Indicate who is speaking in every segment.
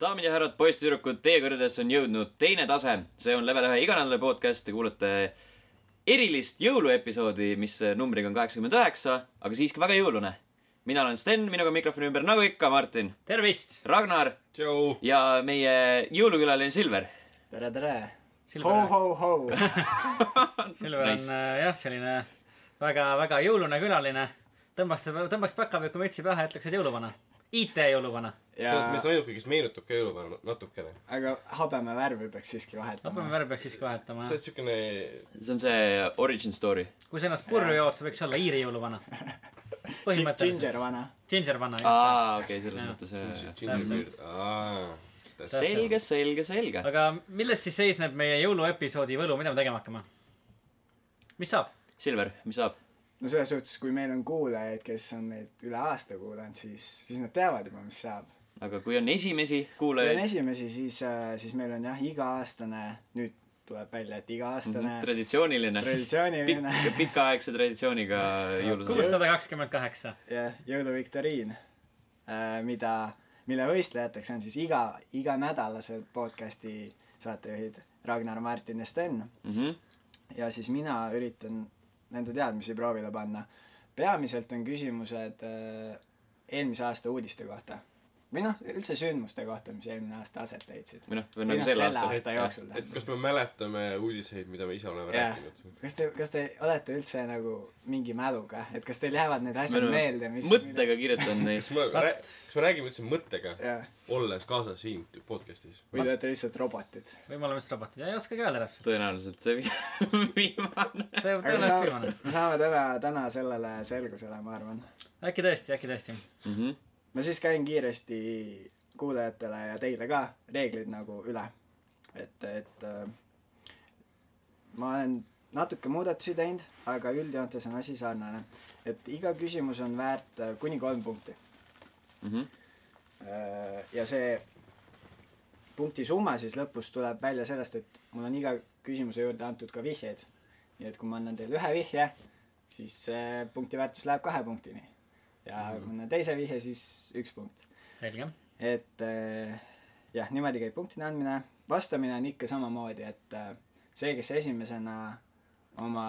Speaker 1: daamid ja härrad , poisssüdrukud , teie kõrvedesse on jõudnud teine tase , see on level ühe iganädalane podcast , te kuulate erilist jõuluepisoodi , mis numbriga on kaheksakümmend üheksa , aga siiski väga jõulune . mina olen Sten , minuga mikrofoni ümber nagu ikka Martin ,
Speaker 2: tervist ,
Speaker 1: Ragnar
Speaker 3: tšau .
Speaker 1: ja meie jõulukülaline Silver .
Speaker 4: tere , tere .
Speaker 2: Silver ,
Speaker 4: ho-ho-ho .
Speaker 2: Silver on
Speaker 1: Nice.
Speaker 2: äh, jah , selline väga-väga jõulune külaline . tõmbaks , tõmbaks päkapiku mütsi pähe , ütleks , et jõuluvana . IT-jõuluvana .
Speaker 3: sa oled
Speaker 4: ja ,
Speaker 3: meist ainuke , kes meenutab ka jõuluvana natukene .
Speaker 4: aga habeme värvi peaks siiski vahetama
Speaker 2: lõpeme . värvi peaks siiski vahetama
Speaker 3: sa , oled
Speaker 2: jah .
Speaker 3: siukene ,
Speaker 1: see on see origin story .
Speaker 2: kui sa ennast purju jood , sa võiks olla Iiri jõuluvana . põhimõtteliselt .
Speaker 4: Ginger vana .
Speaker 2: Gingervana , just .
Speaker 1: aa , okei okay, , selles
Speaker 2: Jah.
Speaker 1: mõttes jah ,
Speaker 3: džinnibeer . aa ,
Speaker 1: jah . selge , selge , selge .
Speaker 2: aga milles siis seisneb meie jõuluepisoodi võlu , mida me tegema hakkame ? mis saab ?
Speaker 1: Silver , mis saab ?
Speaker 4: no selles suhtes , kui meil on kuulajaid , kes on meid üle aasta kuulanud , siis , siis nad teavad juba , mis saab .
Speaker 1: aga kui on esimesi
Speaker 4: kui on
Speaker 1: kuulajaid ,
Speaker 4: esimesi , siis , siis meil on jah , iga-aastane , nüüd tuleb välja , et
Speaker 1: Mhm,
Speaker 4: iga-aastane
Speaker 1: traditsiooniline .
Speaker 4: traditsiooniline
Speaker 1: pikk , pikaaegse traditsiooniga jõulusaade .
Speaker 2: kuussada kakskümmend kaheksa .
Speaker 4: jah , jõuluviktoriin , mida , mille võistlejateks on siis iga , iganädalased podcasti saatejuhid Ragnar , Martin ja Sten
Speaker 1: Mhm.
Speaker 4: ja siis mina üritan nende teadmisi proovile panna . peamiselt on küsimused äh, eelmise aasta uudiste kohta või noh , üldse sündmuste kohta , mis eelmine aasta aset leidsid .
Speaker 1: või noh , või
Speaker 4: Või
Speaker 1: nagu
Speaker 4: noh,
Speaker 1: sel
Speaker 4: selle
Speaker 1: aastal
Speaker 4: aasta . jooksul.
Speaker 3: et kas me mäletame uudiseid , mida me ise oleme
Speaker 4: Jah.
Speaker 3: rääkinud ?
Speaker 4: kas te , kas te olete üldse nagu mingi mäluga , et kas teil jäävad need asjad
Speaker 1: oleme
Speaker 4: meelde , mis
Speaker 1: mõttega kirjutan neid
Speaker 3: kas . me , kas me räägime üldse mõttega ,
Speaker 4: jah ,
Speaker 3: olles kaasas siin podcast'is ?
Speaker 4: või te olete lihtsalt robotid .
Speaker 2: või me oleme siis robotid , ei oskagi öelda täpselt .
Speaker 1: tõenäoliselt see vi- viimane .
Speaker 2: see
Speaker 4: aga me
Speaker 2: tõenäoliselt
Speaker 4: saame
Speaker 2: viimane .,
Speaker 4: me saame täna , täna sellele selgusele , ma arvan .
Speaker 2: äkki tõesti , äkki tõesti .
Speaker 4: ma siis käin kiiresti kuulajatele ja teile ka reeglid nagu üle . et , et äh, ma olen natuke muudatusi teinud , aga üldjoontes on asi sarnane . et iga küsimus on väärt äh, kuni kolm punkti . ja see punkti summa siis lõpus tuleb välja sellest , et mul on iga küsimuse juurde antud ka vihjeid . nii et kui ma annan teile ühe vihje , siis see punkti väärtus läheb kahe punktini . ja kui ma annan teise vihje , siis üks punkt .
Speaker 2: selge .
Speaker 4: et äh, jah , niimoodi käib punktide andmine . vastamine on ikka samamoodi , et äh, see , kes esimesena oma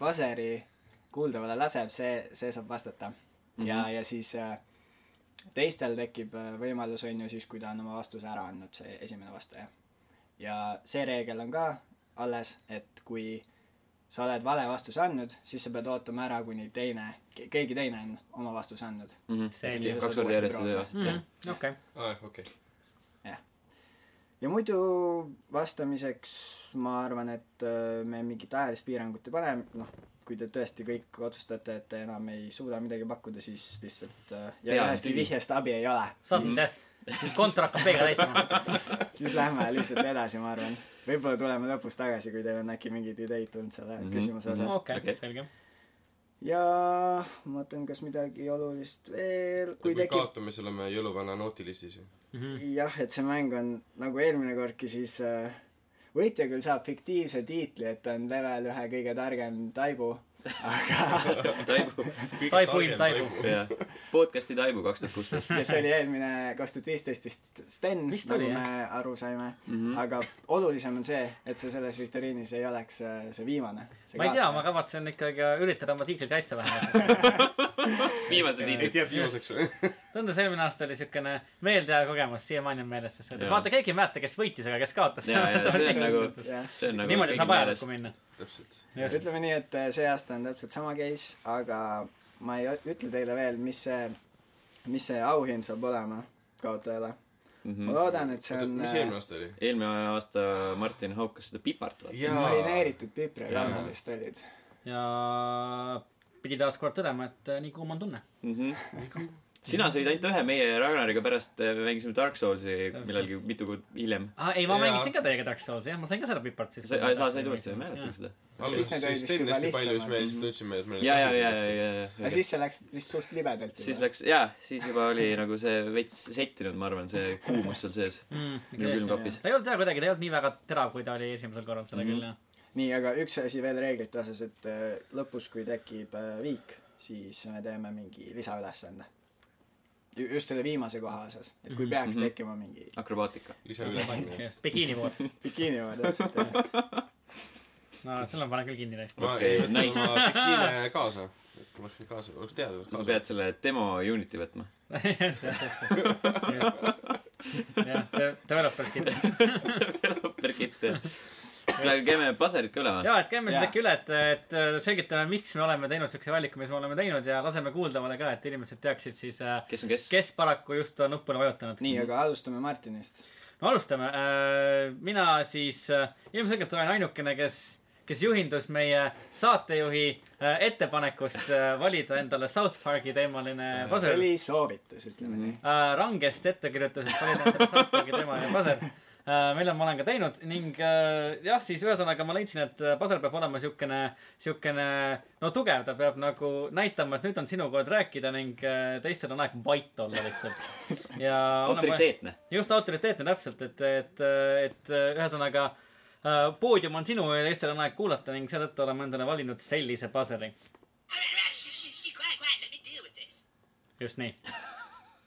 Speaker 4: vaseri kuuldavale laseb , see , see saab vastata . ja , ja siis äh, teistel tekib äh, võimalus , on ju , siis kui ta on oma vastuse ära andnud , see esimene vastaja . ja see reegel on ka alles , et kui sa oled vale vastuse andnud , siis sa pead ootama ära , kuni teine , keegi teine on oma vastuse andnud .
Speaker 2: Selge.
Speaker 1: kaks korda järjest seda vastata
Speaker 2: Mhm.
Speaker 1: jah .
Speaker 2: okei .
Speaker 3: aa , okei .
Speaker 4: ja muidu vastamiseks ma arvan , et öö, me mingit ajalist piirangut ei pane , noh , kui te tõesti kõik otsustate , et te enam ei suuda midagi pakkuda , siis lihtsalt öö, ja
Speaker 1: Pean
Speaker 4: ühestki
Speaker 1: kinni.
Speaker 4: vihjest abi ei ole ,
Speaker 2: Sudden death . kontra hakkab peega täitma .
Speaker 4: siis lähme lihtsalt edasi , ma arvan . võib-olla tuleme lõpus tagasi , kui teil on äkki mingeid ideid tulnud selle mm
Speaker 1: Mhm.
Speaker 4: -hmm. küsimuse
Speaker 1: Mhm.
Speaker 4: osas .
Speaker 2: okei
Speaker 1: Okei. ,
Speaker 2: selge .
Speaker 4: ja ma mõtlen , kas midagi olulist veel ,
Speaker 3: kui
Speaker 4: kui
Speaker 3: tekib...
Speaker 4: tekib
Speaker 3: kaotame , siis oleme jõuluvana noodilistis ju .
Speaker 4: jah , et see mäng on nagu eelmine kordki , siis äh, võitja küll saab fiktiivse tiitli , et ta on level ühe kõige targem taibu , aga
Speaker 1: taibu ,
Speaker 2: Taibu im taibu. .
Speaker 1: jah . podcast'i Taibu kaks tuhat kuusteist .
Speaker 4: kes oli eelmine kaks tuhat viisteist vist Sten ,
Speaker 2: Vist
Speaker 4: nagu
Speaker 2: oli,
Speaker 4: me aru saime mm .
Speaker 3: Mhm.
Speaker 4: -hmm. aga olulisem on see , et see selles viktoriinis ei oleks äh, see viimane .
Speaker 2: ma ei tea , ma kavatsen ikkagi äh, üritada oma tiitlit kaitsta vähemalt .
Speaker 1: viimase
Speaker 3: et
Speaker 1: tiitli .
Speaker 3: jääb viimaseks või ?
Speaker 2: tundus eelmine aasta oli siukene meeldejääv kogemus , siiamaani on meeles selles suhtes .
Speaker 1: Jaa.
Speaker 2: vaata , keegi ei mäleta , kes võitis , aga kes kaotas .
Speaker 1: Jaa, jaa, see on nagu-
Speaker 4: jah ,
Speaker 1: see on nagu .
Speaker 2: niimoodi saab ajalukku minna .
Speaker 3: täpselt .
Speaker 2: just ,
Speaker 4: ütleme nii , et äh, see aasta on täpselt sama case , aga ma ei ö- ütle teile veel , mis see , mis see auhind saab olema kaotajale . ma
Speaker 1: minna .
Speaker 4: loodan , et see
Speaker 3: Mhm.
Speaker 4: on
Speaker 3: oota , mis
Speaker 4: äh,
Speaker 3: eelmine aasta oli ?
Speaker 1: Mhm. eelmine aasta Martin haukas seda pipart vaata .
Speaker 4: marineeritud
Speaker 1: Jaa.
Speaker 4: piprikannad vist olid .
Speaker 2: ja pidi taas kord tõdema , et äh, nii kuum on tunne .
Speaker 1: Mhm. sina sõid ainult ühe meie Ragnariga pärast äh, mängisime Dark Soulsi millalgi mitu kuud hiljem .
Speaker 2: aa , Ah, ei , ma
Speaker 3: Jaa.
Speaker 2: mängisin ka teiega Dark Soulsi , jah , ma sain ka seda pipart siis .
Speaker 1: sa , sa said uuesti , ma mäletan
Speaker 2: seda .
Speaker 1: seda .
Speaker 3: alguses
Speaker 4: Siis need olid
Speaker 3: siis
Speaker 4: vist
Speaker 3: teen
Speaker 4: juba
Speaker 3: hästi palju , siis
Speaker 4: lihtsamad.
Speaker 3: me lihtsalt tundsime , et me
Speaker 1: ja , ja , ja , ja , ja , ja
Speaker 4: aga . siis see läks vist suht libedalt
Speaker 1: siis . läks , jaa , siis juba oli nagu see veits settinud , ma arvan , see kuumus seal sees . minu
Speaker 2: ta
Speaker 1: külmkapis .
Speaker 2: ei olnud Mm, jah kuidagi , ta ei olnud nii väga terav , kui ta oli esimesel korral ,
Speaker 1: Mhm.
Speaker 2: seda küll jah .
Speaker 4: nii , aga üks asi veel reeglite osas , et äh, lõpus , kui tekib äh, viik , siis me teeme mingi lisaülesande . ju- just selle viimase koha osas , et kui peaks
Speaker 1: Mhm.
Speaker 4: tekkima mingi
Speaker 1: akrobaatika .
Speaker 3: lisaülesanne .
Speaker 2: bikiini pool .
Speaker 4: bikiini oma täpselt jah .
Speaker 2: no selle ma panen küll kinni täiesti .
Speaker 1: Okei, nice.
Speaker 3: bikiine kaasa . et ma oleksin kaasa , oleks teada .
Speaker 1: sa pead selle demo unit'i võtma .
Speaker 2: just , jah , täpselt . jah , developer kinni .
Speaker 1: Perkit , praegu käime paserit ka üle või ?
Speaker 2: ja , et käime siis
Speaker 4: Jaa.
Speaker 2: äkki üle , et , et äh, selgitame , miks me oleme teinud siukse valiku , mis me oleme teinud ja laseme kuuldavale ka , et inimesed teaksid siis ,
Speaker 1: kes on kes ?
Speaker 2: kes paraku just on nupule vajutanud .
Speaker 4: nii , aga alustame Martinist .
Speaker 2: no alustame . mina siis äh, ilmselgelt olen ainukene , kes , kes juhindus meie saatejuhi äh, ettepanekust äh, valida endale South Park'i teemaline
Speaker 4: see
Speaker 2: pasel .
Speaker 4: oli soovitus ,
Speaker 1: Mhm.
Speaker 4: ütleme nii .
Speaker 2: Äh, rangest ettekirjutusest valida endale South Park'i teemaline pasel , Äh, mille ma olen ka teinud ning äh, jah , siis ühesõnaga ma leidsin , et äh, pasel peab olema siukene , siukene no tugev , ta peab nagu näitama , et nüüd on sinu kord rääkida ning äh, teistel on aeg vait olla lihtsalt . ja oleme-
Speaker 1: autoriteetne .
Speaker 2: just autoriteetne täpselt , et , et , et ühesõnaga äh, poodium on sinu ja teistel on aeg kuulata ning seetõttu oleme endale valinud sellise paseri .
Speaker 5: Shh, shh, shh, quiet, quiet. Let me deal with this.
Speaker 2: just nii .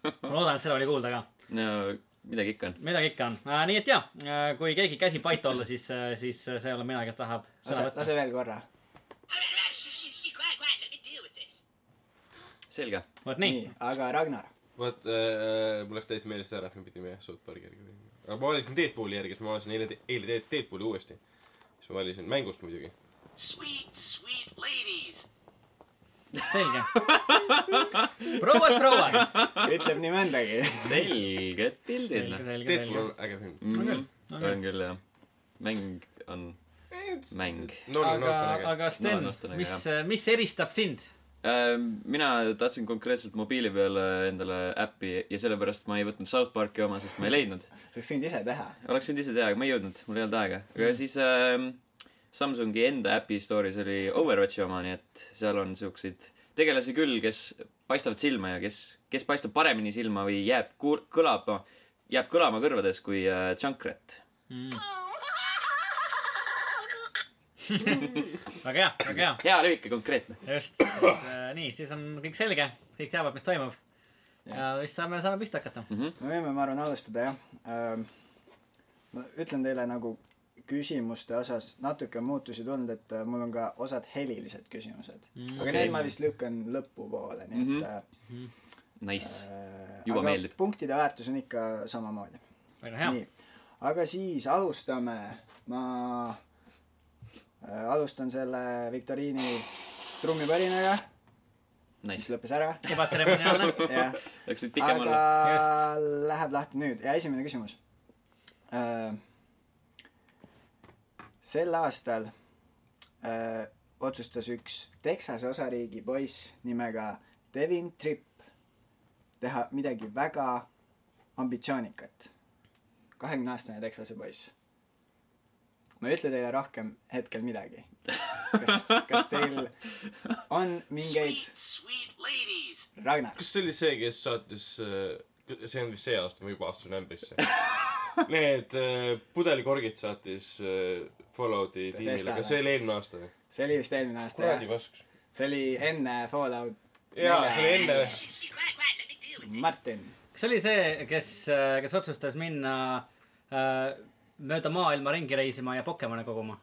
Speaker 2: ma loodan , et seda oli kuulda ka .
Speaker 1: no midagi ikka on .
Speaker 2: midagi ikka on . nii et jaa , kui keegi käsi pait olla , siis , siis äh, see olen mina , kes tahab sõna
Speaker 4: lase ,
Speaker 2: võtta .
Speaker 4: lase veel korra .
Speaker 5: Shh, shh, shh, quiet, quiet. Let me deal with this.
Speaker 1: selge .
Speaker 2: vot nii .
Speaker 4: nii , aga Ragnar .
Speaker 3: vot äh, , mul läks täiesti meelest ära , et me pidime jah , South Park'i järgi minema . aga ma valisin Deadpooli järgi , siis ma vaatasin eile , eile Dead- Deadpooli uuesti . siis ma valisin mängust muidugi .
Speaker 5: Sweet, sweet ladies.
Speaker 2: selge . prouad , prouad .
Speaker 4: ütleb nii mõndagi .
Speaker 1: selged pildid ,
Speaker 2: selge ,
Speaker 1: noh .
Speaker 2: selge , selge .
Speaker 3: Deadpool on äge film .
Speaker 2: On küll, on küll.
Speaker 1: on küll , jah . mäng on mäng .
Speaker 3: no , no , no ,
Speaker 2: aga ,
Speaker 3: ta on äge .
Speaker 2: aga Sten
Speaker 1: No, nohtan , väga
Speaker 2: mis , mis eristab sind ?
Speaker 1: Äh, mina tahtsin konkreetselt mobiili peale endale äppi ja sellepärast ma ei võtnud South Parki oma , sest ma ei leidnud .
Speaker 4: sa oleks võinud ise teha .
Speaker 1: oleks võinud ise teha , aga ma ei jõudnud , mul ei olnud aega .
Speaker 2: Mm.
Speaker 1: aga siis ähm, Samsungi enda äpi store'is oli Overwatchi oma , nii et seal on siukseid tegelasi küll , kes paistavad silma ja kes , kes paistab paremini silma või jääb kuul- , kõlama , jääb kõlama kõrvades kui äh, Junkrat .
Speaker 2: väga hea , väga hea .
Speaker 1: hea lühike , konkreetne .
Speaker 2: just , nii , siis on kõik selge , kõik teavad , mis toimub . ja siis saame , saame pihta hakata .
Speaker 4: me võime , ma arvan , alustada jah . ma ütlen teile nagu küsimuste osas natuke muutusi tulnud , et äh, mul on ka osad helilised küsimused mm, . aga okay. neid ma vist lükkan lõpupoole , nii et mm .
Speaker 1: Nice .
Speaker 4: -hmm.
Speaker 1: Mhm. Juba
Speaker 4: aga
Speaker 1: meeldib.
Speaker 4: punktide väärtus on ikka samamoodi .
Speaker 2: väga hea .
Speaker 4: nii , aga siis alustame , ma äh, alustan selle viktoriini trummipõrinaga , mis
Speaker 1: Nice .
Speaker 4: lõppes ära ,
Speaker 2: ebatseremoniaalne .
Speaker 4: jah .
Speaker 1: Läks nüüd pikem
Speaker 4: aga
Speaker 1: olla .
Speaker 4: läheb lahti nüüd ja esimene küsimus . sel aastal äh, otsustas üks Texase osariigi poiss nimega Devin Tripp teha midagi väga ambitsioonikat . kahekümne aastane Texase poiss . ma ei ütle teile rohkem hetkel midagi . kas , kas teil on mingeid ,
Speaker 5: Sweet, sweet ladies.
Speaker 4: Ragnar ?
Speaker 3: kas see oli see , kes saatis , see on vist see aasta , ma juba astusin ämbrisse . Need äh, pudelikorgid saatis äh, Fallouti tiimile ,
Speaker 4: Testale.
Speaker 3: kas see oli eelmine aasta või ?
Speaker 4: see oli vist eelmine aasta jah
Speaker 3: kuradi ? vaskus .
Speaker 4: see oli enne Fallout .
Speaker 3: jaa , see oli enne .
Speaker 5: Shh, shh, shh, quiet, quiet. Let me deal with this.
Speaker 4: Martin ,
Speaker 2: kas see oli see , kes , kes otsustas minna äh, mööda maailma ringi reisima ja Pokemone koguma ?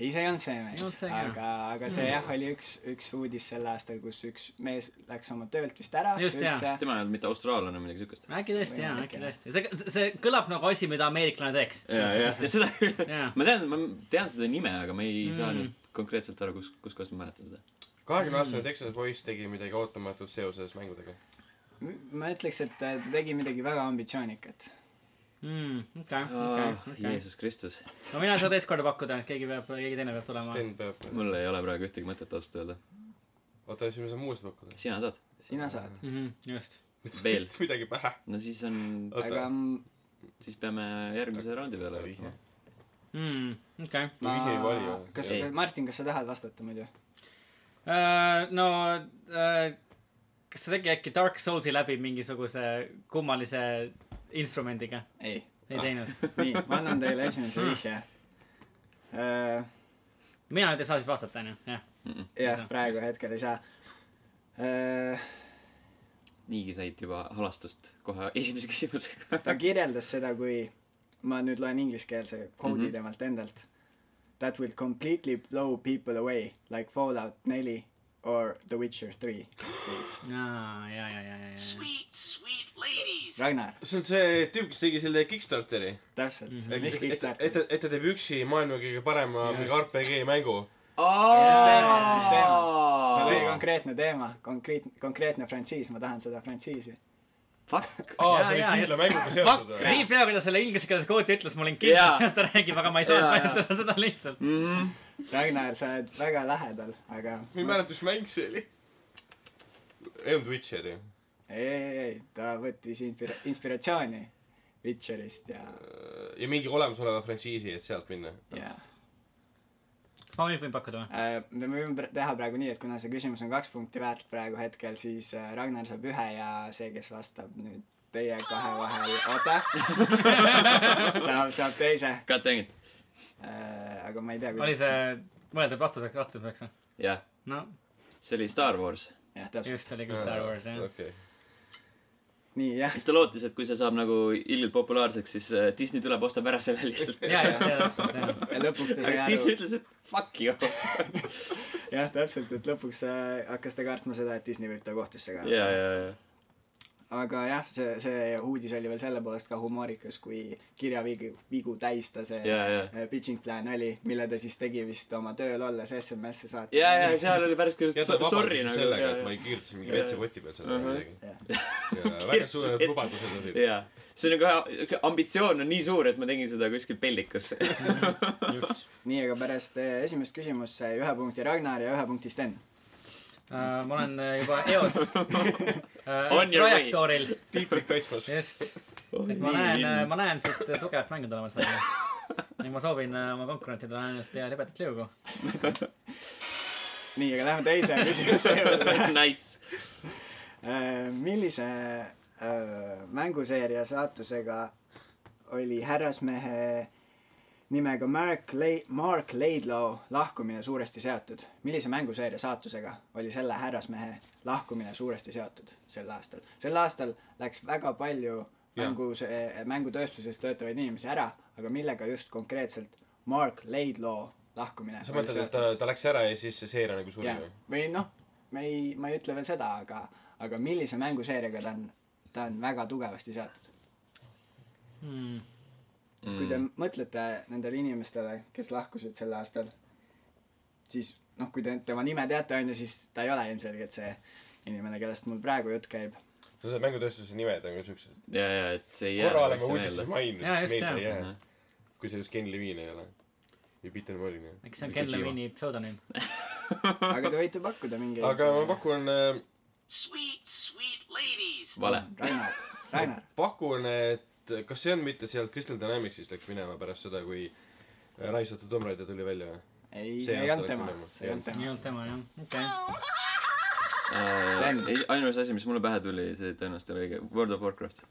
Speaker 4: ei see ei olnud see
Speaker 2: No
Speaker 4: mees
Speaker 2: see , Mm. ka.
Speaker 4: aga , aga see jah , oli üks , üks uudis sel aastal , kus üks mees läks oma töölt vist ära
Speaker 2: Just, jaa.
Speaker 4: üldse .
Speaker 1: tema ei olnud mitte austraallane või midagi siukest .
Speaker 2: äkki tõesti jaa , äkki tõesti . see , see kõlab nagu asi , mida ameeriklane teeks .
Speaker 1: ja , ja , ja seda küll
Speaker 2: Jaa. .
Speaker 1: ma tean , ma tean seda nime , aga ma ei saa
Speaker 2: Mm.
Speaker 1: nüüd konkreetselt aru , kus , kuskohast ma mäletan seda .
Speaker 3: kahekümne aastane Texas poiss tegi midagi ootamatut seoses mängudega .
Speaker 4: ma ütleks , et ta tegi midagi väga ambitsioonikat .
Speaker 2: Mm, okei ,
Speaker 1: Ah,
Speaker 2: okei .
Speaker 1: Jeesus Kristus ,
Speaker 2: no mina ei saa teist korda pakkuda , et keegi peab , keegi teine peab tulema .
Speaker 3: Sten peab ,
Speaker 1: mul ei ole praegu ühtegi mõtet ausalt öelda .
Speaker 3: oota , siis me saame uuesti pakkuda .
Speaker 1: sina saad
Speaker 4: sina saad ,
Speaker 2: Mhm, just .
Speaker 1: veel ,
Speaker 3: midagi pähe .
Speaker 1: no siis on ,
Speaker 3: Oota.
Speaker 4: aga m-
Speaker 1: siis peame järgmise raundi peale
Speaker 3: Vihje.
Speaker 1: võtma .
Speaker 2: Mm, okei .
Speaker 4: ma
Speaker 3: vihje ei vali ,
Speaker 4: kas
Speaker 1: Ei. ,
Speaker 4: Martin , kas sa tahad vastata muidu ?
Speaker 2: Äh, no äh, kas ta tegi äkki Dark Soulsi läbi mingisuguse kummalise instrumendiga ?
Speaker 4: ei .
Speaker 2: ei teinud .
Speaker 4: nii , ma annan teile esimese vihje .
Speaker 2: mina nüüd ei saa siis vastata , onju , jah .
Speaker 4: jah
Speaker 2: saa. ,
Speaker 4: Äh, praegu hetkel ei saa .
Speaker 1: niigi said juba halastust kohe esimese küsimusega .
Speaker 4: ta kirjeldas seda , kui ma nüüd loen ingliskeelse koodi mm
Speaker 1: Mhm.
Speaker 4: -hmm. temalt endalt . That will completely blow people away like Fallout neli or The Witcher three .
Speaker 2: aa , ja , ja , ja , ja , ja .
Speaker 5: Sweet, sweet ladies.
Speaker 4: Ragnar ,
Speaker 3: see on see tüüp , kes tegi selle Kickstarteri .
Speaker 4: täpselt mm , -hmm. mis
Speaker 3: et , et
Speaker 4: Kickstarter ?
Speaker 3: ta , et ta teeb üksi maailma kõige parema mingi RPG mängu .
Speaker 4: teema? Mis teema?
Speaker 1: aa
Speaker 4: tal oli
Speaker 3: Aa.
Speaker 4: konkreetne teema , konkreetne , konkreetne frantsiis , ma tahan seda frantsiisi .
Speaker 1: Fuck .
Speaker 3: aa , see
Speaker 2: Jaa,
Speaker 3: oli
Speaker 2: jaa,
Speaker 3: kindla
Speaker 2: just.
Speaker 3: mänguga seotud või ?
Speaker 2: nii pea , kui ta selle inglise keeles koodi ütles , ma olin kindel ,
Speaker 1: Jaa.
Speaker 2: millest ta räägib , aga ma ei saanud
Speaker 1: Jaa, jaa.
Speaker 2: mäletada seda lihtsalt .
Speaker 4: Ragnar , sa oled väga lähedal , aga
Speaker 3: ma ei mäleta , mis mäng see oli . ei olnud Witcher ju .
Speaker 4: ei , ei , ei , ta võttis inspira- , inspiratsiooni Witcherist ja ,
Speaker 3: ja mingi olemasoleva frantsiisi , et sealt minna .
Speaker 4: ja
Speaker 2: kas ma nüüd võin pakkuda või ?
Speaker 4: Äh, me võime pra- teha praegu nii , et kuna see küsimus on kaks punkti väärt praegu hetkel , siis äh, Ragnar saab ühe ja see , kes vastab nüüd teie kahe vahel , oota , saab , saab teise .
Speaker 1: God dang it .
Speaker 4: aga ma ei tea ,
Speaker 2: oli . see mõeldud vastuseks , vastuseks või ?
Speaker 1: jah ,
Speaker 2: no
Speaker 1: see oli Star Wars .
Speaker 4: jah , täpselt .
Speaker 2: just oli küll Star Wars jah .
Speaker 3: okei .
Speaker 4: nii , jah ,
Speaker 1: siis ta lootis , et kui see saab nagu ilgelt populaarseks , siis äh, Disney tuleb , ostab ära selle lihtsalt .
Speaker 2: ja , just , ja täpselt jah .
Speaker 4: ja lõpuks ta sai
Speaker 1: aga
Speaker 4: aru
Speaker 1: Disney , ütles , et fuck you .
Speaker 4: jah , täpselt , et lõpuks äh, hakkas ta kartma seda , et Disney võib ta kohtusse
Speaker 1: ja , ja ,
Speaker 4: kaevata .
Speaker 1: ja .
Speaker 4: aga jah , see , see uudis oli veel selle poolest ka humoorikas , kui kirjavigu , vigu täis ta see
Speaker 1: Jaa, jaa.
Speaker 4: äh, pitching plan oli , mille ta siis tegi vist oma tööl olles SMS-e saates .
Speaker 1: ja , ja seal oli päris
Speaker 3: ja
Speaker 1: küll
Speaker 3: ta
Speaker 1: sorry
Speaker 3: vabandas
Speaker 1: nagu .
Speaker 3: sellega , et ma ei kirjutasin mingi
Speaker 1: Jaa.
Speaker 3: WC-poti peal seda või midagi .
Speaker 4: jah .
Speaker 3: ja väga suured lubadused olid .
Speaker 1: jaa , see on nagu , ambitsioon on nii suur , et ma tegin seda kuskil peldikus .
Speaker 4: nii , aga pärast eh, esimest küsimust sai ühe punkti Ragnar ja ühe punkti Sten .
Speaker 2: ma olen äh, juba eos äh,
Speaker 1: On your way.
Speaker 2: trajektooril ,
Speaker 3: tiitlit kaitsmas .
Speaker 2: just .
Speaker 1: Oh,
Speaker 2: et ma näen , ma näen siit äh, tugevat mängu tulemas välja . ning ma soovin äh, oma konkurentidele ainult head libedat liugu .
Speaker 4: nii , aga lähme teise küsimuse juurde .
Speaker 1: Nice .
Speaker 4: Äh, millise eh, mänguseeria saatusega oli härrasmehe nimega Mark Le- , Mark Laidlaw lahkumine suuresti seotud ? millise mänguseeria saatusega oli selle härrasmehe lahkumine suuresti seotud sel aastal ? sel aastal läks väga palju
Speaker 3: Jah.
Speaker 4: mängus , mängutööstuses töötavaid inimesi ära , aga millega just konkreetselt Mark Laidlaw lahkumine
Speaker 3: sa mõtled , et ta , ta läks ära ja siis see seeria nagu suri
Speaker 4: jah
Speaker 3: või ?,
Speaker 4: või noh , me ei , ma ei ütle veel seda , aga , aga millise mänguseeriaga ta on , ta on väga tugevasti seotud
Speaker 2: Hmm. .
Speaker 4: kui te mõtlete nendele inimestele , kes lahkusid sel aastal , siis noh , kui te tema nime teate , on ju , siis ta ei ole ilmselgelt see inimene , kellest mul praegu jutt käib .
Speaker 3: see mängutööstuse nimed on ka siuksed .
Speaker 1: ja , ja , et see ei jää .
Speaker 3: korra oleme uudistes . maininud ,
Speaker 2: Jaa,
Speaker 3: siis
Speaker 2: just,
Speaker 3: meelde ei
Speaker 2: jah.
Speaker 3: jää . kui see just Ken Levine ei ole . või Peter Morin jah .
Speaker 2: eks see on Ken . Levine'i pseudonüüm .
Speaker 4: aga te võite pakkuda mingeid .
Speaker 3: aga ma . pakun ,
Speaker 5: Sweet, sweet ladies.
Speaker 1: vale .
Speaker 4: Ragnar , Ragnar ,
Speaker 3: pakun , et kas see on mitte sealt Crystal Dynamicsist läks minema pärast seda , kui Raisatud Tomb Raider tuli välja või ?
Speaker 4: ei ,
Speaker 3: See
Speaker 4: see ei olnud
Speaker 3: aasta läks
Speaker 4: tema
Speaker 3: minema. ,
Speaker 4: see ei olnud
Speaker 2: ei
Speaker 4: tema .
Speaker 2: olnud tema jah , okei .
Speaker 4: Sten.
Speaker 1: Äh, ainus asi , mis mulle pähe tuli , see tõenäoliselt ei ole õige . World of Warcraft .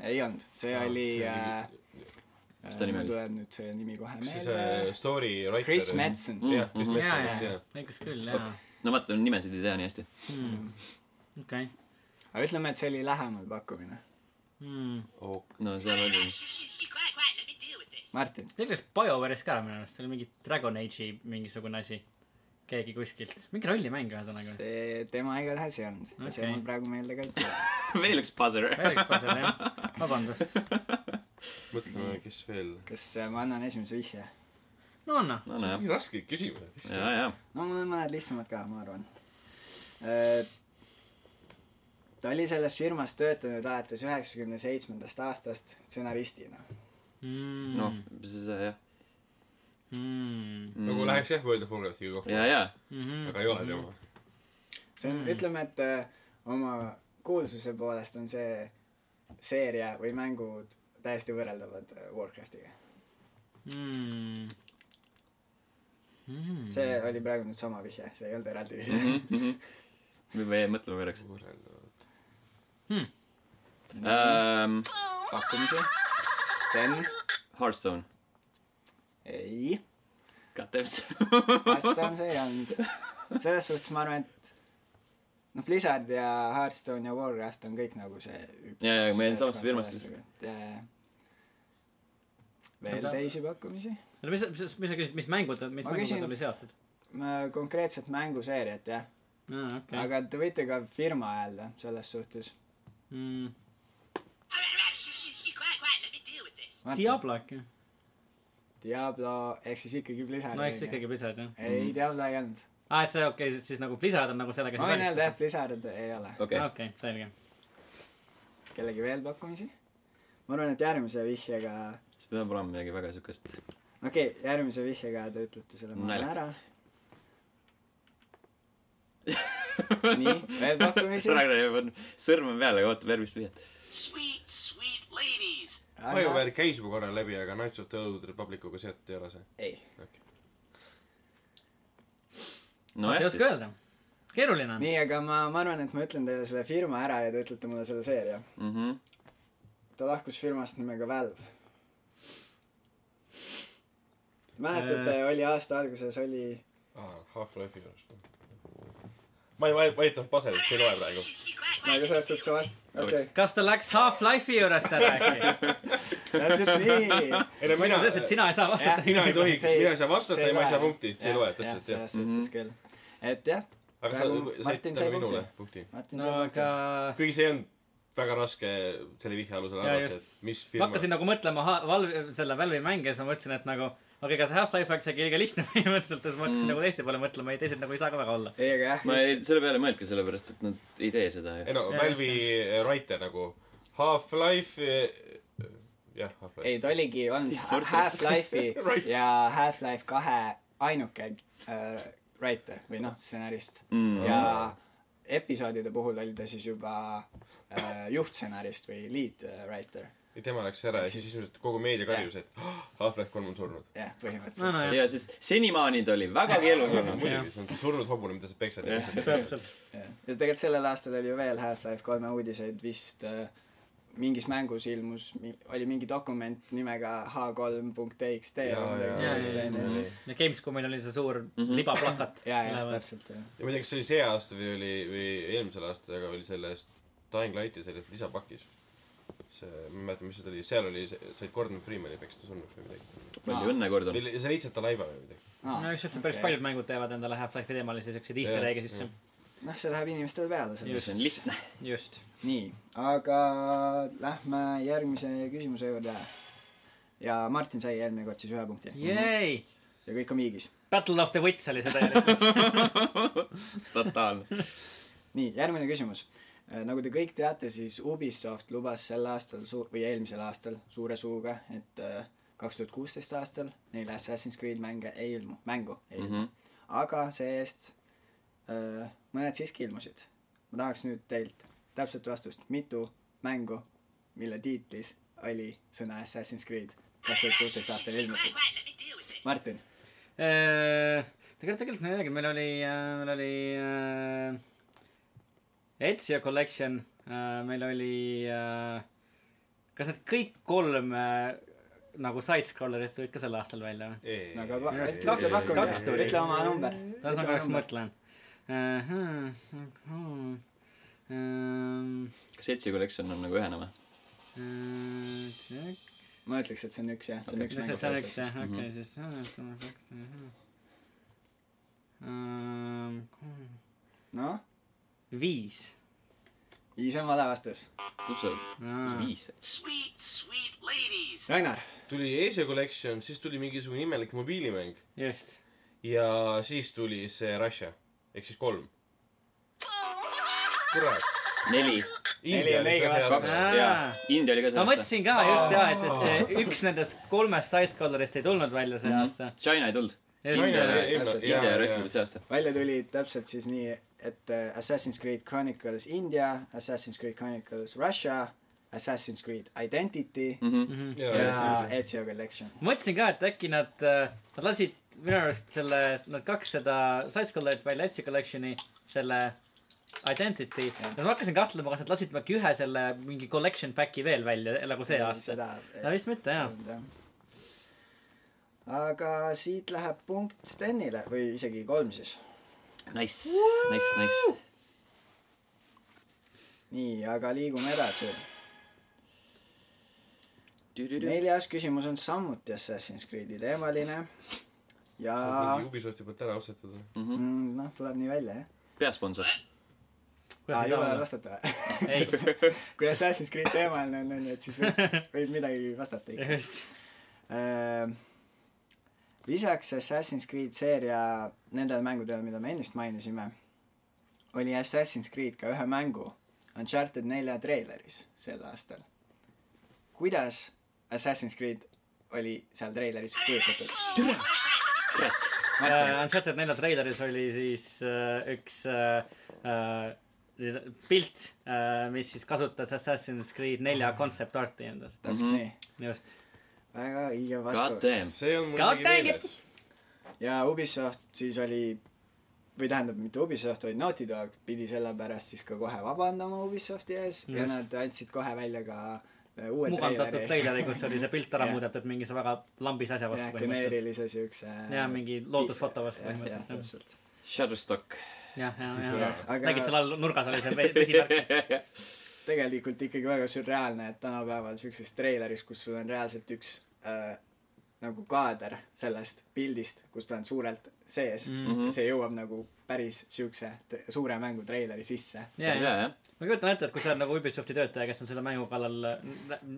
Speaker 4: ei olnud , see oli . äh,
Speaker 1: Mis ta nimi
Speaker 4: mul
Speaker 1: oli?
Speaker 4: tuleb nüüd see nimi kohe
Speaker 3: kas see
Speaker 4: meelde
Speaker 3: see . story writer ?
Speaker 4: Chris . Madsen .
Speaker 1: Mm,
Speaker 3: jah , Chris
Speaker 1: mhm.
Speaker 2: ja , ja
Speaker 3: Madsen , jah .,
Speaker 2: õigus küll , jaa .
Speaker 1: no vaata , nimesid ei tea nii hästi .
Speaker 2: okei .
Speaker 4: aga ütleme , et see oli lähemal pakkumine .
Speaker 2: Hmm.
Speaker 3: Oh,
Speaker 1: no seal oli .
Speaker 5: Shh, shh, shh, quiet, quiet. Let me deal with this.
Speaker 4: Martin ,
Speaker 2: Teil käis BioWare'is ka minu arust , see oli mingi Dragon Age'i mingisugune asi . keegi kuskilt , mingi rollimäng ühesõnaga .
Speaker 4: see tema igatahes ei olnud okay. . see
Speaker 2: Okei.
Speaker 4: mul praegu meelde ka ei tule .
Speaker 1: veel üks buzzer .
Speaker 2: veel üks puzzle jah , vabandust .
Speaker 3: mõtleme , kes veel .
Speaker 4: kas äh, ma annan esimese vihje ?
Speaker 2: no anna ,
Speaker 1: no nojah ,
Speaker 3: nii raske küsimus .
Speaker 1: ja , ja .
Speaker 4: no mul on mõned lihtsamad ka , ma arvan . ta oli selles firmas töötanud alates üheksakümne seitsmendast aastast stsenaristina .
Speaker 2: Mm.
Speaker 1: noh , siis äh, jah . Mm.
Speaker 4: Mm.
Speaker 3: nagu läheks jah World of Warcraftiga kokku ,
Speaker 1: ja , ja .
Speaker 2: Mm-hmm.
Speaker 3: aga ei ole tema .
Speaker 4: see on , ütleme , et äh, oma kuulsuse poolest on see seeria või mängud täiesti võrreldavad äh, Warcraftiga .
Speaker 2: Mm.
Speaker 4: see oli praegu nüüd sama vihje , see ei olnud eraldi vihje .
Speaker 1: Mhm, me peame mõtlema korraks .
Speaker 3: võrreldavad .
Speaker 1: Ähm,
Speaker 4: pakkumisi . Sten ,
Speaker 1: Hearthstone .
Speaker 4: ei
Speaker 1: God damn it .
Speaker 4: Hearthstone see ei olnud . selles suhtes ma arvan , et noh , Blizzard ja Hearthstone ja Warcraft on kõik nagu see üks
Speaker 1: Jaa, jaa, meil on samast
Speaker 4: seltskond
Speaker 1: firmast
Speaker 4: sellest
Speaker 1: siis.
Speaker 4: nagu, et, jaa, jaa. veel
Speaker 2: Oota.
Speaker 4: teisi pakkumisi ?
Speaker 2: oota , mis , mis , mis sa küsisid , mis mängud , mis
Speaker 4: Ma
Speaker 2: mängud
Speaker 4: küsin-
Speaker 2: need oli seotud ?
Speaker 4: konkreetset mänguseeriat jah
Speaker 2: aa ,
Speaker 4: okay. ,
Speaker 2: okei .
Speaker 4: aga te võite ka firma öelda selles suhtes .
Speaker 2: Mm.
Speaker 5: All right, all right, shh, shh, shh, quiet, quiet, let me deal with this.
Speaker 2: Diablo äkki ?
Speaker 4: Diablo ehk siis ikkagi Blizzard .
Speaker 2: no eks ikkagi Blizzard jah .
Speaker 1: Mm.
Speaker 4: ei , Diablo ei olnud .
Speaker 2: aa , et see okei okay, , siis nagu Blizzard on nagu sellega
Speaker 4: ma võin öelda jah , Blizzard ei ole .
Speaker 1: okei ,
Speaker 2: okei , selge .
Speaker 4: kellegi veel pakkumisi ? ma arvan , et järgmise vihjega ,
Speaker 1: siis peab olema midagi väga siukest .
Speaker 4: okei okay, , järgmise vihjega te ütlete selle maale ära . nii , veel pakkumisi ?
Speaker 1: Ragnar jääb , sõrm on peal , aga ootab järgmist vihjet .
Speaker 5: Sweet, sweet ladies.
Speaker 3: Bioware käis juba korra läbi , aga Knights of the Old Republicuga seotud ei ole see .
Speaker 4: ei ,
Speaker 2: ei
Speaker 1: nojah ,
Speaker 2: oska
Speaker 1: siis .
Speaker 2: öelda . keeruline on .
Speaker 4: nii , aga ma , ma arvan , et ma ütlen teile selle firma ära ja te ütlete mulle selle seeria .
Speaker 1: Mhm.
Speaker 4: ta lahkus firmast nimega Valve . mäletate , oli aasta alguses oli ,
Speaker 3: aa , Half-Life'i juures . ma ei vaid- , vaidlenud paselit , see ei loe praegu .
Speaker 4: ma ei tea , sellest võiks Nagu vast , okei ,
Speaker 2: kas ta läks Half-Life'i juurest ära äkki ?
Speaker 4: täpselt nii .
Speaker 3: ei no
Speaker 2: ma
Speaker 3: mina
Speaker 2: ütlen , lihtsalt , sina ei saa vastata .
Speaker 3: mina ei tohi , mina ei saa vastata ja ma ei saa punkti , see ei loe täpselt jah .
Speaker 4: selles suhtes küll . et jah ,
Speaker 3: aga sa
Speaker 4: Praegu
Speaker 3: said
Speaker 4: Martin sai
Speaker 3: tänu minule punkti .
Speaker 4: Martin
Speaker 2: no
Speaker 4: Soomik
Speaker 2: aga .
Speaker 3: kuigi see on väga raske selle vihje alusel
Speaker 2: Jaa,
Speaker 3: arvata ,
Speaker 2: just.
Speaker 3: et mis
Speaker 2: ma
Speaker 3: firma
Speaker 2: hakkasin nagu mõtlema ha- , Valve , selle Valve'i mänge ja siis ma mõtlesin , et nagu okei , kas Half-Life oleks äkki liiga lihtne põhimõtteliselt ja siis ma hakkasin mm. nagu teiste peale mõtlema ja teised nagu ei saa ka väga olla .
Speaker 4: ei , aga jah ,
Speaker 1: ma
Speaker 4: just ,
Speaker 1: ei , selle peale ei mõelnudki , sellepärast et nad ei tee seda
Speaker 3: ei
Speaker 1: ju .
Speaker 3: no
Speaker 2: Jaa,
Speaker 3: Valve'i writer nagu Half-Life , jah , Half-Life .
Speaker 4: ei ta oligi , on
Speaker 1: Team Fortress.
Speaker 4: Half-Life'i
Speaker 3: Right.
Speaker 4: ja Half-Life kahe ainuke äh, writer või noh , stsenarist .
Speaker 1: Mm.
Speaker 4: ja episoodide puhul oli ta siis juba äh, juhtstsenarist või lead äh, writer ,
Speaker 3: ja tema läks ära ja siis sisuliselt kogu meedia karjus , et "Oh, Half-Life kolm on surnud .
Speaker 4: jah ,
Speaker 2: no ,
Speaker 4: põhimõtteliselt .
Speaker 2: no jah ,
Speaker 1: ja siis senimaani ta oli vägagi elus olnud .
Speaker 3: muidugi , see on see surnud hobune , mida sa peksad ja
Speaker 1: Jah.
Speaker 3: peksad ja peksad .
Speaker 2: täpselt .
Speaker 4: ja tegelikult sellel aastal oli ju veel Half-Life kolme uudiseid vist äh, mingis mängus ilmus , oli mingi dokument nimega h3.txt
Speaker 3: Jaa,
Speaker 2: jaa,
Speaker 3: jaa,
Speaker 2: jaa,
Speaker 4: ja ,
Speaker 2: ja Gamescomil oli see suur mm -hmm. libaplakat
Speaker 4: ja täpselt jah .
Speaker 3: ja ma ei tea , kas see oli see aasta või oli , või eelmisel aastal , aga oli selles Dying Lighti selles lisapakis . see , ma ei mäleta , mis see oli , seal oli , said Gordon Freemani peksta surnuks või midagi .
Speaker 1: palju õnne kord on .
Speaker 3: või li- sa leidsid ta laiva või midagi .
Speaker 2: no eks üldse päris okay. paljud mängud teevad endale Half-Life'i teemalisi siukseid easter
Speaker 3: Jah,
Speaker 2: egg'e sisse .
Speaker 4: noh , see läheb inimestele peale selles
Speaker 1: see on lihtne .
Speaker 2: just .
Speaker 4: nii , aga lähme järgmise küsimuse juurde . ja Martin sai eelmine kord siis ühe punkti
Speaker 2: Yay!
Speaker 4: ja kõik on viigis .
Speaker 2: Battle of the Wits oli see täielikult .
Speaker 1: totaalne .
Speaker 4: nii , järgmine küsimus . nagu te kõik teate , siis Ubisoft lubas sel aastal su- või eelmisel aastal suure suuga , et äh, kaks tuhat kuusteist aastal neile Assassin's Creed mänge ei ilmu , mängu ei ilmu mm . -hmm. aga see-eest äh, mõned siiski ilmusid . ma tahaks nüüd teilt täpset vastust , mitu mängu , mille tiitlis oli sõna Assassin's Creed kaks tuhat kuusteist aastal ilmusid .
Speaker 5: Quiet, let me deal with this.
Speaker 4: Martin ,
Speaker 2: Äh, tegelikult , tegelikult ma ei teagi , meil oli , meil oli äh, Ezio Collection , meil oli äh, , kas need kõik kolm äh, nagu side-scrollerit tulid ka sel aastal välja või ?
Speaker 4: aga pa-
Speaker 3: ei ,
Speaker 2: Minu arust
Speaker 4: ütle
Speaker 2: kaks-
Speaker 4: pakkumine
Speaker 2: kaks , tuli.
Speaker 4: ütle oma number .
Speaker 2: ühesõnaga , eks ma mõtlen . Äh,
Speaker 1: kas Etsi kollektsioon on nagu ühene või ?
Speaker 4: ma ütleks , et see on üks jah , see on üks mäng .
Speaker 2: see on üks jah , okei , siis äh, ütleme kaks äh, .
Speaker 4: noh ,
Speaker 2: viis .
Speaker 4: viis on vale vastus .
Speaker 1: kus see , kus see viis ?
Speaker 5: Sweet, sweet ladies.
Speaker 4: Ragnar .
Speaker 3: tuli Asia Collection , siis tuli mingisugune imelik mobiilimäng
Speaker 2: just
Speaker 3: ja siis tuli see Russia ehk siis kolm . kurat .
Speaker 1: neli .
Speaker 4: Neli ja neiga vastu.
Speaker 1: jaa
Speaker 2: Aa. ,
Speaker 1: India oli ka
Speaker 2: ma
Speaker 1: selles .
Speaker 2: mõtlesin ka just jaa , et , et eh, üks nendest kolmest Sidecolorist ei tulnud välja see
Speaker 4: Mhm.
Speaker 2: aasta .
Speaker 1: China ei tulnud . India ja Russia tulid see aasta .
Speaker 4: välja tuli täpselt siis nii , et äh, Assassin's Creed Chronicles India , Assassin's Creed Chronicles Russia , Assassin's Creed Identity
Speaker 1: Mhm.
Speaker 3: Mm.
Speaker 4: ja Ezio Collection .
Speaker 2: Mhm. mõtlesin ka , et äkki nad , nad lasid minu arust selle , nad kaks seda Sidecolorit välja , Etsi Collection'i , selle Identity . ja siis ma hakkasin kahtlema , kas nad lasid äkki ühe selle mingi collection pack'i veel välja nagu see aasta .
Speaker 4: seda äh,
Speaker 2: no vist mitte jaa .
Speaker 4: jah . aga siit läheb punkt Stenile või isegi kolm siis .
Speaker 1: Nice , nice , nice .
Speaker 4: nii , aga liigume edasi . neljas küsimus on samuti Assassin's Creed'i teemaline . ja
Speaker 3: mingi Ubisofti poolt ära ostetud või ?
Speaker 4: mm, noh , tuleb nii välja jah .
Speaker 1: peasponsor .
Speaker 4: aa ,
Speaker 2: kuidas
Speaker 4: ei ole
Speaker 2: ei saa
Speaker 4: vastata või ?
Speaker 2: olla ?
Speaker 4: kui Assassin's Creed teemaline on , on ju , et siis võib, võib midagi vastata ikka
Speaker 2: ei , just .
Speaker 4: Ehm, lisaks Assassin's Creed seeria nendele mängudele , mida me ennist mainisime , oli Assassin's Creed ka ühe mängu Uncharted nelja treileris sel aastal . kuidas Assassin's Creed oli seal treileris kujutatud ?
Speaker 1: Mhm.
Speaker 2: Äh, Uncharted nelja treileris oli siis äh, üks äh, äh, pilt äh, , mis siis kasutas Assassin's Creed nelja concept art'i endas .
Speaker 4: täpselt nii ,
Speaker 2: just .
Speaker 4: väga õige
Speaker 1: God
Speaker 4: vastus .
Speaker 1: damn .
Speaker 3: see on mul
Speaker 2: God
Speaker 3: muidugi
Speaker 2: dang it!
Speaker 3: meeles .
Speaker 4: ja Ubisoft siis oli , või tähendab , mitte Ubisoft , vaid Naughty Dog pidi selle pärast siis ka kohe vabandama Ubisofti ees ja
Speaker 2: Just.
Speaker 4: nad andsid kohe välja ka äh, uue
Speaker 2: mugandatud
Speaker 4: treileri .
Speaker 2: treileri , kus oli see pilt ära
Speaker 4: Jah.
Speaker 2: muudetud mingise väga lambis asja vastu
Speaker 4: jah , geneerilise siukse .
Speaker 2: Jaa, mingi loodusfoto vastu
Speaker 4: põhimõtteliselt .
Speaker 2: põhimõtteliselt,
Speaker 4: jah ,
Speaker 2: jah.
Speaker 4: täpselt .
Speaker 1: Shutterstock .
Speaker 2: jah , jah ,
Speaker 4: Jah,
Speaker 2: jah .
Speaker 4: aga-
Speaker 2: nägid seal all nurgas oli see ve- vesimärk .
Speaker 4: tegelikult ikkagi väga sürreaalne , et tänapäeval siukses treileris , kus sul on reaalselt üks äh, nagu kaader sellest pildist , kus ta on suurelt sees
Speaker 2: Mhm.
Speaker 4: mm. , see jõuab nagu päris siukse t- suure mängu treileri sisse .
Speaker 2: ja ,
Speaker 1: päris
Speaker 2: ja
Speaker 1: hea , jah .
Speaker 2: ma kujutan ette , et kui sa oled nagu Ubisofti töötaja , kes on selle mängu kallal ,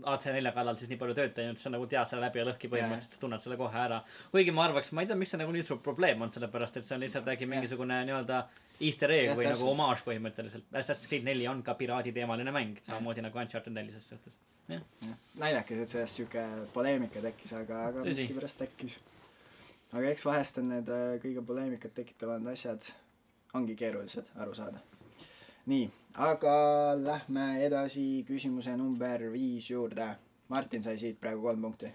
Speaker 2: AC4 kallal siis nii palju tööd teinud , sa nagu tead selle läbi ja lõhki põhimõtteliselt , sa tunned selle kohe ära . kuigi ma arvaks , ma ei tea , miks see nagu nii suur probleem on , sellepärast et see on lihtsalt äkki mingisugune nii-öelda easter egg
Speaker 4: Jah,
Speaker 2: või nagu
Speaker 4: täpselt.
Speaker 2: homaaž põhimõtteliselt . Assassin's Creed neli on ka piraaditeemaline mäng , samamoodi nagu Uncharted neli ses suhtes . jah ,
Speaker 4: naljakas , et sellest siuke poleemika tekkis , aga , aga
Speaker 2: Tõsi.
Speaker 4: miskipärast tekkis . aga eks vahest on need äh, kõige poleemikat tekitavad asjad , ongi keerulised aru saada . nii , aga lähme edasi küsimuse number viis juurde . Martin sai siit praegu kolm punkti .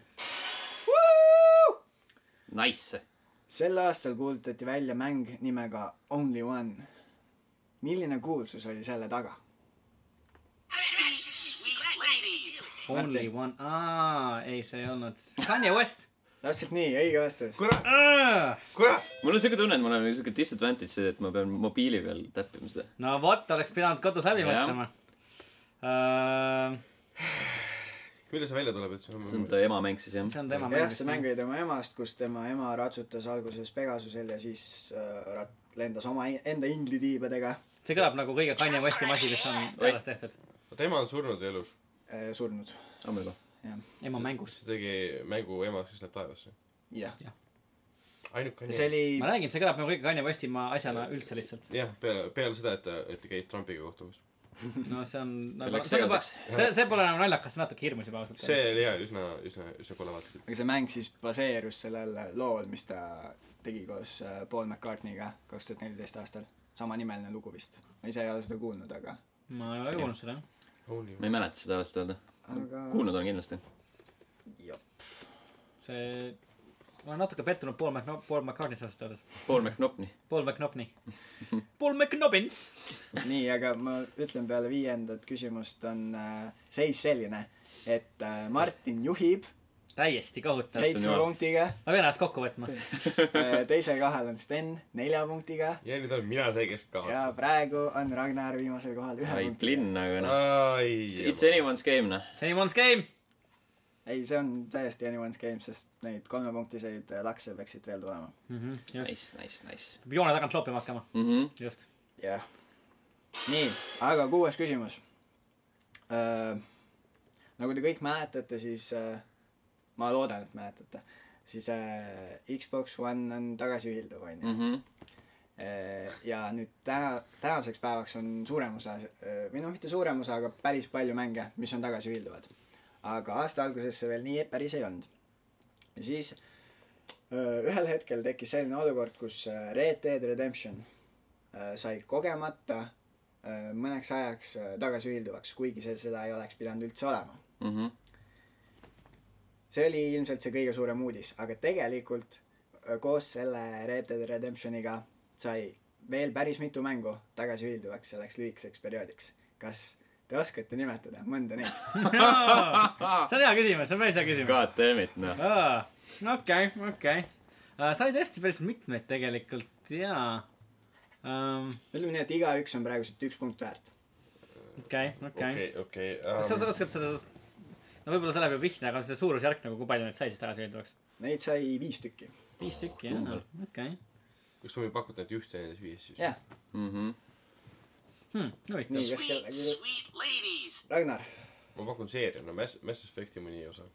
Speaker 1: Nice .
Speaker 4: sel aastal kuulutati välja mäng nimega Only One . milline kuulsus oli selle taga ?
Speaker 5: Sweet ladies.
Speaker 2: Only one , aa , ei see ei olnud . Kanye West .
Speaker 4: täpselt nii , õige vastus .
Speaker 3: kurat , kurat ,
Speaker 1: mul on siuke tunne , et mul on siuke disadvantage see , et ma pean mobiili peal täppima seda .
Speaker 2: no vot , oleks pidanud kodus läbi
Speaker 1: Jah.
Speaker 2: mõtlema . Uh,
Speaker 3: millal see välja tuleb , et sul on
Speaker 1: see on ta ema mäng siis jah .
Speaker 2: see on tema
Speaker 4: jah , see mäng oli tema emast , kus tema ema ratsutas alguses Pegasusel ja siis äh, rat- , lendas oma i- enda inglitiibadega
Speaker 2: see kõlab nagu kõige Kanye Westi asi , mis on
Speaker 1: Oi.
Speaker 2: alles tehtud .
Speaker 3: oota , ema on surnud elus .
Speaker 4: äh, surnud .
Speaker 1: homme juba .
Speaker 2: ema mängus .
Speaker 3: see tegi mängu ema , kes läheb taevasse .
Speaker 4: jah .
Speaker 3: ainuke
Speaker 4: see . oli ,
Speaker 2: ma räägin , see kõlab nagu kõige Kanye Westimaa asjana üldse lihtsalt .
Speaker 3: jah , peale , peale seda , et ta , et ta käis Trumpiga kohtumas .
Speaker 2: no see on nagu ,
Speaker 1: läks
Speaker 2: see on juba ,
Speaker 1: segaseks.
Speaker 2: see , see pole enam naljakas , see on natuke hirmus juba ausalt
Speaker 3: see oli . jah , üsna , üsna , üsna kole vaata .
Speaker 4: aga see mäng siis baseerus sellel lool , mis ta tegi koos äh, Paul McCartney'ga kaks tuhat neliteist aastal . samanimeline lugu vist . ma ise ei ole seda kuulnud , aga ,
Speaker 2: ma ei ole kuulnud seda .
Speaker 1: ma ei mäleta seda ausalt öelda .
Speaker 4: aga
Speaker 1: kuulnud olen kindlasti .
Speaker 4: jah ,
Speaker 2: see , ma olen natuke pettunud Paul Mc- , Paul McCartney's ausalt öeldes .
Speaker 1: Paul McNopni .
Speaker 2: Paul McNobney . Paul McNobbins .
Speaker 4: nii , aga ma ütlen peale viiendat küsimust on äh, seis selline , et äh, Martin juhib
Speaker 2: täiesti kohutav .
Speaker 1: Seits-
Speaker 4: seitsme
Speaker 1: jumal.
Speaker 4: punktiga ,
Speaker 2: ma pean ennast kokku võtma .
Speaker 4: Äh, teisel kahel on Sten nelja punktiga
Speaker 3: ja nüüd olen mina see , kes
Speaker 4: ja
Speaker 3: kaotab .
Speaker 4: praegu on Ragnar viimasel kohal ühe
Speaker 1: ai ,
Speaker 4: punktiga .
Speaker 1: plinn , aga noh .
Speaker 3: ai .
Speaker 1: It's anyone's game , noh .
Speaker 2: Anyone's game .
Speaker 4: ei , see on täiesti anyone's game , sest neid kolmepunktiseid äh, lakse peaksid veel tulema .
Speaker 2: Mhm, just ,
Speaker 1: Nice , nice , nice . Mhm,
Speaker 2: peab joone tagant loopima hakkama .
Speaker 1: mhmh .
Speaker 2: just .
Speaker 4: jah . nii , aga kuues küsimus . nagu te kõik mäletate , siis äh, ma loodan , et mäletate , siis äh, Xbox One on tagasiühilduv , onju .
Speaker 1: mhmh .
Speaker 4: Äh, ja nüüd täna , tänaseks päevaks on suurem osa , või no mitte suurem osa , aga päris palju mänge , mis on tagasiühilduvad . aga aasta alguses see veel nii päris ei olnud . ja siis öö, ühel hetkel tekkis selline olukord , kus öö, Red Dead Redemption öö, sai kogemata öö, mõneks ajaks öö, tagasiühilduvaks , kuigi see seda ei oleks pidanud üldse olema .
Speaker 1: mhmh .
Speaker 4: see oli ilmselt see kõige suurem uudis , aga tegelikult öö, koos selle Red Dead Redemptioniga sai veel päris mitu mängu tagasiühilduvaks selleks lühikeseks perioodiks . kas te oskate nimetada mõnda neist ?
Speaker 2: see on hea küsimus , see on päris hea küsimus .
Speaker 1: God damn it , noh .
Speaker 2: aa , Ah, okei , okei . sai tõesti päris mitmeid tegelikult Ehm, ja um, .
Speaker 4: ütleme nii , et igaüks on praeguselt üks punkt väärt .
Speaker 2: okei , okei .
Speaker 3: okei , okei . ähm,
Speaker 2: kas sa sa oskad seda , no võib-olla see läheb juba pihta , aga see suurusjärk nagu , kui palju neid sai siis tagasi öeldavaks ?
Speaker 4: Neid sai viis tükki .
Speaker 2: viis tükki , jah , okei .
Speaker 3: kas ma võin pakkuda , et ühte nendest viiest siis ?
Speaker 4: jah ,
Speaker 1: mhmh .
Speaker 2: Hmm, huvitav .
Speaker 4: nii , kas
Speaker 5: Sweet,
Speaker 4: kellelgi ,
Speaker 5: sweet ladies.
Speaker 4: Ragnar ,
Speaker 3: ma pakun seeriana Mass , Mass Effecti mõni osa .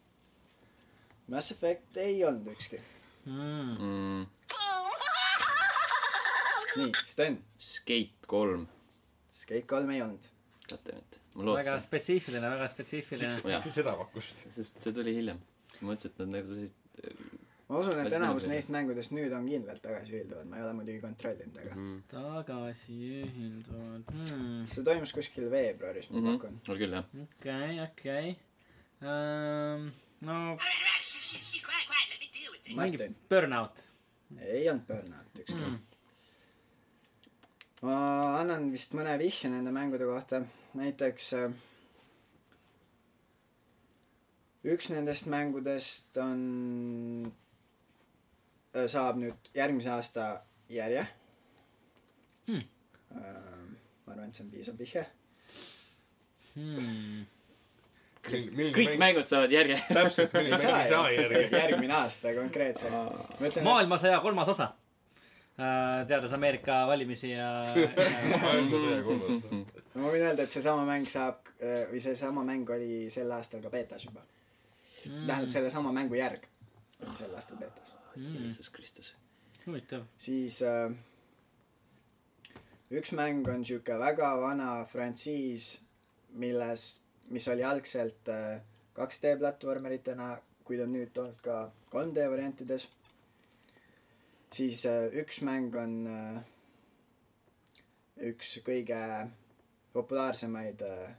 Speaker 4: Mass Effect ei olnud ükski .
Speaker 2: Hmm,
Speaker 1: mhm.
Speaker 4: nii , Sten ,
Speaker 1: Skate kolm .
Speaker 4: Skate kolm ei olnud .
Speaker 1: Goddammit , ma
Speaker 2: väga
Speaker 1: lootsin ,
Speaker 2: spetsiifiline , väga spetsiifiline .
Speaker 1: Jah.
Speaker 3: miks sa seda pakkusid ?
Speaker 1: sest see tuli hiljem . ma mõtlesin , et nad nagu sellised ,
Speaker 4: ma usun , et
Speaker 1: Asi
Speaker 4: enamus
Speaker 1: on-
Speaker 4: neist mängudest nüüd on kindlalt tagasiühilduvad , ma ei ole muidugi kontrollinud , aga
Speaker 2: tagasiühilduvad hmm. .
Speaker 4: see toimus kuskil veebruaris , ma pakun .
Speaker 1: Mhm. oli küll jah .
Speaker 2: okei , okei . no
Speaker 5: All right, all right, shh, shh, shh, quiet, quiet, let me deal with this.
Speaker 2: mingi
Speaker 4: Martin.
Speaker 2: burnout . Hmm,
Speaker 4: ei olnud Burnout ükski mm. . ma annan vist mõne vihje nende mängude kohta , näiteks äh, üks nendest mängudest on , saab nüüd järgmise aasta järje
Speaker 2: Hmm.
Speaker 4: Äh, ma arvan , et see on piisav vihje .
Speaker 2: Hmm.
Speaker 1: kõik . mängud saavad järje .
Speaker 3: täpselt , milline mäng ei saa järgi .
Speaker 4: järgmine aasta konkreetselt . ma ütlen , et
Speaker 2: maailmasõja kolmas osa . teades Ameerika valimisi ja, ja
Speaker 3: maailmasõja kolmas osa .
Speaker 4: no ma võin öelda , et seesama mäng saab äh, või seesama mäng oli sel aastal ka beetas juba mm. . tähendab , sellesama mängu järg oli sel aastal beetas .
Speaker 1: Jeesus Kristus .
Speaker 2: huvitav .
Speaker 4: siis äh, üks mäng on sihuke väga vana frantsiis , milles , mis oli algselt äh, 2D platvormeritena , kuid on nüüd olnud ka 3D variantides . siis äh, üks mäng on äh, üks kõige populaarsemaid äh,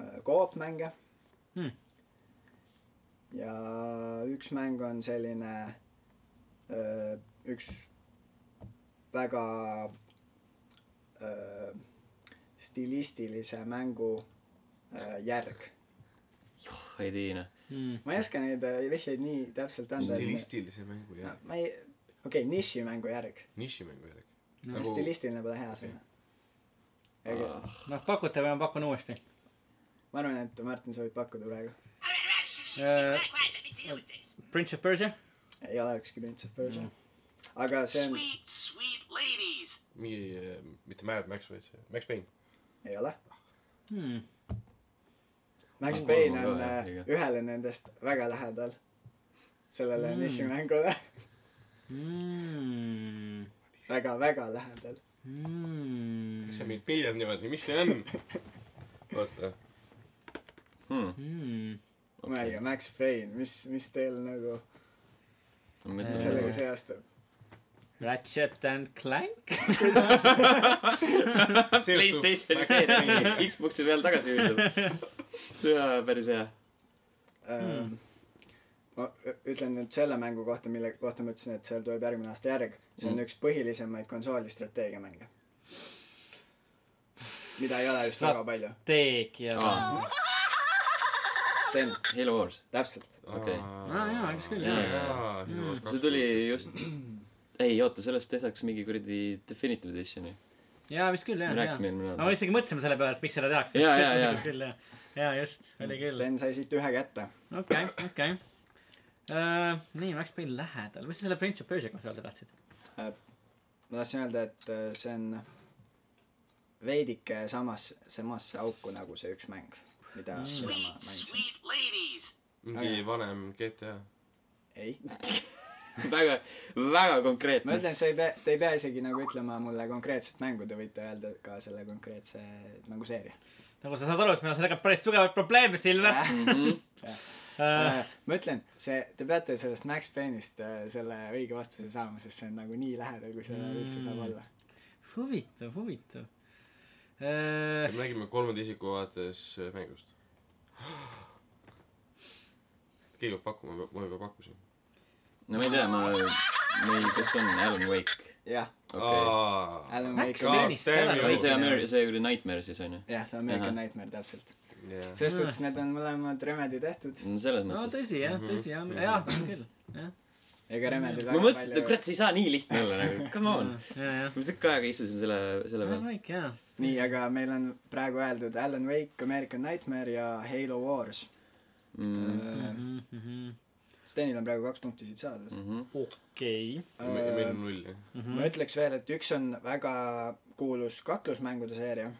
Speaker 4: äh, koop mänge
Speaker 2: Hmm. .
Speaker 4: ja üks mäng on selline äh, üks väga äh, stilistilise mängu äh, järg .
Speaker 1: ei noh. Tiina .
Speaker 2: Hmm.
Speaker 4: ma ei oska neid äh, vihjeid nii täpselt anda .
Speaker 3: stilistilise mängu järgi .
Speaker 4: ma ei , okei okay, , nišimängu järg .
Speaker 3: nišimängu järgi .
Speaker 4: Nagu...
Speaker 3: nagu ,
Speaker 4: stilistiline pole hea sõna .
Speaker 1: Ah,
Speaker 4: ma
Speaker 2: noh , pakute või ma pakun uuesti ?
Speaker 4: arvan , et Martin , sa võid pakkuda praegu .
Speaker 5: All right, all right, shh, shh, shh,
Speaker 2: Uh,
Speaker 5: quiet, quiet, let me deal with this.
Speaker 2: Prince of Persia ?
Speaker 4: ei ole ükski Prince of Persia mm. . aga see on ,
Speaker 5: Sweet, sweet ladies.
Speaker 3: mingi , mitte Mad Max , vaid see , Max Payne .
Speaker 4: ei ole .
Speaker 2: Hmm.
Speaker 4: Max
Speaker 1: On
Speaker 4: Payne
Speaker 1: kolm on
Speaker 4: on
Speaker 1: ka,
Speaker 4: äh,
Speaker 1: jah, õige.
Speaker 4: ühele nendest väga lähedal . sellele mm. nišimängule .
Speaker 2: Hmm.
Speaker 4: väga , väga lähedal .
Speaker 2: Hmm.
Speaker 3: miks sa mind piirad niimoodi , mis see on ? oota ,
Speaker 2: Hmm.
Speaker 4: mõelge , Max Payne , mis , mis teil nagu sellega
Speaker 1: sellega see .
Speaker 4: seastub ?
Speaker 2: Ratchet and Clank ?
Speaker 1: Playstationi seeria , Xbox'i peal tagasi üldub . jaa , päris hea .
Speaker 4: Ähm, ma ü- ütlen nüüd selle mängu kohta , mille kohta ma ütlesin , et seal tuleb järgmine aasta järg . see on mm. üks põhilisemaid konsooli strateegiamänge . mida ei ole just
Speaker 2: Strat-
Speaker 4: väga palju .
Speaker 2: Teegia . aa
Speaker 4: Sten ,
Speaker 1: Halo Wars .
Speaker 4: täpselt .
Speaker 1: Okei.
Speaker 2: jaa , eks küll ,
Speaker 1: Jaa,
Speaker 2: jaa .
Speaker 1: see tuli just , ei oota , sellest tehakse mingi kuradi definitive edition'i .
Speaker 2: jaa , vist küll ,
Speaker 1: me
Speaker 2: jaa , jaa
Speaker 1: rääkisime . eelmine
Speaker 2: no me
Speaker 1: nädal .
Speaker 2: isegi mõtlesime selle peale , et miks seda tehakse .
Speaker 1: Jaa, jaa, jaa.
Speaker 2: küll , jaa . jaa , just , oli küll .
Speaker 4: Sten sai siit ühe kätte .
Speaker 2: okei , okei . nii , Max Payne lähedal . mis sa selle Prince of Persia kohta öelda tahtsid ?
Speaker 4: ma tahtsin öelda , et äh, see on veidike samas , samasse auku nagu see üks mäng , mida , mida ma
Speaker 5: Sweet,
Speaker 4: mainisin .
Speaker 5: sweet ladies.
Speaker 3: mingi vanem GTA .
Speaker 4: ei ,
Speaker 1: väga , väga
Speaker 4: ma
Speaker 1: konkreetne .
Speaker 4: ütlen , sa ei pea , te ei pea isegi nagu ütlema mulle konkreetset mängu , te võite öelda ka selle konkreetse mänguseeria .
Speaker 2: nagu sa saad aru , siis meil on sellega päris tugevaid probleeme , Silver .
Speaker 4: Äh, ma ütlen , see , te peate sellest Max Payne'ist äh, selle õige vastuse saama , sest see on nagu nii lähedal , kui sellele mm. üldse saab olla .
Speaker 2: huvitav , huvitav . Äh,
Speaker 3: me räägime kolmanda isiku vaates eh, mängust . keegi peab pakkuma , ma juba pakkusin .
Speaker 1: no ma ei tea , ma , meil , kes on Alan Wake ?
Speaker 4: jah ,
Speaker 1: okei .
Speaker 4: Alan
Speaker 2: Max
Speaker 4: Wake ,
Speaker 2: Payne'ist
Speaker 3: damn
Speaker 2: ära
Speaker 3: you.
Speaker 1: või
Speaker 2: nagu
Speaker 1: see Amer- , see oli Nightmare siis onju .
Speaker 4: jah , see on American
Speaker 1: Ahah.
Speaker 4: Nightmare täpselt . selles suhtes need on mõlemad Remedi tehtud ,
Speaker 1: no selles
Speaker 2: no
Speaker 1: mõttes .
Speaker 2: tõsi
Speaker 4: Mhm.
Speaker 2: jah , tõsi jah , jah , on küll . jah ,
Speaker 4: ega Remedil
Speaker 1: ma mõtlesin , et kurat , see ei saa nii lihtne olla nagu , come on .
Speaker 2: jah , jah .
Speaker 1: ma tükk aega istusin selle , selle
Speaker 2: Alan
Speaker 1: peal .
Speaker 2: Wake , jaa .
Speaker 4: nii , aga meil on praegu öeldud Alan Wake , American Nightmare ja Halo Wars
Speaker 1: Mm-hmm.
Speaker 4: mm. .
Speaker 2: Mhm,
Speaker 4: Stenil on praegu kaks punkti siit saadud mm. .
Speaker 1: Mm-hmm.
Speaker 2: okei .
Speaker 3: meil on null , jah .
Speaker 4: ma ütleks veel , et üks on väga kuulus kaklusmängude seeria .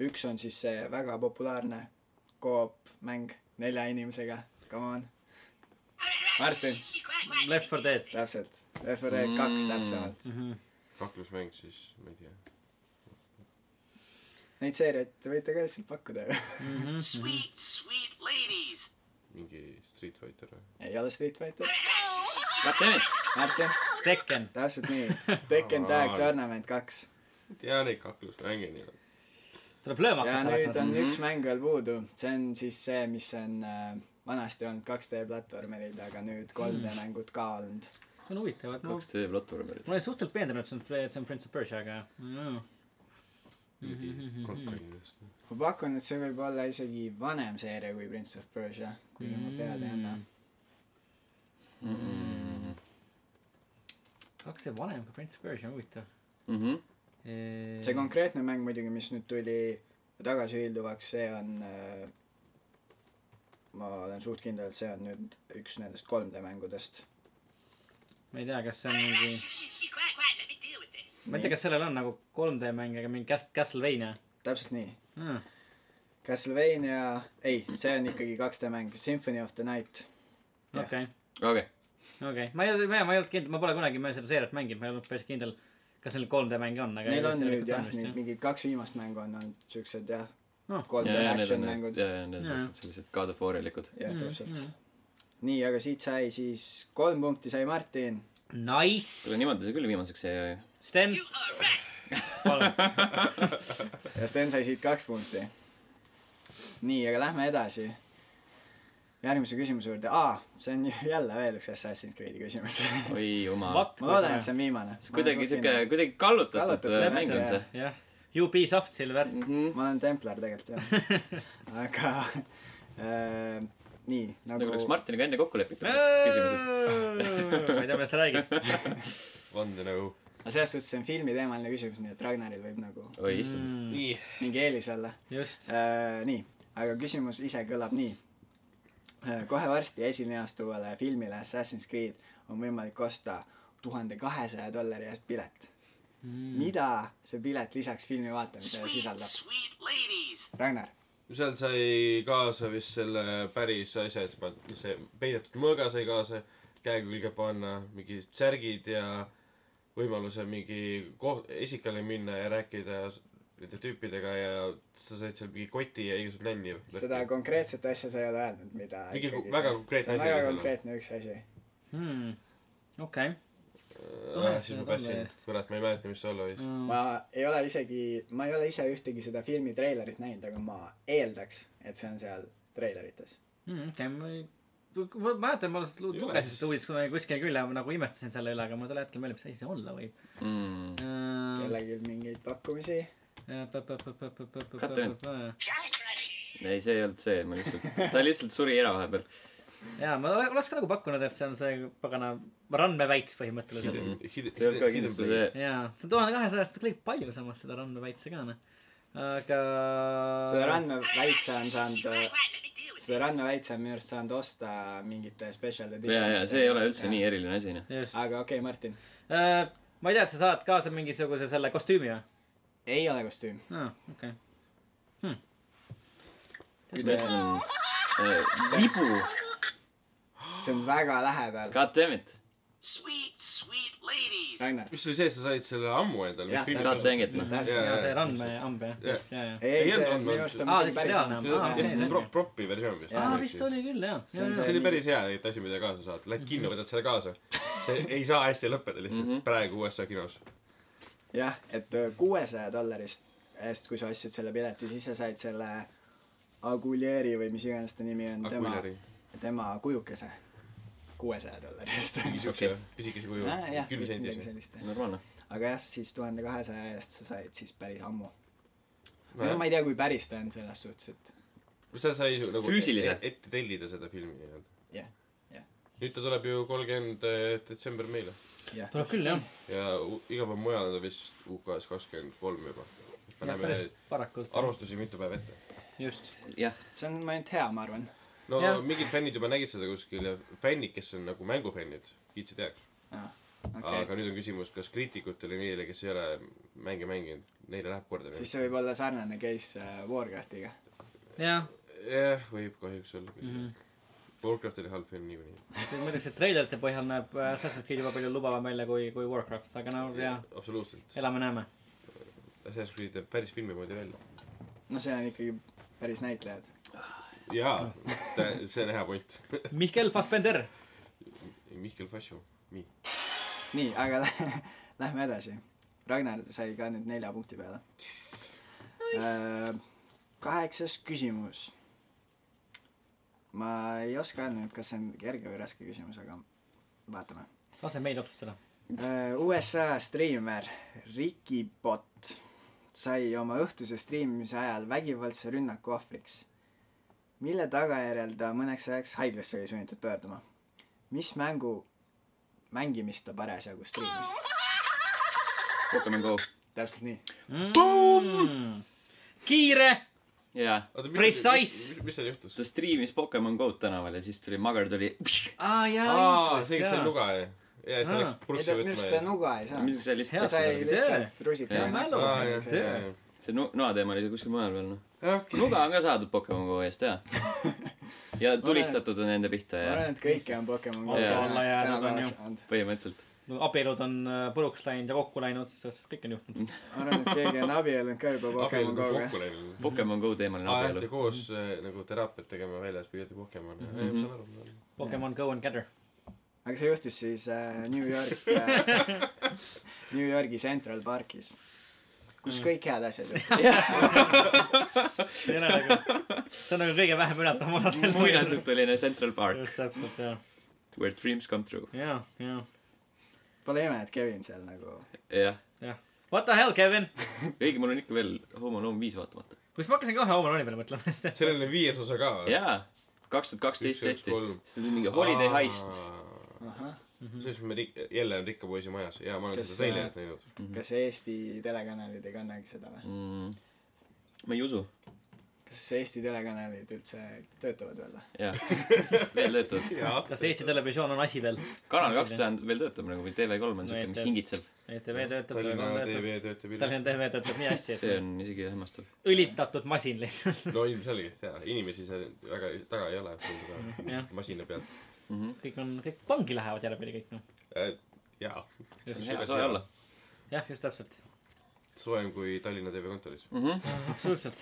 Speaker 4: üks on siis see väga populaarne koop mäng nelja inimesega , come on , Martin.
Speaker 2: Left 4 Dead.
Speaker 4: täpselt . FRE kaks
Speaker 1: Mm.
Speaker 4: täpsemalt .
Speaker 3: kaklusmäng siis , ma ei tea .
Speaker 4: Neid seeriaid võite ka lihtsalt pakkuda ju .
Speaker 5: Sweet, sweet ladies.
Speaker 3: mingi Street Fighter või ?
Speaker 4: ei ole Street Fighter .
Speaker 1: Goddammit ,
Speaker 4: Martin ,
Speaker 2: Tekken .
Speaker 4: täpselt nii . Tekken Tag Tournament kaks .
Speaker 3: ma ei tea neid kaklusmänge nii nagu. palju .
Speaker 2: tuleb lööma
Speaker 4: ja nüüd
Speaker 2: hakata .
Speaker 4: on üks mäng veel puudu , see on siis see , mis on äh, vanasti olnud 2D platvormeril , aga nüüd 3D mängud ka olnud .
Speaker 2: see on huvitav , et ma ,
Speaker 1: kaks D-platvormerit
Speaker 2: ma . olen suhteliselt veendunud , et see on , see on Prince of Persia , aga Mhm, mm,
Speaker 1: Mhm,
Speaker 3: mingi noh, konkurents .
Speaker 4: ma pakun , et see võib olla isegi vanem seeria kui Prince of Persia , kuigi ma pead
Speaker 2: Mm.
Speaker 4: ei anna .
Speaker 1: Mm,
Speaker 2: kaks teeb vanem kui Prince of Persia , huvitav .
Speaker 1: Mhm.
Speaker 4: see konkreetne mäng muidugi , mis nüüd tuli tagasihiilduvaks , see on äh, ma olen suht kindel , et see on nüüd üks nendest 3D mängudest .
Speaker 2: ma ei tea , kas see on mingi ,
Speaker 5: Quiet, quiet, let me deal with this.
Speaker 2: ma ei tea , kas sellel on nagu 3D mäng , aga mingi Cas- , Castlevania
Speaker 4: täpselt nii .
Speaker 2: mm. .
Speaker 4: Castlevania , ei , see on ikkagi 2D mäng , Symphony of the Night . Jah.
Speaker 2: okei ,
Speaker 1: okei ,
Speaker 2: okei , ma ei , ma ei , ma ei olnud kindel , ma pole kunagi me seda seeriat mänginud , ma ei olnud päris kindel , kas neil 3D mänge on , aga .
Speaker 4: Neil on nüüd jah , nüüd mingid kaks viimast mängu on olnud siuksed jah
Speaker 2: Oh. ,
Speaker 1: ja ,
Speaker 4: 3D
Speaker 1: ja need
Speaker 4: action
Speaker 1: on need ,
Speaker 4: mängud .
Speaker 1: ja , ja need on
Speaker 2: Jaa.
Speaker 1: lihtsalt sellised God of War'ilikud .
Speaker 2: Mm.
Speaker 4: jah , täpselt . nii , aga siit sai siis kolm punkti sai Martin .
Speaker 1: kuule ,
Speaker 2: Nice ,
Speaker 1: niimoodi see küll viimaseks ei jää ju .
Speaker 2: Sten
Speaker 5: You , are right.
Speaker 2: palun .
Speaker 4: ja Sten sai siit kaks punkti . nii , aga lähme edasi . järgmise küsimuse juurde , aa , see on ju jälle veel üks Assassin's Creed'i küsimus .
Speaker 1: oi jumal .
Speaker 2: Vat-
Speaker 4: ma loodan , et see on viimane .
Speaker 1: kuidagi siuke , kuidagi kallutatud
Speaker 4: Kallutatud
Speaker 1: äh,
Speaker 4: mäng,
Speaker 1: mäng on
Speaker 4: jah.
Speaker 1: see . Mhm.
Speaker 2: jah , Ubisoft Silver .
Speaker 4: ma olen templar tegelikult jah , aga äh, nii
Speaker 1: nagu oleks
Speaker 4: nagu .
Speaker 1: Martiniga enne kokku lepitud need
Speaker 2: Äh.
Speaker 1: küsimused .
Speaker 2: ma ei tea , millest sa räägid .
Speaker 3: vandenõu .
Speaker 4: aga selles suhtes see on filmiteemaline küsimus , nii et Ragnaril võib nagu
Speaker 1: oi
Speaker 2: Mm.
Speaker 1: issand .
Speaker 3: nii .
Speaker 4: mingi eelis olla
Speaker 2: just ,
Speaker 4: Äh, nii , aga küsimus ise kõlab nii . kohe varsti esile astuvale filmile Assassin's Creed on võimalik osta tuhande kahesaja dollari eest pilet mm. . mida see pilet lisaks filmi vaatamisele
Speaker 5: Sweet,
Speaker 4: sisaldab ?
Speaker 5: sweet ladies.
Speaker 4: Ragnar ,
Speaker 3: seal sai kaasa vist selle päris asja , et sa paned , see peidetud mõõga sai kaasa , käe külge panna , mingid särgid ja võimaluse mingi koht , esikale minna ja rääkida s- nende tüüpidega ja sa said seal mingi koti ja igasugust nalja .
Speaker 4: seda konkreetset asja sa ei ole öelnud , mida
Speaker 3: Mingi
Speaker 4: ikkagi
Speaker 3: väga
Speaker 4: see-
Speaker 3: konkreetne
Speaker 4: see on
Speaker 3: asi
Speaker 4: väga
Speaker 3: võis olla.
Speaker 4: konkreetne üks asi .
Speaker 2: okei .
Speaker 3: ah, . siis ma päästsin , kurat , ma ei mäleta , mis see olla võis .
Speaker 4: ma ei ole isegi , ma ei ole ise ühtegi seda filmi treilerit näinud , aga ma eeldaks , et see on seal treilerites .
Speaker 2: Hmm, okei , ma ei , ma mäletan , ma lu-
Speaker 3: Ei ole
Speaker 2: lugesin
Speaker 3: siis-
Speaker 2: seda uudist kunagi kuskil küll ja ma nagu imestasin selle üle , aga mul tol hetkel ei mäleta , mis asi see olla võib .
Speaker 1: Mm.
Speaker 3: Mm.
Speaker 4: kellelgi mingeid pakkumisi ?
Speaker 2: Äh,
Speaker 1: Katrin. ei , see ei olnud see , ma lihtsalt , ta lihtsalt suri ära vahepeal .
Speaker 2: jaa , ma ole- oleks ka nagu pakkunud , et see on see pagana randmeväits põhimõtteliselt .
Speaker 4: Mm.
Speaker 1: see ei olnud ka kindlasti see .
Speaker 2: jaa , see on tuhande kahesajast klõip palju samas seda randmeväitse ka noh , aga .
Speaker 4: seda randmeväitse on saanud
Speaker 5: Quiet,
Speaker 4: äh,
Speaker 5: quiet, let me deal
Speaker 4: seda
Speaker 5: with this.
Speaker 4: rannaväitse on minu arust saanud osta mingite special
Speaker 1: ja , ja see ei ole üldse
Speaker 4: Ja.
Speaker 1: nii eriline asi , noh .
Speaker 2: just ,
Speaker 4: aga okei okay, , Martin .
Speaker 2: ma ei tea , et sa saad kaasa mingisuguse selle kostüümi või ?
Speaker 4: ei ole kostüüm .
Speaker 2: aa , okei .
Speaker 1: see on äh, vibu ,
Speaker 4: see on väga lähedal .
Speaker 1: god damn it .
Speaker 5: Sweet, sweet ladies.
Speaker 4: Ragnar .
Speaker 1: Noh.
Speaker 3: mis oli see , sa said selle ammu endale ,
Speaker 4: Jah,
Speaker 3: mis filmis
Speaker 1: God dang it , noh .
Speaker 4: täpselt .
Speaker 3: Jaa,
Speaker 2: see
Speaker 3: jaa.
Speaker 2: randmeamb jah ,
Speaker 3: Jah.
Speaker 2: just , jaa , jaa .
Speaker 4: ei ,
Speaker 3: Ei
Speaker 4: see
Speaker 3: olnud
Speaker 4: minu
Speaker 3: olnud.
Speaker 4: arust on
Speaker 2: Aa,
Speaker 4: isegi
Speaker 2: lihtsalt
Speaker 4: päris
Speaker 2: reaalne.
Speaker 4: ammu.
Speaker 2: Aa, okei, see on
Speaker 3: see
Speaker 2: ju.
Speaker 3: on propi versioon vist .
Speaker 2: aa , vist oli küll jah .
Speaker 4: See on
Speaker 2: jaa ,
Speaker 3: see oli päris hea , et asi , mida kaasa saad , lähed kinno , võtad selle kaasa . see ei saa hästi lõppeda lihtsalt
Speaker 4: Mhm.
Speaker 3: mm -hmm. praegu USA kinos .
Speaker 4: jah , et äh, kuuesaja dollarist eest , kui sa ostsid selle pileti , siis sa said selle Agulieri või mis iganes ta nimi on , tema ,
Speaker 3: Aguilari ,
Speaker 4: tema kujukese . kuuesaja dollari eest .
Speaker 3: mingi siukse pisikese kuju
Speaker 4: jah , ,
Speaker 3: kümne
Speaker 4: vist midagi
Speaker 3: sendise .
Speaker 4: sellist .
Speaker 1: normaalne .
Speaker 4: aga jah , siis tuhande kahesaja eest sa said siis päris ammu . no ma ei tea , kui päris ta on selles suhtes , et
Speaker 3: seal sai su- nagu
Speaker 1: Füüsiliselt.
Speaker 3: ette tellida seda filmi nii-öelda .
Speaker 4: jah , jah .
Speaker 3: nüüd ta tuleb ju kolmkümmend detsember meile
Speaker 4: jah ,
Speaker 2: tuleb küll jah ,
Speaker 3: ja u- iga päev mujal on ta vist UK-s kakskümmend kolm juba . paneme
Speaker 2: päris paraku
Speaker 3: arvustusi mitu päeva ette .
Speaker 2: just .
Speaker 1: jah ,
Speaker 4: see on ainult hea , ma arvan .
Speaker 3: no
Speaker 2: Jah.
Speaker 3: mingid fännid juba nägid seda kuskil ja fännid , kes on nagu mängufännid , kiitsid heaks okay. .
Speaker 4: okei ,
Speaker 3: aga nüüd on küsimus , kas kriitikutele ja neile , kes ei ole mänge mänginud , neile läheb korda
Speaker 4: siis see võib olla sarnane case äh, Warcraftiga .
Speaker 2: jah ,
Speaker 3: jah , võib kahjuks olla küll mm .
Speaker 2: Mhm.
Speaker 3: -hmm. Warcraft oli halb film niikuinii .
Speaker 2: muidugi see treilerite põhjal näeb äh, Assassin's Creed juba palju lubavam välja kui , kui Warcraft , aga no jaa ,
Speaker 3: absoluutselt .
Speaker 2: elame-näeme .
Speaker 3: Assassin's Creed teeb päris filmi moodi välja .
Speaker 4: no seal on ikkagi päris näitlejad .
Speaker 3: jaa , see on hea point .
Speaker 2: Mihkel Fassbender ,
Speaker 3: Mihkel Fašo , nii .
Speaker 4: nii , aga lä- lähme edasi . Ragnar sai ka nüüd nelja punkti peale yes. . kaheksas küsimus . ma ei oska öelda nüüd , kas see on kerge või raske küsimus , aga vaatame .
Speaker 2: lase meil otsustada .
Speaker 4: Äh, USA striimer Ricky Bott sai oma õhtuse striimimise ajal vägivaldse rünnaku ohvriks , mille tagajärjel ta mõneks ajaks haiglasse oli sunnitud pöörduma . mis mängu mängimist ta parasjagu striimis ?
Speaker 1: Pokemon Go .
Speaker 4: täpselt nii .
Speaker 2: kiire ,
Speaker 1: jaa .
Speaker 2: Precise. .
Speaker 3: mis seal juhtus ?
Speaker 1: ta striimis Pokemon Go'd tänaval ja siis tuli Magard oli ,
Speaker 2: aa jaa
Speaker 3: aa ,, see , kes see . nuga jäi . jaa , siis ta
Speaker 2: Aa.
Speaker 3: läks
Speaker 4: ei
Speaker 3: purksi
Speaker 4: ta minu
Speaker 3: võtma
Speaker 4: arust ta nuga ei
Speaker 1: mis
Speaker 4: saanud .
Speaker 1: see lihtsalt ,
Speaker 2: Hea
Speaker 4: ta sai
Speaker 2: sõnaga,
Speaker 4: lihtsalt
Speaker 1: Hea
Speaker 4: rusikaga
Speaker 2: mälu.
Speaker 4: näppu .
Speaker 3: aa , jah ,
Speaker 4: see-
Speaker 3: jah ,
Speaker 1: see nu- , noa teema oli seal kuskil mujal veel noh .
Speaker 3: jah .
Speaker 1: nuga on ka saadud Pokemon Go eest jaa . ja tulistatud on nende pihta
Speaker 4: ma
Speaker 1: ja
Speaker 4: arvan , et kõike on Pokemon
Speaker 2: Auto
Speaker 1: alla
Speaker 2: jäänud on ju.
Speaker 4: saanud .
Speaker 1: põhimõtteliselt .
Speaker 2: no abielud on äh, puruks läinud ja kokku läinud , selles suhtes kõik on juhtunud .
Speaker 4: ma arvan , et keegi on abiellunud ka juba Pokemon
Speaker 3: abielud on
Speaker 4: Go-ga .
Speaker 3: kokku läinud .
Speaker 1: Pokemon Go teemaline
Speaker 3: aa , jah , te
Speaker 1: abielu .
Speaker 3: koos äh, nagu teraapiat tegema väljas püüate Pokemoni .
Speaker 2: Mhm.
Speaker 3: ei , ma saan aru , ma saan aru .
Speaker 2: Pokemon Go and Gather .
Speaker 4: aga see juhtus siis äh, New York äh, , New Yorgi Central Parkis , kus kõik head asjad olid .
Speaker 2: see on nagu , see on nagu kõige vähem üllatav osa sellest muinasjutust .
Speaker 1: muinasjutuline Central Park ,
Speaker 2: just täpselt jah ,
Speaker 1: where dreams come true .
Speaker 2: jaa , jaa .
Speaker 4: Pole ime , et Kevin seal nagu ,
Speaker 1: jah ,
Speaker 2: What the hell , Kevin ?
Speaker 1: õige , mul on ikka veel Home Alone viis vaatamata .
Speaker 2: kus ma hakkasin kohe Home Alone'i peale mõtlema , sest et
Speaker 3: sellel on viies osa ka või ?
Speaker 1: jaa , kaks tuhat kaksteist
Speaker 3: Üks, üks,
Speaker 1: tehti
Speaker 3: kolm. ,
Speaker 1: see oli mingi Holiday Heist .
Speaker 4: ahah ,
Speaker 1: Mhm.
Speaker 3: selles me rik- , jälle on rikka poisi majas ja ma olen
Speaker 4: Kes,
Speaker 3: seda treilerit näinud .
Speaker 4: kas Eesti telekanalid ei kannagi seda või ?
Speaker 1: Mm. ma ei usu ,
Speaker 4: kas Eesti telekanalid üldse töötavad veel või ?
Speaker 1: jaa , veel töötavad .
Speaker 3: jaa .
Speaker 2: kas Eesti Televisioon on asi veel ?
Speaker 1: kanal kaks tähendab veel töötab nagu või TV3 on
Speaker 2: No ei
Speaker 1: siuke , mis
Speaker 2: tea.
Speaker 1: hingitseb .
Speaker 2: ETV E töötab ,
Speaker 3: Tallinna
Speaker 2: Televisioon töötab .
Speaker 3: TV töötab
Speaker 2: Tallinna
Speaker 3: ilusti .
Speaker 2: TV töötab nii hästi ,
Speaker 1: see
Speaker 2: et
Speaker 1: on isegi hämmastav .
Speaker 2: õlitatud masin lihtsalt .
Speaker 3: no ilmselgelt jaa , inimesi seal väga ei- taga ei ole ,
Speaker 2: Jah.
Speaker 3: masina peal .
Speaker 2: kõik on , kõik vangi lähevad järgmine kõik noh .
Speaker 3: jaa .
Speaker 1: see on hea soe olla .
Speaker 2: jah , just täpselt .
Speaker 3: soojem kui Tallinna TV kontoris .
Speaker 2: absoluutselt .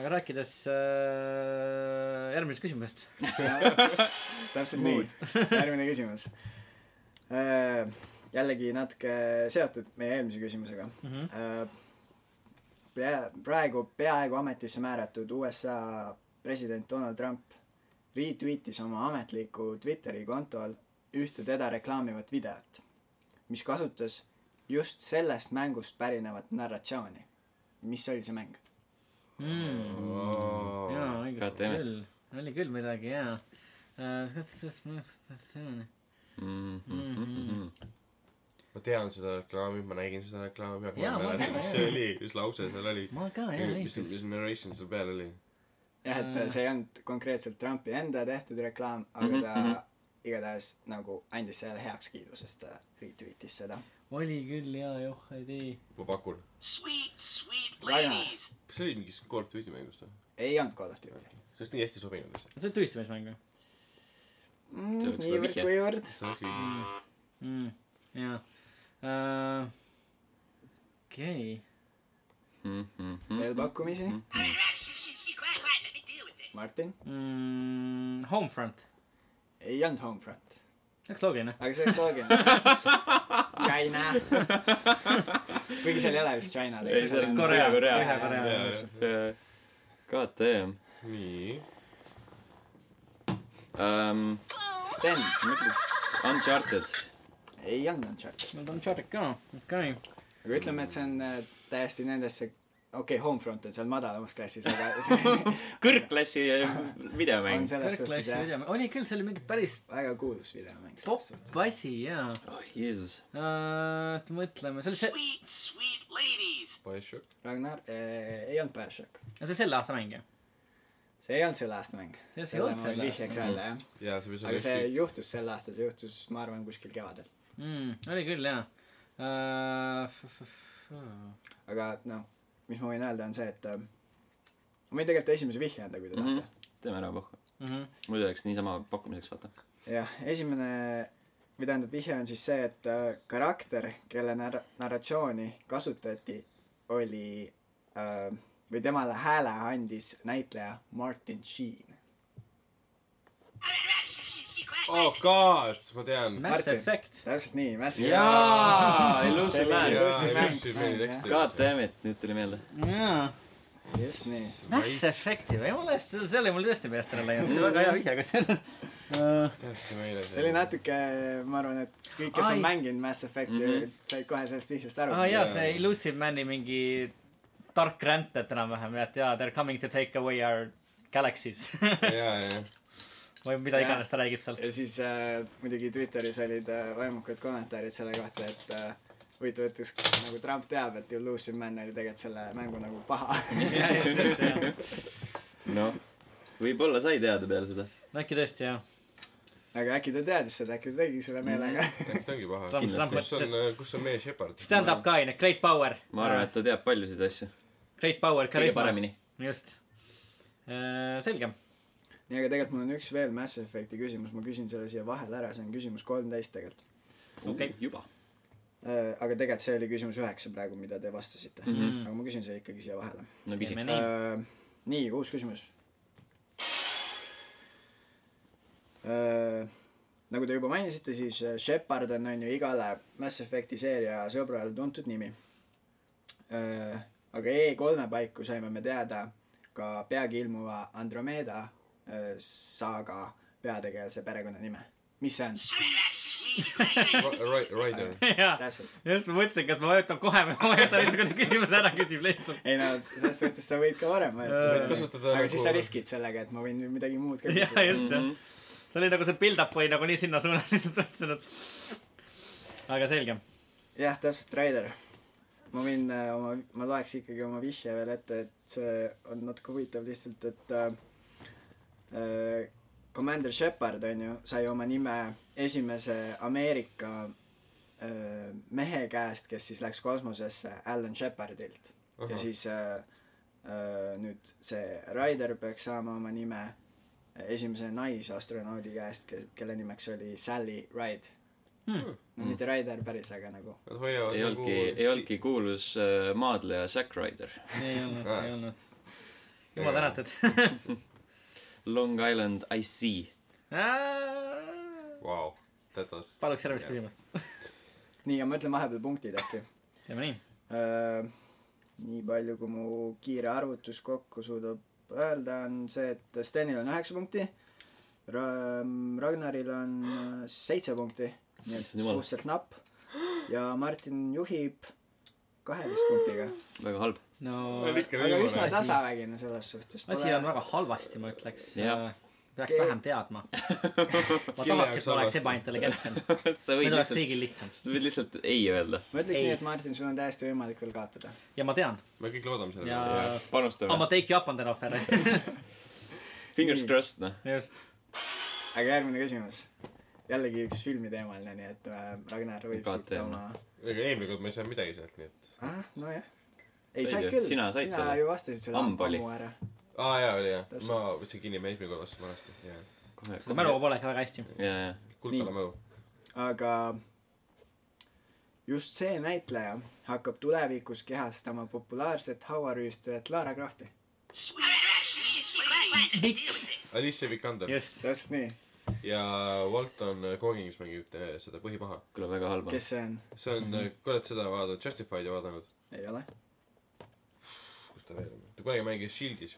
Speaker 2: aga rääkides äh, järgmisest küsimusest .
Speaker 4: täpselt nii , järgmine küsimus . jällegi natuke seotud meie eelmise küsimusega mm .
Speaker 2: Mhm.
Speaker 4: -hmm. pea , praegu peaaegu ametisse määratud USA president Donald Trump retweetis oma ametliku Twitteri kontol ühte teda reklaamivat videot , mis kasutas just sellest mängust pärinevat narratsiooni . mis oli see mäng ?
Speaker 2: Mm. Mm-hmm. jaa , õige
Speaker 1: God damn it.
Speaker 2: küll . oli küll midagi jaa . Äh,
Speaker 3: ma tean seda reklaami , ma nägin seda reklaami , aga ma
Speaker 2: Jaa,
Speaker 3: ei
Speaker 2: ma
Speaker 3: mäleta ,
Speaker 2: tean,
Speaker 3: mis
Speaker 2: jaa.
Speaker 3: see oli , mis lause seal oli .
Speaker 2: ma ka jah ,
Speaker 3: mis ,
Speaker 2: õigus .
Speaker 3: mis narration seal peal oli ?
Speaker 4: jah , et
Speaker 2: Äh.
Speaker 4: see ei olnud konkreetselt Trumpi enda tehtud reklaam , aga
Speaker 1: Mm. Mhm,
Speaker 4: ta
Speaker 1: mhm.
Speaker 4: igatahes nagu andis sellele heakskiidu , sest ta retweetis seda .
Speaker 2: oli küll jaa , joh , ei tee .
Speaker 3: ma pakun .
Speaker 5: Sweet, sweet
Speaker 4: Ryan.
Speaker 5: ladies.
Speaker 3: kas see oli mingist Call of Duty mängust või ?
Speaker 4: ei olnud Call of Duty
Speaker 3: see oleks nii hästi sobinud .
Speaker 2: see oli tühistamismäng või
Speaker 1: See
Speaker 4: mm, .
Speaker 1: oleks juba vihje.
Speaker 4: niivõrd-kuivõrd .
Speaker 3: see oleks nii .
Speaker 2: mm, ? jaa . okei .
Speaker 1: Mhm,
Speaker 4: veel pakkumisi ?
Speaker 5: Quiet, quiet, let me deal with this.
Speaker 4: Martin ?
Speaker 2: Mm, Homefront .
Speaker 4: ei olnud Homefront ,
Speaker 2: see oleks loogiline .
Speaker 4: aga see oleks loogiline . China . kuigi seal ei ole vist China .
Speaker 1: Ei, seal on
Speaker 2: Korea ,
Speaker 1: Põhja-Korea.
Speaker 2: Põhja-Korea .
Speaker 1: God damn
Speaker 3: nii .
Speaker 1: um, .
Speaker 4: Sten .
Speaker 1: Uncharted .
Speaker 4: ei olnud Uncharted .
Speaker 2: Nad on Uncharted ka , okei okay. .
Speaker 4: aga ütleme , et see on äh, uh, täiesti nendesse okei okay, , Homefront on seal madalamas klassis , aga see
Speaker 1: kõrgklassi videomäng
Speaker 4: on . selles suhtes
Speaker 2: kõrgklassi
Speaker 4: jah ,
Speaker 2: video , oli küll , see oli mingi päris
Speaker 4: väga kuulus videomäng .
Speaker 2: popp asi jaa .
Speaker 1: oh Jeesus .
Speaker 2: mõtleme , see oli see ,
Speaker 5: Sweet, sweet ladies.
Speaker 3: Bioshock .
Speaker 4: Ragnar äh, , ei olnud Bioshock .
Speaker 2: see selle aasta mäng ju .
Speaker 4: see ei olnud selle aasta mäng .
Speaker 2: Ja see ei olnud selle Mm.
Speaker 4: vihjaks jälle jah .
Speaker 3: jaa , see võis
Speaker 4: aga
Speaker 3: olla
Speaker 4: see
Speaker 3: see...
Speaker 4: juhtus sel aastal , see juhtus , ma arvan , kuskil kevadel .
Speaker 2: Mm, oli küll jaa . Äh,
Speaker 4: aga noh , mis ma võin öelda , on see , et äh, ma võin tegelikult esimese vihje anda ,
Speaker 2: Mhm.
Speaker 4: kui te tahate .
Speaker 1: teeme ära pohhu . muidu oleks niisama pakkumiseks , vaata .
Speaker 4: jah , esimene või tähendab , vihje on siis see , et äh, karakter , kelle nar- , narratsiooni kasutati , oli äh, või temale hääle andis näitleja Martin Sheen .
Speaker 3: oh god , ma tean .
Speaker 2: Mass
Speaker 4: Martin.
Speaker 2: Effect .
Speaker 4: täpselt nii , Mass
Speaker 1: jaa ,
Speaker 4: See
Speaker 1: Illusive
Speaker 4: oli
Speaker 1: Man .
Speaker 4: Illusive
Speaker 3: jaa ,
Speaker 4: mäng.
Speaker 3: Jussi meeldib
Speaker 4: Mäng,
Speaker 3: teksti .
Speaker 1: God damn it , nüüd tuli meelde .
Speaker 2: jaa .
Speaker 4: just nii .
Speaker 2: Mass . Effecti või , mul hästi , see oli mul tõesti meelest ära läinud , see oli väga hea vihje , aga selles
Speaker 4: Äh.
Speaker 2: uh, .
Speaker 3: täpselt meile .
Speaker 4: see oli . natuke , ma arvan , et kõik , kes
Speaker 2: Ai. Mhm.
Speaker 4: on mänginud Mass Effecti mm , -hmm. said kohe sellest vihjest aru
Speaker 2: aa ah, jaa , see Elusive Mani mingi tark ränd , et enam-vähem , et jaa , they are coming to take away our galaxies
Speaker 3: jaa , jaa .
Speaker 2: või mida
Speaker 4: Jaa.
Speaker 2: iganes ta räägib seal .
Speaker 4: ja siis äh, muidugi Twitteris olid äh, vaimukad kommentaarid selle kohta , et äh, huvitav , et kas nagu Trump teab , et Illusive Man oli tegelikult selle mängu nagu paha .
Speaker 1: noh , võib-olla sai teada peale seda .
Speaker 2: no äkki tõesti jah ,
Speaker 4: aga äkki ta teadis seda , äkki ta tegi selle meelega .
Speaker 3: äkki ta ongi paha .
Speaker 2: Trump , Trump
Speaker 3: kus
Speaker 2: mõtles ,
Speaker 3: on äh,
Speaker 2: et ,
Speaker 3: kus on meie Shepard ?
Speaker 2: stand-up guy , great power .
Speaker 1: ma arvan , et ta teab paljusid asju .
Speaker 2: Great power ,
Speaker 1: kõige
Speaker 2: charisma .
Speaker 1: paremini .
Speaker 2: just . selge .
Speaker 4: nii , aga tegelikult mul on üks veel Mass Effecti küsimus , ma küsin selle siia vahele ära , see on küsimus kolmteist tegelikult .
Speaker 2: Okei.
Speaker 1: juba .
Speaker 4: aga tegelikult see oli küsimus üheksa praegu , mida te vastasite mm . -hmm. aga ma küsin selle ikkagi siia vahele .
Speaker 1: no küsi .
Speaker 2: teeme nii .
Speaker 4: Äh, nii , uus küsimus . nagu te juba mainisite , siis äh, Shepard on , on ju igale Mass Effect'i seeria sõbrale tuntud nimi . aga E3-e paiku saime me teada ka peagi ilmuva Andromeda äh, saaga peategelase perekonnanime . mis see on ?
Speaker 3: Rider .
Speaker 2: jaa ,
Speaker 4: täpselt .
Speaker 2: just ma mõtlesin , kas ma vajutan kohe või ma vajutan lihtsalt , kui ta küsimuse ära küsib lihtsalt .
Speaker 4: ei no selles suhtes sa võid ka varem
Speaker 2: võid
Speaker 4: mõelda .
Speaker 3: kasutada
Speaker 4: aga
Speaker 3: nagu-
Speaker 4: siis sa riskid sellega , et ma võin nüüd midagi muud ka
Speaker 2: jaa ,
Speaker 4: küsida .
Speaker 2: just jah .
Speaker 1: Mhm.
Speaker 2: see oli nagu see build-up oli nagu nii sinna suunas , lihtsalt mõtlesin , et . aga selge .
Speaker 4: jah , täpselt , Raider . ma võin äh, oma , ma loeks ikkagi oma vihje veel ette , et see on natuke huvitav lihtsalt , et äh, äh, Commander Shepard on ju , sai oma nime esimese Ameerika äh, mehe käest , kes siis läks kosmosesse , Alan Shepardilt . ja siis äh, äh, nüüd see Raider peaks saama oma nime äh, esimese naisastronaudi käest , kelle nimeks oli Sally Ride
Speaker 2: Hmm. .
Speaker 4: no mitte Raider päris , aga nagu
Speaker 3: Nad hoiavad
Speaker 1: ei olnudki , ei . olnudki kuulus äh, maadleja Zack Ryder .
Speaker 2: ei olnud ,
Speaker 3: Aa.
Speaker 2: ei olnud . jumal tänatud .
Speaker 1: Long Island I see .
Speaker 3: Vau , that was .
Speaker 2: paluks järgmist küsimust .
Speaker 4: nii , ja ma ütlen vahepeal punktid äkki .
Speaker 2: teeme nii .
Speaker 4: Äh, nii palju , kui mu kiire arvutus kokku suudab öelda , on see , et Stenil on üheksa punkti Ra- , Ragnaril on äh, seitse punkti , nii et
Speaker 1: Issand jumal.
Speaker 4: suhteliselt napp ja Martin juhib kaheteist punktiga .
Speaker 1: väga halb .
Speaker 2: no
Speaker 4: aga üsna
Speaker 3: küsimust .
Speaker 4: tasavägine selles suhtes .
Speaker 2: asi on väga halvasti , ma ütleks .
Speaker 1: Jah.
Speaker 2: peaks vähem teadma . ma
Speaker 3: Kelle
Speaker 2: tahaks ,
Speaker 3: jaoks
Speaker 2: et ma oleks
Speaker 3: halvasti?
Speaker 2: ebaintelligentsem .
Speaker 1: sa võid
Speaker 2: nüüd
Speaker 1: lihtsalt ,
Speaker 2: oleks kõigil lihtsam .
Speaker 1: sa võid lihtsalt ei öelda .
Speaker 4: ma ütleks
Speaker 2: Ei.
Speaker 4: nii , et Martin , sul on täiesti võimalik veel kaotada .
Speaker 2: ja ma tean .
Speaker 3: me kõik loodame
Speaker 2: ja
Speaker 3: sellele .
Speaker 2: I ma
Speaker 1: panustame .
Speaker 2: take you up on the offer .
Speaker 1: Fingers crossed , noh .
Speaker 2: just .
Speaker 4: aga järgmine küsimus . jällegi üks filmiteemaline , nii et äh, Ragnar võib
Speaker 1: Ka
Speaker 4: siit
Speaker 1: teema.
Speaker 4: oma
Speaker 3: ega eelmine kord ma ei saanud midagi sealt , nii et .
Speaker 4: ah, . nojah . ei ,
Speaker 1: Said
Speaker 4: said
Speaker 1: ju.
Speaker 4: küll .
Speaker 1: Sina said
Speaker 4: sina
Speaker 1: selle.
Speaker 4: ju vastasid selle
Speaker 1: Ammu oli.
Speaker 4: ammu ära .
Speaker 3: aa jaa , oli jah .
Speaker 4: Täpselt.
Speaker 3: ma võtsin kinni , ma eelmine kord vastasin vanasti . jaa .
Speaker 1: kohe ,
Speaker 2: mu mälu . polegi väga hästi .
Speaker 1: jaa , jaa .
Speaker 3: kuldkala mälu .
Speaker 4: aga just see näitleja hakkab tulevikus kehastama populaarset hauarüüstajat Lara Crofti .
Speaker 3: Alicia Vikander
Speaker 2: just .
Speaker 4: just nii .
Speaker 3: ja Walton Coggins mängib äh, seda põhipaha .
Speaker 1: kuule , väga halb noh. on .
Speaker 4: kes see on ?
Speaker 3: see on , kui oled seda vaadanud , Justified'i vaadanud ,
Speaker 4: ei ole .
Speaker 3: kus ta veel on ? ta kunagi mängis Shieldis .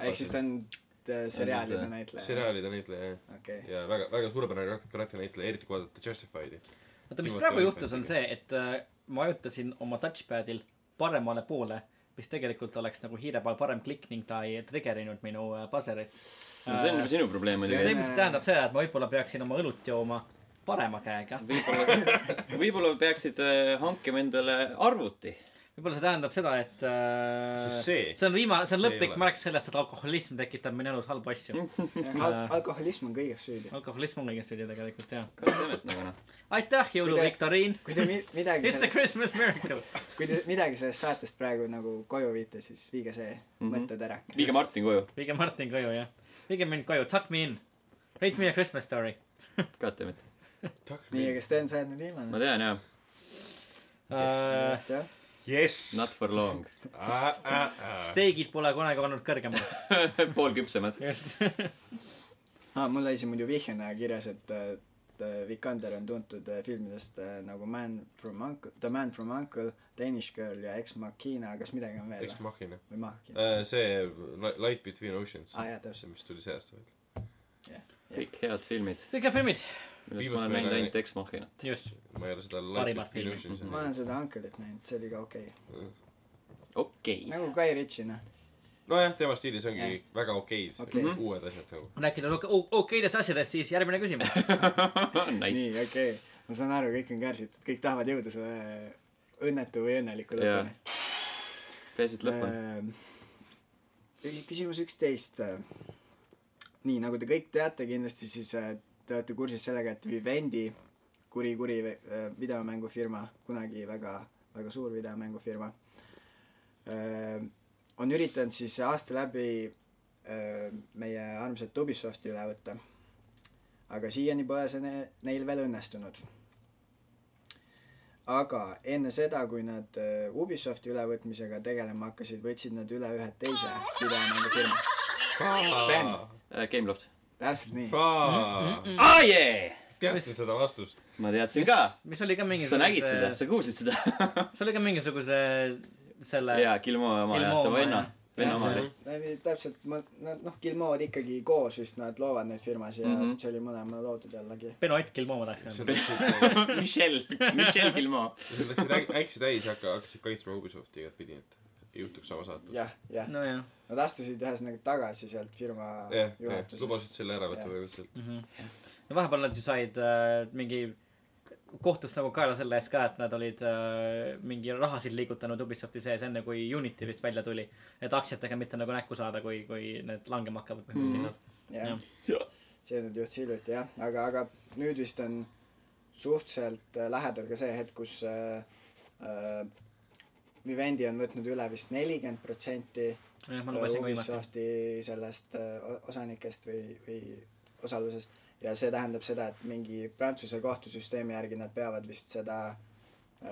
Speaker 4: ehk siis ta on äh, seriaalide näitleja .
Speaker 3: seriaalide näitleja jah ,
Speaker 4: okei .
Speaker 3: ja väga , väga suurepärane karakter- karakter-näitleja , eriti kui vaadata Justified'i .
Speaker 2: oota , mis
Speaker 3: Timothy
Speaker 2: praegu
Speaker 3: Olyphant
Speaker 2: juhtus , on
Speaker 3: tegi.
Speaker 2: see , et äh, ma vajutasin oma touchpad'il paremale poole mis tegelikult oleks nagu hiire peal parem klikk ning ta ei trigerinud minu äh, baserit .
Speaker 1: see on juba sinu probleem
Speaker 2: see
Speaker 1: muidugi .
Speaker 2: teeb , mis tähendab seda , et ma võib-olla peaksin oma õlut jooma parema käega .
Speaker 1: võib-olla , võib-olla peaksid äh, hankima endale arvuti .
Speaker 2: võib-olla see tähendab seda , et äh,
Speaker 3: See- see-
Speaker 2: see on viimane , see on
Speaker 3: see ei
Speaker 2: lõplik
Speaker 3: ole.
Speaker 2: märk sellest , et alkoholism tekitab minu elus halbu asju .
Speaker 4: Al- , alkoholism on kõiges süüdi .
Speaker 2: alkoholism on kõigest süüdi tegelikult jah .
Speaker 1: kahtlemata , aga noh .
Speaker 2: aitäh ,
Speaker 4: Kuida-
Speaker 2: jõuluviktoriin .
Speaker 4: kui te mi- midagi
Speaker 2: It's a
Speaker 4: sellest ,
Speaker 2: Christmas miracle .
Speaker 4: kui te midagi sellest saatest praegu nagu koju viite , siis viige see
Speaker 1: Mhm.
Speaker 4: mõtted ära .
Speaker 1: viige Martin koju ,
Speaker 2: viige Martin koju jah . viige mind koju , tuck me in . Rate me a Christmas story
Speaker 1: kahtlemata .
Speaker 4: nii , aga Sten , sa oled nüüd viimane
Speaker 1: ma . tean jah ,
Speaker 2: uh, .
Speaker 4: et jah ,
Speaker 3: jess .
Speaker 1: not for long .
Speaker 3: Ah,
Speaker 2: steigid pole kunagi olnud kõrgemal .
Speaker 1: pool küpsemad .
Speaker 2: just .
Speaker 4: aa , Ah, mul oli siin muidu vihjena kirjas , et äh, et, äh, Vikander on tuntud äh, filmidest äh, nagu Man from Uncle , The Man from Uncle , Danish Girl ja Ex Machina , kas midagi on veel
Speaker 3: eks mahhina .
Speaker 4: või Machina ?
Speaker 3: see Li- Light Between Oceans .
Speaker 4: aa jaa , Ah, täpselt .
Speaker 3: see , mis tuli see aasta välja .
Speaker 1: kõik head filmid ,
Speaker 2: kõik on filmid .
Speaker 1: millest
Speaker 3: Viimast
Speaker 1: ma olen
Speaker 3: meil
Speaker 1: näinud
Speaker 3: oli-
Speaker 1: ainult Ex Machina .
Speaker 2: just .
Speaker 3: ma ei ole seda Light
Speaker 2: Parimad
Speaker 3: Between
Speaker 2: filmid.
Speaker 3: Oceans
Speaker 4: ma olen
Speaker 3: näinud .
Speaker 4: seda Uncle'it näinud , see oli ka okei okay. .
Speaker 1: okei okay. ,
Speaker 4: nagu Guy Ritchie , noh .
Speaker 3: nojah , tema stiilis ongi
Speaker 4: Jah.
Speaker 3: väga okeid
Speaker 4: Okei.
Speaker 3: okay. uued asjad nagu .
Speaker 2: rääkida oke- o- okeidest asjadest , siis järgmine küsimus .
Speaker 1: nice .
Speaker 4: nii , okei okay. . ma saan aru , kõik on kärsitud , kõik tahavad jõuda selle õnnetu või õnneliku
Speaker 1: Jaa.
Speaker 4: lõpuni .
Speaker 1: peaasi , et lõpp on .
Speaker 4: Äh, küsimus üksteist . nii , nagu te kõik teate kindlasti , siis äh, te olete kursis sellega , et Vivendi , kuri , kuri äh, videomängufirma , kunagi väga , väga suur videomängufirma , on üritanud siis aasta läbi äh, meie armsat Ubisofti üle võtta . aga siiani pole see ne- neil veel õnnestunud aga enne seda , kui nad äh, Ubisofti ülevõtmisega tegelema hakkasid , võtsid nad üle ühe teise videomängufirma . Sten.
Speaker 1: Äh, Gameloft .
Speaker 4: täpselt nii .
Speaker 1: aa jee ,
Speaker 3: teadsin seda vastust .
Speaker 1: ma teadsin ka .
Speaker 2: mis oli ka mingisuguse .
Speaker 1: sa nägid seda , sa kuulsid seda .
Speaker 2: see oli ka mingisuguse selle .
Speaker 1: jaa , Gilmo oma ja
Speaker 2: Gilmore
Speaker 1: tema
Speaker 2: oma,
Speaker 1: venna
Speaker 2: jah. ,
Speaker 1: venna oma
Speaker 2: Jah.
Speaker 1: oli .
Speaker 4: täpselt , ma , nad noh , Gilmood ikkagi koos vist nad loovad neid firmasid ja mm
Speaker 1: Mhm.
Speaker 4: -hmm. see oli mõlema loodud jällegi .
Speaker 2: Beno Ott Kilmo , ma tahaks
Speaker 3: see
Speaker 2: öelda .
Speaker 3: läks siit ,
Speaker 1: Michelle , Michelle Gilmo .
Speaker 3: see läks siit äk- äkki täis , hakka , hakkasid kaitsma Ubisofti igatpidi , et ei juhtuks sama saatus .
Speaker 4: jah , jah ,
Speaker 2: nojah
Speaker 4: nad astusid ühesõnaga tagasi sealt firma
Speaker 3: jah , jah , lubasid
Speaker 4: juhatusest .
Speaker 3: selle ära võtta
Speaker 4: Jah.
Speaker 3: põhimõtteliselt .
Speaker 2: mm . -hmm. no vahepeal nad ju said äh, mingi , kohtus nagu kaela selle eest ka , et nad olid äh, mingi rahasid liigutanud Ubisofti sees enne , kui Unity vist välja tuli . et aktsiatega mitte nagu näkku saada , kui , kui need langema hakkavad põhimõtteliselt mm .
Speaker 4: jah
Speaker 2: Jah. ,
Speaker 4: see nüüd juhtus hiljuti jah , aga , aga nüüd vist on suhteliselt äh, lähedal ka see hetk , kus äh, äh, Vivendi on võtnud üle vist nelikümmend protsenti
Speaker 2: -hmm. jah , ma lugesin ka viimati .
Speaker 4: Ubisofti sellest äh, o- osanikest või , või osalusest ja see tähendab seda , et mingi Prantsuse kohtusüsteemi järgi nad peavad vist seda äh,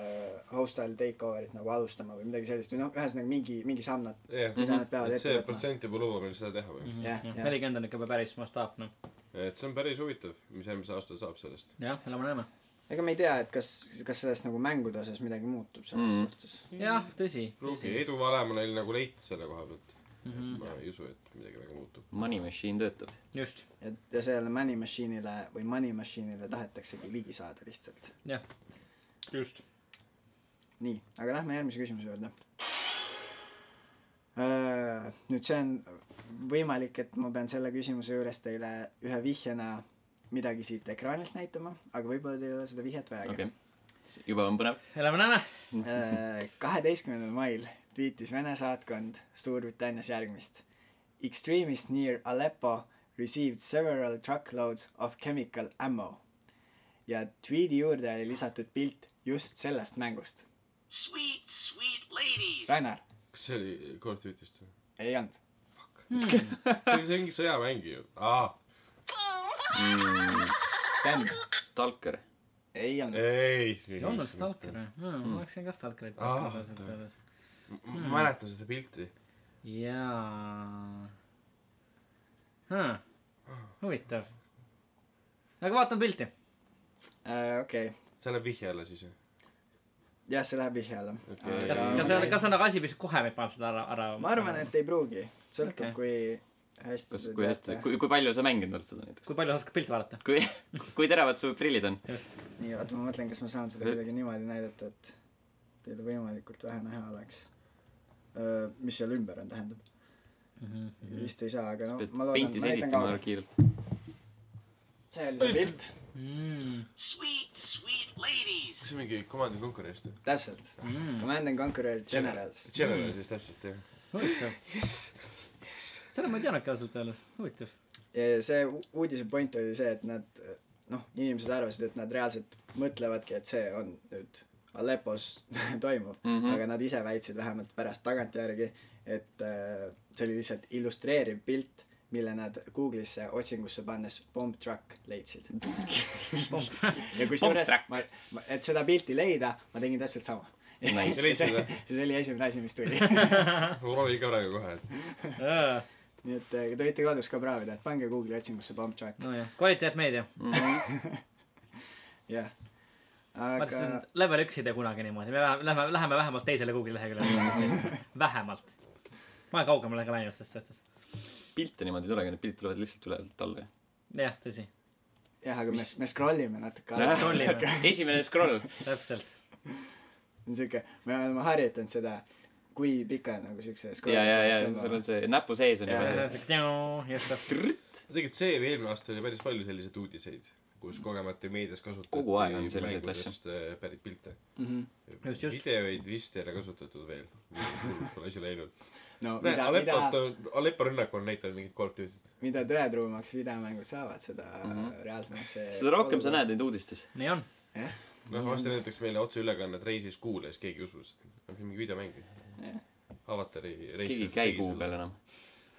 Speaker 4: hostile takeover'it nagu alustama või midagi sellist või noh , ühesõnaga mingi , mingi samm nad
Speaker 3: jah ,
Speaker 4: Mida nad peavad
Speaker 3: et
Speaker 4: ette
Speaker 3: see
Speaker 4: võtma?
Speaker 3: protsent juba lubab neil seda teha või ?
Speaker 4: Jah, jah.
Speaker 2: nelikümmend on ikka juba päris noh. mastaapne .
Speaker 4: Mhm.
Speaker 3: et see on päris huvitav , mis järgmise aasta saab sellest .
Speaker 2: jah , elame-näeme .
Speaker 4: ega me ei tea , et kas , kas sellest nagu mängude osas midagi muutub selles
Speaker 1: Mhm.
Speaker 4: mm. suhtes .
Speaker 2: jah , tõsi ,
Speaker 3: pruugi
Speaker 2: tõsi .
Speaker 3: eduvalem on neil nagu leitud selle koha pealt .
Speaker 2: Mhm.
Speaker 3: ma ei usu , et midagi väga muutub .
Speaker 1: Money Machine töötab .
Speaker 2: just ,
Speaker 4: et ja sellele Money Machine'ile või Money Machine'ile tahetaksegi ligi saada lihtsalt .
Speaker 2: jah . just .
Speaker 4: nii , aga lähme järgmise küsimuse juurde . nüüd see on võimalik , et ma pean selle küsimuse juures teile ühe vihjena midagi siit ekraanilt näitama , aga võib-olla teil ei ole seda vihjet vajagi
Speaker 1: okei . juba on põnev .
Speaker 2: elame-näeme .
Speaker 4: okay. . Äh, kaheteistkümnendal mail tweetis Vene saatkond Suurbritannias järgmist . Extremists near Aleppo received several truckloads of chemical ammo . ja tweet'i juurde oli lisatud pilt just sellest mängust .
Speaker 5: Sweet, sweet ladies.
Speaker 4: Rainar ,
Speaker 3: kas see oli Call of Duty'st või ?
Speaker 4: ei olnud .
Speaker 3: see oli see mingi sõjamäng ju . aa ,
Speaker 4: Sten ,
Speaker 1: Stalker .
Speaker 4: ei olnud .
Speaker 3: ei .
Speaker 2: ei olnud Stalkeri , Mhm. ma oleksin ka Stalkerit
Speaker 3: Ah,
Speaker 2: pakkunud ausalt
Speaker 3: tere.
Speaker 2: öeldes .
Speaker 3: ma mäletan seda pilti .
Speaker 2: jaa hmm. . huvitav . aga vaatan pilti .
Speaker 4: Äh, okei ,
Speaker 3: see läheb vihje alla siis ju .
Speaker 4: jah , see läheb vihje alla .
Speaker 3: Okei.
Speaker 2: kas , kas see on , kas see on nagu asi , mis kohe võib panna seda ära , ära .
Speaker 4: ma arvan , et ei pruugi , sõltub
Speaker 2: Okei.
Speaker 4: okay. , kui hästi
Speaker 1: kas , kui hästi ,. kui , kui palju sa mänginud oled seda näiteks ?
Speaker 2: kui palju oskad pilti vaadata .
Speaker 1: kui , kui teravad su prillid on ?
Speaker 2: just ,
Speaker 4: nii , oota , ma mõtlen , kas ma saan seda kuidagi niimoodi näidata , et teile võimalikult vähe näha oleks . mis seal ümber on , tähendab . vist ei saa , aga no
Speaker 1: pead
Speaker 4: ma loodan ,
Speaker 1: pinti
Speaker 4: ma näitan
Speaker 1: selitama
Speaker 4: kaugelt .
Speaker 1: kiirelt .
Speaker 4: see oli see pilt , Mm.
Speaker 5: Sweet, sweet ladies.
Speaker 3: kas see mingi Command and Conquer'ist või ?
Speaker 4: täpselt . Command and Conquer Generals .
Speaker 3: General siis täpselt jah .
Speaker 2: huvitav . seda ma ei teadnudki ausalt öeldes , huvitav .
Speaker 4: ja see u- uudise point oli see , et nad noh , inimesed arvasid , et nad reaalselt mõtlevadki , et see on nüüd Aleppos toimuv mm ,
Speaker 1: Mhm.
Speaker 4: -hmm. aga nad ise väitsid vähemalt pärast tagantjärgi , et äh, see oli lihtsalt illustreeriv pilt , mille nad Google'isse otsingusse pannes pomp truck leidsid . ja kusjuures
Speaker 1: truck.
Speaker 4: ma, ma , et seda pilti leida , ma tegin täpselt sama .
Speaker 1: Nice.
Speaker 4: see, see, see oli esimene asi , mis tuli .
Speaker 3: ma proovin ikka ära kohe , et
Speaker 4: nii et äh, te võite kodus ka proovida , et pange Google'i otsingusse pomp truck ,
Speaker 2: nojah , kvaliteetmeedia .
Speaker 4: jah .
Speaker 2: ma ütlesin , level üks ei tee kunagi niimoodi , me vähe- lähme , läheme vähemalt teisele Google'i leheküljele . vähemalt . ma olen kaugemale ka läinud selles suhtes .
Speaker 1: pilte niimoodi ei tulegi , need pildid tulevad lihtsalt ülevalt alla .
Speaker 2: jah , tõsi ,
Speaker 4: jah , aga me , me scroll ime natuke .
Speaker 2: Scroll
Speaker 4: see
Speaker 2: ime.
Speaker 1: esimene scroll .
Speaker 2: täpselt .
Speaker 4: on siuke , me oleme harjutanud seda , kui pika nagu siukse
Speaker 1: ja , ja , ja sul on see näpu sees on
Speaker 4: Jaa,
Speaker 1: juba
Speaker 4: jaa,
Speaker 1: see .
Speaker 2: just täpselt .
Speaker 3: tegelikult see või eelmine aasta oli päris palju selliseid uudiseid , kus kogemata meedias kasutati
Speaker 1: Kogu aeg on selliseid
Speaker 3: mängudest, äh, pärit pilte .
Speaker 4: Mhm.
Speaker 2: Just, just.
Speaker 3: videoid vist ei ole kasutatud veel . Pole asi läinud .
Speaker 4: no
Speaker 3: näe ,
Speaker 4: mida ,
Speaker 3: Alepot
Speaker 4: mida ,
Speaker 3: on , Aleppo rünnak on näidanud mingit Call of Duty't .
Speaker 4: mida tõetruumaks videomängud saavad , seda mm -hmm. reaalsemaks see
Speaker 1: Mhm. seda rohkem sa . näed neid uudistes .
Speaker 2: nii on .
Speaker 4: jah ,
Speaker 3: noh , varsti näiteks meile otseülekannet reisis kuula ja siis keegi usus , et on Noh, mingi videomäng . avatari reis .
Speaker 1: keegi ei käi kuu peal enam .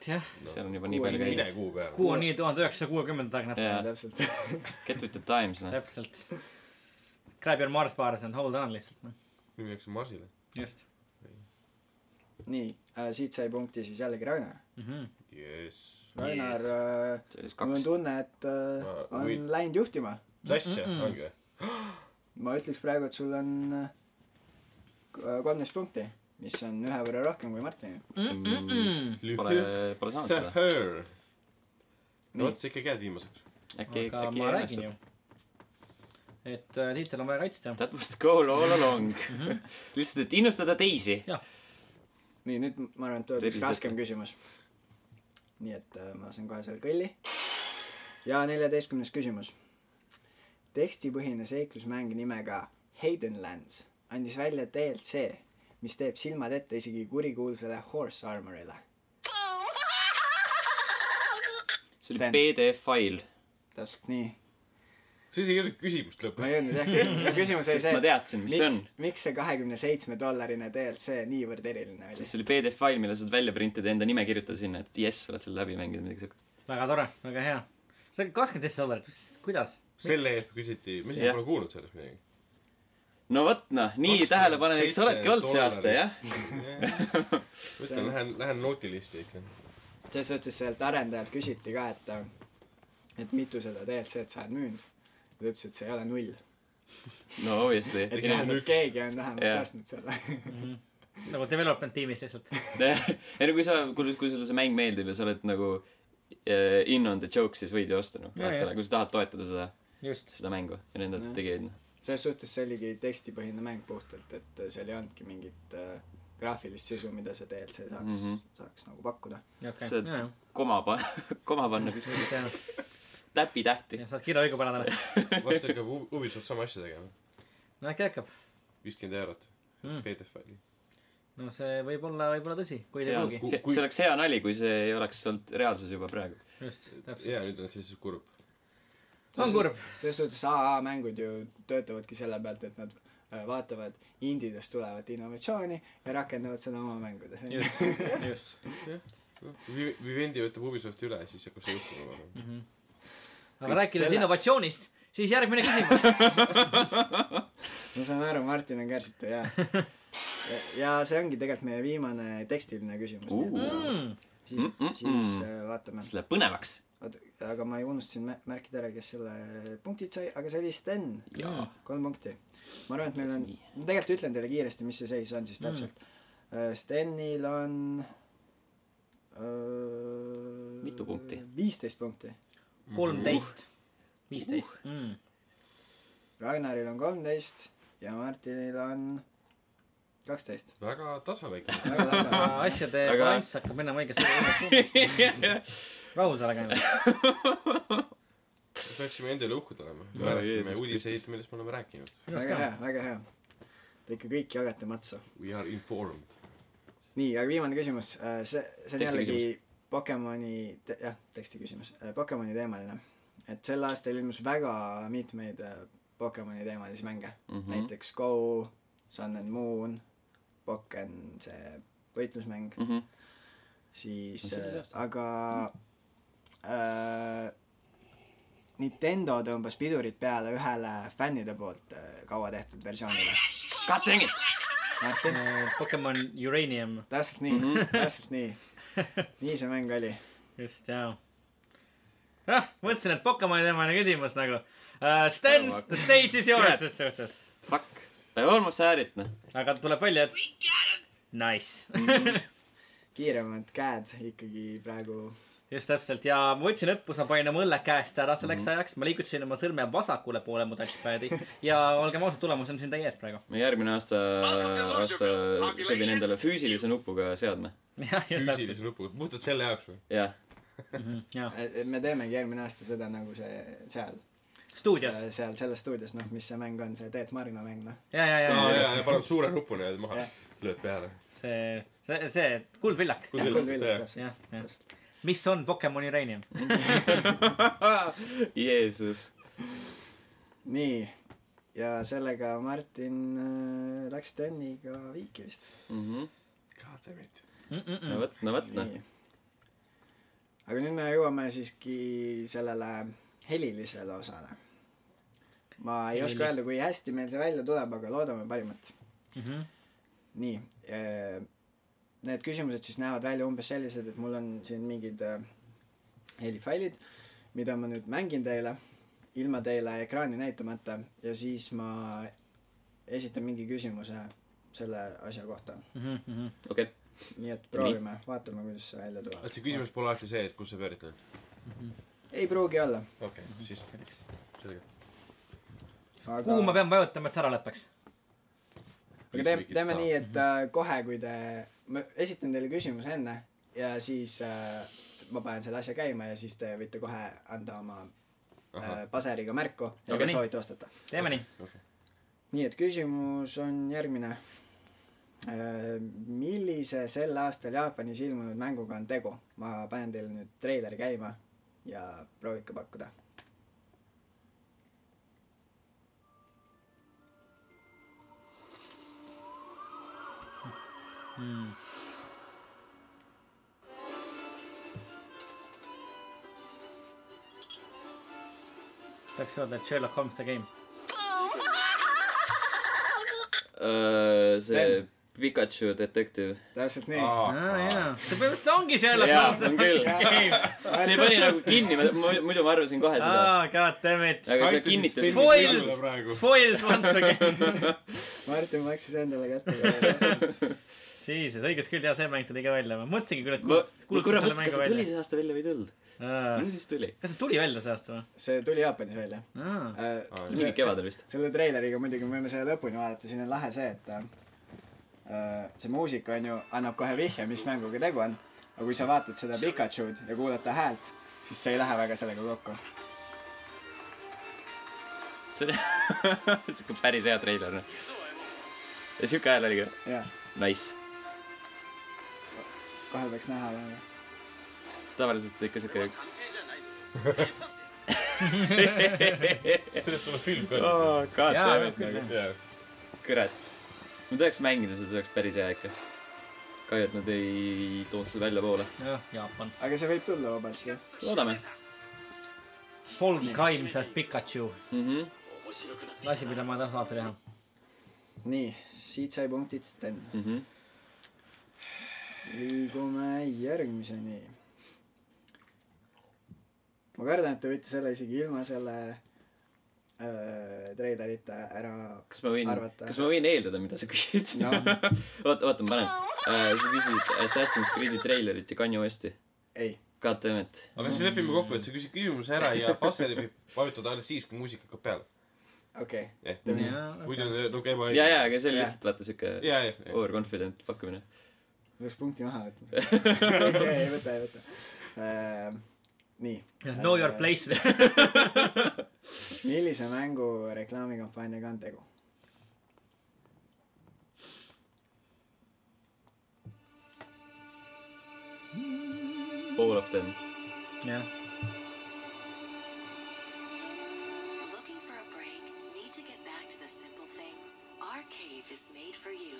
Speaker 2: jah ,
Speaker 1: seal on juba nii
Speaker 4: Kuu
Speaker 1: palju
Speaker 4: ei
Speaker 3: mine
Speaker 1: käidud .
Speaker 3: kuu peale .
Speaker 2: kuu on nii tuhande üheksasaja kuuekümnenda taga näpp ,
Speaker 1: jaa ,
Speaker 4: täpselt .
Speaker 1: get with the times , noh .
Speaker 2: täpselt . Grab your Mars bars and hold on lihtsalt , noh ,
Speaker 3: nüüd minnakse Marsile .
Speaker 2: just
Speaker 4: nii , siit sai punkti siis jällegi Ragnar .
Speaker 2: mm . -hmm.
Speaker 3: jess .
Speaker 4: Ragnar ,
Speaker 1: see oli siis
Speaker 4: mul on
Speaker 1: kaks .
Speaker 4: tunne , et äh,
Speaker 3: Ma-
Speaker 4: on
Speaker 3: või-
Speaker 4: läinud juhtima .
Speaker 3: mis asja , ongi või ?
Speaker 4: ma ütleks praegu , et sul on äh, kolmteist punkti , mis on ühe võrra rohkem kui Martinil .
Speaker 1: Pole , pole saanud seda .
Speaker 3: Sahör .
Speaker 4: Nii.
Speaker 3: no vot , sa ikkagi jääd viimaseks .
Speaker 1: äkki ,
Speaker 2: aga
Speaker 1: äkki
Speaker 2: ma
Speaker 1: ei
Speaker 2: räägin ju
Speaker 1: õnnestu .,
Speaker 2: et äh, tiitel on vaja kaitsta .
Speaker 1: That must go all along .
Speaker 2: Mhm.
Speaker 1: lihtsalt , et innustada teisi .
Speaker 4: nii , nüüd ma arvan , et tuleb üks
Speaker 1: Rebis
Speaker 4: raskem küsimus . nii et äh, ma lasen kohe selle kõlli . ja neljateistkümnes küsimus . tekstipõhine seiklusmäng nimega Hayden Lands andis välja DLC , mis teeb silmad ette isegi kurikuulsale Horse Armorile .
Speaker 1: see oli
Speaker 4: Sten.
Speaker 1: PDF fail .
Speaker 4: täpselt nii .
Speaker 3: sa isegi ei olnud küsimust
Speaker 4: ma
Speaker 3: lõpuni .
Speaker 4: ei öelnud jah , küsimus , küsimus oli
Speaker 1: Sest
Speaker 4: see .
Speaker 1: ma teadsin, mis see
Speaker 4: miks , miks see kahekümne seitsme dollarine DLC niivõrd eriline oli
Speaker 1: siis ? see oli PDF fail , mille saad välja printida ja enda nime kirjutada sinna , et jess , oled selle läbi mänginud , midagi siukest .
Speaker 2: väga tore , väga hea . see on kakskümmend seitse dollarit , kuidas ?
Speaker 3: selle eest küsiti , me isegi
Speaker 1: Jah.
Speaker 3: pole kuulnud sellest midagi .
Speaker 1: no vot noh , nii tähelepanelik sa oledki olnud see aasta , jah ?.
Speaker 3: ütlen , lähen , lähen notilisti ikka .
Speaker 4: selles suhtes sealt arendajalt küsiti ka , et äh, et mitu seda DLC-d sa oled müünud . ta ütles , et see ei ole null .
Speaker 1: no obviously .
Speaker 4: et vähemalt keegi on vähemalt
Speaker 1: Jaa.
Speaker 4: ostnud selle .
Speaker 2: nagu development tiimis lihtsalt .
Speaker 1: ei no kui sa , kui , kui sulle see mäng meeldib ja sa oled nagu eh, in on the joke , siis võid ju osta noh .
Speaker 2: Jaa, jah.
Speaker 1: kui sa tahad toetada seda ,
Speaker 2: just .
Speaker 1: seda mängu ja nende
Speaker 4: Jah.
Speaker 1: tegijaid noh .
Speaker 4: selles suhtes see oligi tekstipõhine mäng puhtalt , et äh, seal ei olnudki mingit äh, graafilist sisu , mida see DLC saaks mm ,
Speaker 1: Mhm.
Speaker 4: -hmm. saaks nagu pakkuda .
Speaker 2: okei ,
Speaker 1: See-
Speaker 2: jajah .
Speaker 1: koma pa- , koma panna kuskile , täpitähti .
Speaker 2: saad kirja õigu panna talle .
Speaker 3: varsti hakkab U- Ubisoft sama asja tegema .
Speaker 2: no äkki hakkab .
Speaker 3: viiskümmend eurot
Speaker 2: Mm.
Speaker 3: PDF-faili .
Speaker 2: no see võib olla , võib olla tõsi , kuid ei
Speaker 1: Jaa,
Speaker 2: pruugi .
Speaker 3: Kui- kui-
Speaker 1: see oleks hea nali , kui see ei oleks olnud reaalsus juba praegu .
Speaker 2: just , täpselt .
Speaker 3: ja nüüd on siis kurb .
Speaker 2: on kurb .
Speaker 4: selles suhtes AA mängud ju töötavadki selle pealt , et nad äh, vaatavad indidest tulevat innovatsiooni ja rakendavad seda oma mängudes .
Speaker 2: just , just .
Speaker 3: Vi- , Vivendi võtab Ubisofti üle , siis hakkab see juhtuma .
Speaker 2: aga rääkides
Speaker 4: selle-
Speaker 2: innovatsioonist , siis järgmine küsimus .
Speaker 4: ma saan aru , Martin on kärsitu ja ja see ongi tegelikult meie viimane tekstiline küsimus uh. , nii et
Speaker 2: Hmm.
Speaker 4: siis mm ,
Speaker 1: Mm-mm-mm.
Speaker 4: -mm. siis äh, vaatame .
Speaker 1: siis läheb põnevaks .
Speaker 4: oota , aga ma ei unustasin mä- märkida ära , kes selle punktid sai , aga see oli Sten .
Speaker 1: Jaa.
Speaker 4: kolm punkti . ma arvan , et meil on
Speaker 1: Nii. ,
Speaker 4: ma tegelikult ütlen teile kiiresti , mis see seis on siis täpselt mm. . Stenil on öö,
Speaker 1: Mitu punkti?
Speaker 4: viisteist punkti .
Speaker 2: kolmteist ,
Speaker 4: Uh.
Speaker 2: viisteist . Mm.
Speaker 4: Ragnaril on kolmteist ja Martinil on kaksteist .
Speaker 3: väga tasaväike .
Speaker 4: väga tasa .
Speaker 2: asjade
Speaker 1: Aga-
Speaker 2: balanss hakkab minema õigesse suunas . rahus ära käima .
Speaker 3: peaksime endale uhked olema . me
Speaker 1: Jaa,
Speaker 3: räägime
Speaker 1: Jeesus
Speaker 3: uudiseid , millest me oleme rääkinud .
Speaker 4: väga hea , väga hea . Te ikka kõik jagate matsu .
Speaker 3: We are informed .
Speaker 4: nii , aga viimane küsimus , see , see
Speaker 1: Teksti
Speaker 4: on jällegi Pokemoni , jah , teksti küsimus , Pokemoni teemaline . et sel aastal ilmus väga mitmeid äh, Pokemoni teemalisi mänge mm , -hmm.
Speaker 1: Mhm.
Speaker 4: näiteks Go , Sun and Moon , Pokken , see võitlusmäng mm ,
Speaker 1: mhmh .
Speaker 4: -hmm. siis
Speaker 1: see Mhm. oli see
Speaker 4: äh,
Speaker 1: aasta.
Speaker 4: aga äh, Nintendo tõmbas pidurid peale ühele fännide poolt äh, kaua tehtud versioonile .
Speaker 1: God dang it!
Speaker 4: Martin ,
Speaker 2: Äh, Pokemon Uranium ,
Speaker 4: täpselt nii mm ,
Speaker 1: Mhm.
Speaker 4: -hmm. täpselt nii . nii see mäng oli
Speaker 2: just jaa . jah , mõtlesin , et Pokemoni teemaline küsimus nagu uh, . Sten , the stage is yours
Speaker 1: Kurat.
Speaker 2: ses suhtes .
Speaker 1: Fuck . Almost had it , noh .
Speaker 2: aga tuleb välja , et
Speaker 5: We got him!
Speaker 2: nice .
Speaker 4: Mhm. kiiremad käed ikkagi praegu .
Speaker 2: just täpselt ja ma võtsin õppus , ma panin oma õlle käest ära
Speaker 4: Mhm.
Speaker 2: selleks ajaks , ma liigutasin oma sõrme vasakule poole mu touchpad'i ja olgem ausad , tulemus on siin teie ees praegu .
Speaker 1: me järgmine aasta , aasta sobin endale füüsilise nupuga seadme .
Speaker 2: jah , just täpselt ,
Speaker 3: füüsilise nupuga , puhtalt selle jaoks või ?
Speaker 1: jah ,
Speaker 2: jah .
Speaker 4: me teemegi järgmine aasta seda nagu see seal ,
Speaker 2: stuudios ,
Speaker 4: seal selles stuudios , noh , mis see mäng on , see Teet Marino mäng , noh .
Speaker 2: ja , ja ,
Speaker 3: aa
Speaker 2: ja ,
Speaker 3: jaa , ja paned suure nupu niimoodi maha
Speaker 4: Jah. ,
Speaker 3: lööd peale .
Speaker 2: see , see , see kuldvillak ,
Speaker 3: Kui küll, jah.
Speaker 2: jah , jah . mis on Pokemon Uranium ?
Speaker 1: Jeesus .
Speaker 4: nii , ja sellega Martin äh, läks Steniga viiki vist .
Speaker 3: God damn it .
Speaker 1: Mhm. no vot , no vot , noh .
Speaker 4: nii . aga nüüd me jõuame siiski sellele helilisele osale . ma ei
Speaker 2: Heli.
Speaker 4: oska öelda , kui hästi meil see välja tuleb , aga loodame parimat . nii , need küsimused siis näevad välja umbes sellised , et mul on siin mingid äh, helifailid , mida ma nüüd mängin teile , ilma teile ekraani näitamata ja siis ma esitan mingi küsimuse selle asja kohta .
Speaker 1: okei .
Speaker 4: nii et proovime , vaatame , kuidas see välja tuleb
Speaker 3: et . see küsimus pole alati see , et kus sa pööritud oled .
Speaker 4: ei pruugi olla .
Speaker 3: okei okay, , siis selge .
Speaker 2: kuhu ma pean vajutama , et see ära lõpeks ?
Speaker 4: aga teeme , teeme nii ,
Speaker 2: Mhm.
Speaker 4: et äh, kohe , kui te , ma esitan teile küsimuse enne ja siis äh, ma panen selle asja käima ja siis te võite kohe anda oma äh,
Speaker 3: Ahah.
Speaker 4: paseriga märku ,
Speaker 2: Aga
Speaker 4: et te
Speaker 2: nii.
Speaker 4: soovite vastata .
Speaker 2: teeme nii .
Speaker 4: nii et küsimus on järgmine . millise sel aastal Jaapanis ilmunud mänguga on tegu ? ma panen teile nüüd treileri käima ja proovike pakkuda .
Speaker 2: tahaks öelda , et Sherlock Holmes the game .
Speaker 1: Äh, see
Speaker 4: Sten.
Speaker 1: Pikachu detektiiv .
Speaker 4: täpselt nii .
Speaker 2: aa
Speaker 3: aa ,
Speaker 2: jaa , see põhimõtteliselt ongi Sherlock
Speaker 1: jaa ,
Speaker 2: Holmes the
Speaker 1: on küll .
Speaker 2: game .
Speaker 1: see pani nagu kinni , muidu ma arvasin kohe seda .
Speaker 2: aa , god damn it .
Speaker 1: aga sa
Speaker 3: Aitasid
Speaker 1: kinnitasid
Speaker 3: Steni
Speaker 2: Foiled.
Speaker 3: silmale praegu.
Speaker 2: Foiled once again .
Speaker 4: Martin maksis endale kätte .
Speaker 2: Jesus , õigus küll , jaa , see mäng tuli ka välja . ma mõtlesingi küll , et
Speaker 1: ma ,
Speaker 2: kuulutas ,
Speaker 1: ma
Speaker 2: kuulutas
Speaker 1: korra
Speaker 2: selle
Speaker 1: mõtlesin , kas
Speaker 2: mängu
Speaker 1: see tuli see aasta
Speaker 2: välja . Ah.
Speaker 1: välja või ei tulnud . no siis tuli .
Speaker 2: kas see tuli välja see aasta või ?
Speaker 4: see tuli Jaapanis välja . Äh,
Speaker 3: Aa,
Speaker 1: mingi kevadel vist .
Speaker 4: selle treileriga muidugi me võime selle lõpuni vaadata , siin on lahe see , et äh, see muusika on ju , annab kohe vihje , mis mänguga tegu on . aga kui sa vaatad seda Pikachu'd ja kuulad ta häält , siis see ei lähe väga sellega kokku .
Speaker 1: see oli siuke päris hea treiler , noh . ja siuke hääl oli ka .
Speaker 4: jah ,
Speaker 1: Nice .
Speaker 4: kohe peaks näha olema .
Speaker 1: tavaliselt ikka siuke
Speaker 3: sellest tuleb film ka .
Speaker 1: oh, . God
Speaker 2: Jaa,
Speaker 1: damn it ,
Speaker 2: küll,
Speaker 1: nagu
Speaker 3: jaa .
Speaker 1: kurat . ma tahaks mängida seda , see oleks päris hea ikka . kahju , et nad ei toonud seda väljapoole .
Speaker 2: jah , Jaapan .
Speaker 4: aga see võib tulla vabalt ju .
Speaker 1: loodame
Speaker 2: Sol Kaim sääst Pikachu .
Speaker 1: mm . -hmm.
Speaker 2: asi , mida ma tahan alati teha .
Speaker 4: nii , siit sai punktid Sten .
Speaker 1: Mm -hmm.
Speaker 4: liigume järgmiseni . ma kardan , et te võite selle isegi ilma selle äh, treilerita ära
Speaker 1: kas ma võin ,
Speaker 4: Arvata.
Speaker 1: kas ma võin eeldada , mida sa küsid
Speaker 4: No.
Speaker 1: oota , oota , ma panen uh, . sa küsisid Assassin's Creed'i treilerit ja Kanye Westi .
Speaker 4: ei ,
Speaker 1: God damn it .
Speaker 3: aga siis lepime kokku , et sa küsid küsimuse ära ja passi läbi vajutad alles siis , kui muusika hakkab peale .
Speaker 4: okei ,
Speaker 3: jah
Speaker 4: Teeme
Speaker 2: Jaa, okei.
Speaker 3: muidu ta no käima
Speaker 1: ja , ja , Oh, aga see oli
Speaker 4: Jah.
Speaker 1: lihtsalt vaata siuke
Speaker 3: ja , ja
Speaker 1: overconfident pakkumine .
Speaker 4: peaks punkti maha võtma . ei võta , ei võta . nii ,
Speaker 2: Know your place .
Speaker 4: millise mängu reklaamikampaaniaga on tegu ?
Speaker 1: All of them .
Speaker 2: jah ,
Speaker 5: Looking for a break? Need to get back to the simple things? Our cave is made for you.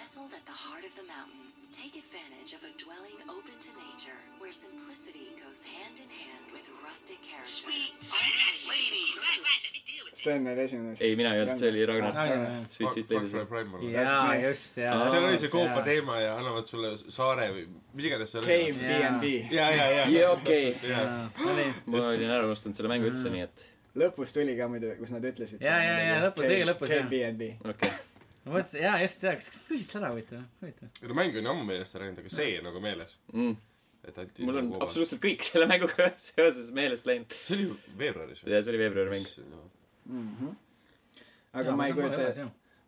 Speaker 5: Nestled at the heart of the mountains, take advantage of a dwelling open to nature where simplicity goes hand in hand with rustic character. Sweet, sweet ladies! Let me deal with
Speaker 4: Sten oli esimene vist .
Speaker 1: ei , mina ei olnud , see oli Ragnar .
Speaker 2: Ragnar.
Speaker 1: Sweet Sweet Ladies .
Speaker 3: Primal .
Speaker 2: jaa ,
Speaker 4: nii.
Speaker 2: just , jaa .
Speaker 1: Ah,
Speaker 3: seal oli see koopa . teema ja annavad sulle saare või mis iganes seal
Speaker 4: Cave
Speaker 2: Jaa.
Speaker 3: oli .
Speaker 4: BNB .
Speaker 3: ja , ja , ja .
Speaker 1: Jaa, okei.
Speaker 3: jaa ,
Speaker 2: oli
Speaker 1: ma olin ära unustanud selle mängu
Speaker 4: Mm.
Speaker 1: üldse , nii et
Speaker 4: lõpus tuli ka muidu , kus nad ütlesid .
Speaker 2: Jaa, jaa, jaa, lõpus, õige lõpus,
Speaker 4: jah .
Speaker 2: jah.
Speaker 4: BNB .
Speaker 1: okei okay. .
Speaker 2: ma mõtlesin , jaa , just , jaa , kas , kas püüdis ära huvitav , huvitav .
Speaker 3: mäng on ammu meelest ära läinud , aga see on nagu meeles .
Speaker 1: Mm.
Speaker 3: et anti .
Speaker 1: mul on . absoluutselt kõik selle mänguga seoses meelest läinud .
Speaker 3: see oli ju veebruaris
Speaker 1: ja see oli veebruari mäng .
Speaker 3: noh.
Speaker 4: Mhm. aga ma ei kujuta ,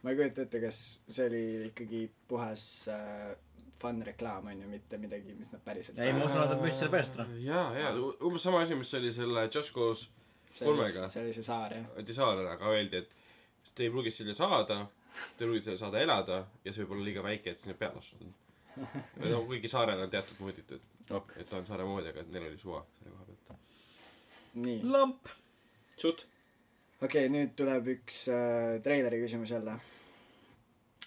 Speaker 4: ma ei kujuta ette , kas see oli ikkagi puhas äh, fun reklaam on ju , mitte midagi , mis nad päriselt .
Speaker 2: ei , ma usun , et nad püüdsid selle pärast ära .
Speaker 3: ja , ja umbes sama asi , mis oli selle Just Cause kolmega.
Speaker 4: see oli see saar jah .
Speaker 3: anti saar ära , aga öeldi , et te ei pruugi selle saada , te ei pruugi selle saada elada ja see võib olla liiga väike , et sinna peale astuda . no kuigi saarel on teatud mõõditud ,
Speaker 1: ok ,
Speaker 3: et ta on saare moodi , aga et neil oli suva selle koha pealt .
Speaker 4: nii , okei
Speaker 2: lamp .
Speaker 1: suht .
Speaker 4: okay, , nüüd tuleb üks äh, treileri küsimus jälle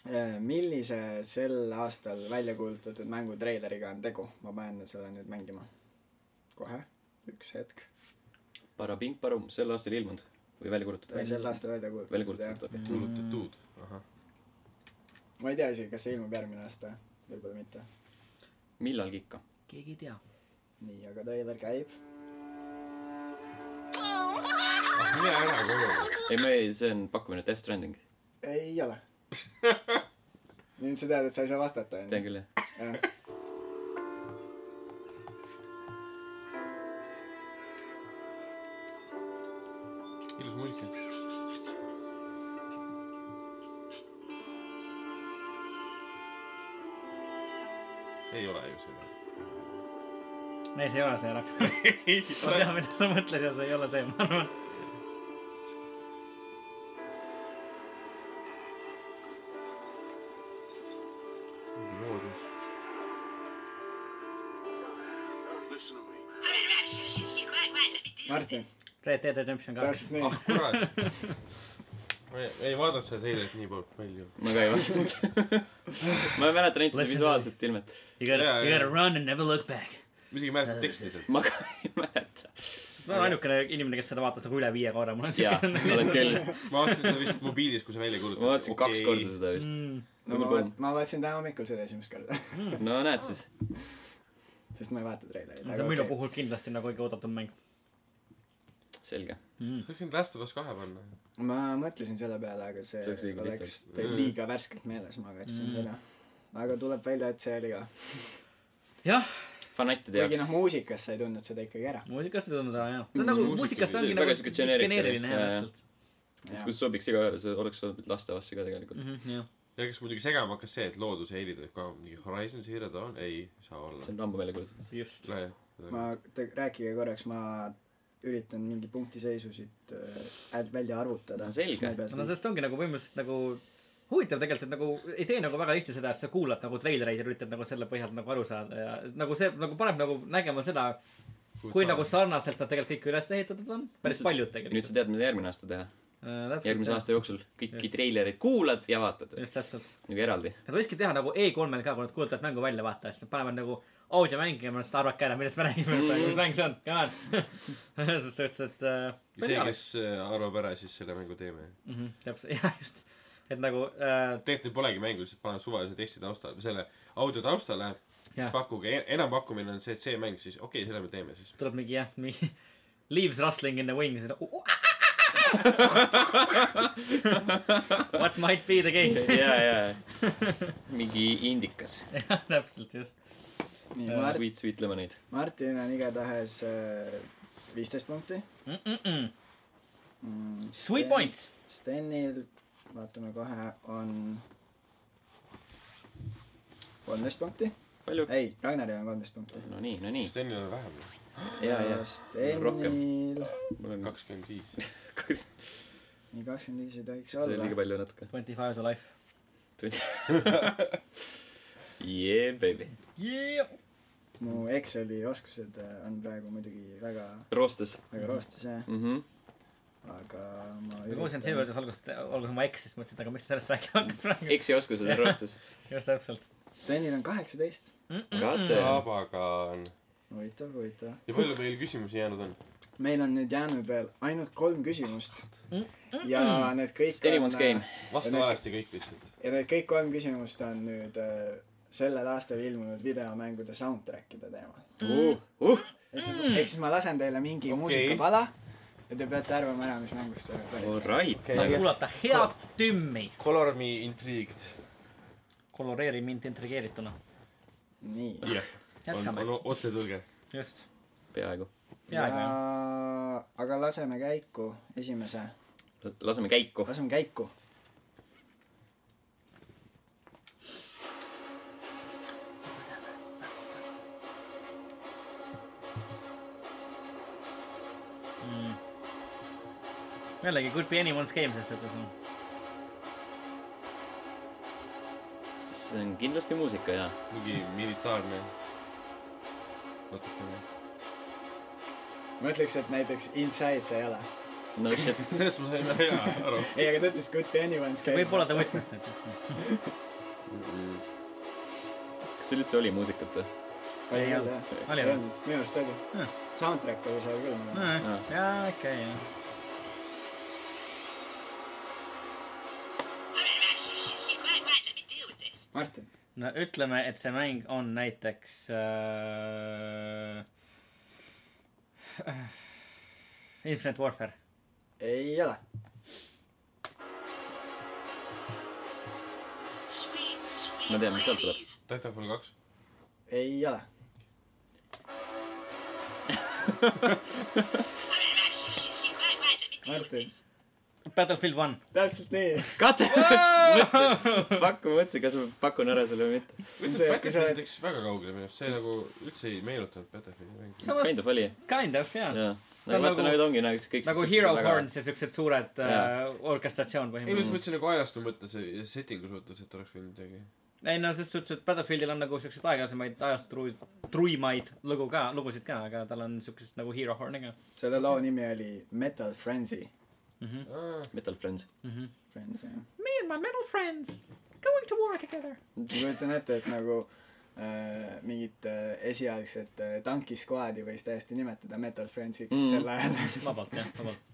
Speaker 4: äh, . millise sel aastal välja kuulutatud mängu treileriga on tegu ? ma panen selle nüüd mängima . kohe , üks hetk .
Speaker 1: Parapink Parum , sel aastal ilmunud või välja kuulutatud ?
Speaker 4: sel aastal välja
Speaker 1: välja
Speaker 4: kuulutatud jah .
Speaker 1: kuulutatud , okei .
Speaker 3: kuulutatud , ahah .
Speaker 4: ma ei tea isegi , kas see ilmub järgmine aasta , võib-olla mitte .
Speaker 1: millalgi ikka .
Speaker 2: keegi ei tea .
Speaker 4: nii , aga treiler käib .
Speaker 3: mine ära koju .
Speaker 1: ei , me ei , see on pakkumine Death Stranding .
Speaker 4: ei ole . nüüd sa tead , et sa ei saa vastata on
Speaker 1: tean
Speaker 4: ju .
Speaker 1: küll , jah .
Speaker 3: ilus muusika . ei ole ju see .
Speaker 2: ei , see ei ole see rakk . ma tean , mida sa mõtled ja see ei ole see , ma arvan .
Speaker 3: loodus .
Speaker 6: Listen to me.
Speaker 4: Martin ,
Speaker 2: Red Dead Redemption kaks .
Speaker 4: täpselt nii
Speaker 3: ah . kurat . ma ei, ei vaadanud seda teilet nii poolt palju .
Speaker 1: ma ka ei vastanud . ma mäletan ainult seda
Speaker 2: Listen.
Speaker 1: visuaalset ilmet .
Speaker 2: You gotta
Speaker 3: Jaa, ,
Speaker 2: you gotta
Speaker 3: jaa.
Speaker 2: run and never look back .
Speaker 3: ma isegi ei mäleta teksti seal .
Speaker 1: ma ka ei mäleta .
Speaker 2: ma olen ainukene inimene , kes seda vaatas nagu üle viie korra , mul on
Speaker 1: jaa ,
Speaker 2: siuke .
Speaker 1: oled küll .
Speaker 3: ma vaatasin seda vist mobiilis , kui see välja kuulutati .
Speaker 1: ma vaatasin kaks korda seda vist .
Speaker 2: Mm,
Speaker 4: no ma
Speaker 1: Võib-olla
Speaker 4: vaat- , ma vaatasin täna hommikul seda esimest korda ,
Speaker 1: no näed siis .
Speaker 4: sest ma ei vaata treilerit .
Speaker 2: see on minu . puhul kindlasti on nagu kõige oodatum mäng . Mm.
Speaker 1: selge .
Speaker 3: saaks nüüd Last of Us kahe panna .
Speaker 4: ma mõtlesin selle peale , aga see,
Speaker 1: See oleks liiga Mm.
Speaker 4: see oleks teil liiga värskelt meeles , ma kartsin mm. seda . aga tuleb välja , et see oli ka .
Speaker 2: jah ,
Speaker 1: fanattide
Speaker 4: kuigi
Speaker 1: jaoks
Speaker 4: noh ,. muusikast sa ei tundnud seda ikkagi ära .
Speaker 2: muusikast ei tundnud ära jah . see on nagu ,
Speaker 1: muusika-
Speaker 2: muusikast ongi
Speaker 1: see-
Speaker 2: nagu
Speaker 1: väga siuke generic-
Speaker 2: geneeriline jah ,
Speaker 1: jaa, jaa.
Speaker 2: täpselt .
Speaker 1: kus sobiks iga , see oleks olnud lasteavasse ka tegelikult .
Speaker 2: Mhm, jah ,
Speaker 3: ja kes muidugi segama hakkas see , et looduse helid olid ka mingi Horizon Zero Dawn , ei saa olla
Speaker 1: see . on ammu välja kuulutatud .
Speaker 2: just .
Speaker 4: ma , te rääkige korraks , ma üritan mingi punktiseisusid äh, välja arvutada .
Speaker 1: No selge.
Speaker 2: no sellest ongi nagu põhimõtteliselt nagu huvitav tegelikult , et nagu ei tee nagu väga tihti seda , et sa kuulad nagu treilereid ja üritad nagu selle põhjalt nagu aru saada ja nagu see nagu paneb nagu nägema seda , kui nagu sarnaselt nad tegelikult kõik üles ehitatud on . päris paljud
Speaker 1: nüüd sa
Speaker 2: tegelikult . Äh,
Speaker 1: tead , mida järgmine aasta teha . järgmise aasta jooksul kõiki
Speaker 2: Just.
Speaker 1: treilereid kuulad ja vaatad
Speaker 2: just täpselt .
Speaker 1: nagu eraldi .
Speaker 2: Nad võikski teha nagu E3-l ka , kui nad kuulutavad mängu välja , vaata , siis nad panevad nagu audio mängima , siis arvake ära , millest me räägime
Speaker 1: Mm.
Speaker 2: praegu , mis mäng see on , come on . selles suhtes , et äh,
Speaker 3: see , kes äh, arvab ära , siis selle mängu teeme .
Speaker 2: Mhm, täpselt , jah , just . et nagu äh, ,
Speaker 3: tegelikult ei polegi mängu , lihtsalt paned suvalise teksti taustale , selle audio taustale .
Speaker 2: jah ,
Speaker 3: pakkuge , enampakkumine on see , et see mäng siis , okei okay, , selle me teeme siis .
Speaker 2: tuleb mingi jah , mingi leaves rustling in the nagu wings . What might be the game ?
Speaker 1: ja , ja mingi indikas .
Speaker 2: täpselt , just .
Speaker 4: nii , Mart,
Speaker 1: Sweet , sweet lemonade .
Speaker 4: äh, Martin on igatahes viisteist punkti .
Speaker 2: Sweet points .
Speaker 4: Mm, Stenil , vaatame kohe , on kolmteist punkti .
Speaker 1: palju ?
Speaker 4: ei , Ragnaril on kolmteist punkti .
Speaker 1: no nii , no nii .
Speaker 3: Stenil on vähem ,
Speaker 1: ja , ja .
Speaker 4: Stenil ,
Speaker 1: mul on
Speaker 3: kakskümmend viis .
Speaker 1: kaks ,
Speaker 4: nii kakskümmend viis ei tohiks
Speaker 1: see oli liiga
Speaker 4: olla .
Speaker 1: palju natuke .
Speaker 2: Twenty five to life .
Speaker 1: Yeah baby .
Speaker 2: Yeah.
Speaker 4: mu Exceli oskused äh, on praegu muidugi väga ,
Speaker 1: roostes
Speaker 4: väga roostes jah ,
Speaker 1: mm . -hmm.
Speaker 4: aga ma
Speaker 2: ma kuulsin Silver ütles alguses , alguses ma eksisin , mõtlesin , et aga miks ta sellest rääkima hakkas praegu .
Speaker 1: eksioskused on roostes .
Speaker 2: just täpselt .
Speaker 4: Stenil on kaheksateist .
Speaker 1: Goddamn .
Speaker 3: Sabagan .
Speaker 4: huvitav , huvitav .
Speaker 3: ja palju meil küsimusi jäänud on ?
Speaker 4: meil on nüüd jäänud veel ainult kolm küsimust .
Speaker 2: Mm,
Speaker 4: ja need kõik äh,
Speaker 1: Anyone's game.
Speaker 3: vasta valesti kõik lihtsalt .
Speaker 4: ja need kõik kolm küsimust on nüüd äh, sellel aastal ilmunud videomängude soundtrack'ide teemal .
Speaker 1: Uh, uh.
Speaker 4: ehk siis ,
Speaker 2: Mm.
Speaker 4: ehk siis ma lasen teile mingi okay. muusikapala ja te peate arvama ära , mis mängust see
Speaker 1: All
Speaker 4: tuleb .
Speaker 1: right Nagu
Speaker 3: Okei.
Speaker 1: okay. .
Speaker 2: kuulata head tümmi .
Speaker 3: Color me intrigued .
Speaker 2: koloreeri mind intrigeerituna .
Speaker 4: nii .
Speaker 3: jah , on ,
Speaker 2: jätkame
Speaker 3: on . otsetõlge .
Speaker 2: just .
Speaker 1: peaaegu .
Speaker 4: ja
Speaker 2: peaaegu jah .,
Speaker 4: aga laseme käiku esimese ,
Speaker 1: laseme käiku .
Speaker 4: laseme käiku .
Speaker 2: jällegi could be anyone's game selles suhtes .
Speaker 1: see on kindlasti muusika ja
Speaker 3: mingi militaarne . natukene .
Speaker 4: ma ütleks , et näiteks Inside see ei ole .
Speaker 1: no shit .
Speaker 3: sellest ma sain hea aru .
Speaker 4: ei , aga ta ütles Good to anyone's game .
Speaker 2: võib-olla ta võttis näiteks .
Speaker 1: kas seal üldse oli muusikat või ?
Speaker 4: oli
Speaker 2: Ei
Speaker 4: küll
Speaker 2: olnud.
Speaker 4: jah .
Speaker 2: Oli või? Hm.
Speaker 4: minu arust oli
Speaker 2: Hmm. .
Speaker 4: Soundtrack oli seal küll nagu. minu arust .
Speaker 2: jaa , ikka jah .
Speaker 4: Martin ,
Speaker 2: no ütleme , et see mäng on näiteks äh, . Infinite Warfare .
Speaker 4: ei ole .
Speaker 1: ma tean , mis sealt tuleb .
Speaker 3: Titanfall kaks .
Speaker 4: ei ole . Martin ,
Speaker 2: Battlefield One .
Speaker 4: täpselt nii .
Speaker 1: Goddamn . Fuck , ma mõtlesin , kas ma pakun ära selle või mitte .
Speaker 4: See- see-
Speaker 3: Battlefield läks väga kaugele minu arust , see nagu üldse ei meenutanud Battlefieldi mängu .
Speaker 1: Kind
Speaker 2: samas ,
Speaker 1: of oli .
Speaker 2: kind of jaa .
Speaker 1: jaa .
Speaker 2: Ah. Ta on
Speaker 1: no vaata ,
Speaker 2: nagu-
Speaker 1: need ongi nagu kõik .
Speaker 2: nagu Hero . Horns ja siuksed suured äh,
Speaker 1: Jaa.
Speaker 2: orkestratsioon
Speaker 3: ei , ma just
Speaker 2: põhimõtteliselt .
Speaker 3: mõtlesin nagu ajastu mõttes ja setting'u suhtes , et oleks võinud midagi .
Speaker 2: ei no selles suhtes , et Battlefieldil on nagu siukseid aeglasemaid ajast trui- , truimaid lugu ka , lugusid ka , aga tal on siukest nagu Hero Horni ka .
Speaker 4: selle loo nimi oli Metal Frenzy .
Speaker 1: Metal Friends .
Speaker 4: Friends jah .
Speaker 2: Me and my metal friends going to war together .
Speaker 4: ma kujutan ette , et nagu äh, mingit äh, esialgset äh, tankiskuaadi võis täiesti nimetada Metal Friendsiks
Speaker 2: Hm.
Speaker 4: mm.
Speaker 1: Mhm.
Speaker 4: sel ajal .
Speaker 2: vabalt jah , vabalt .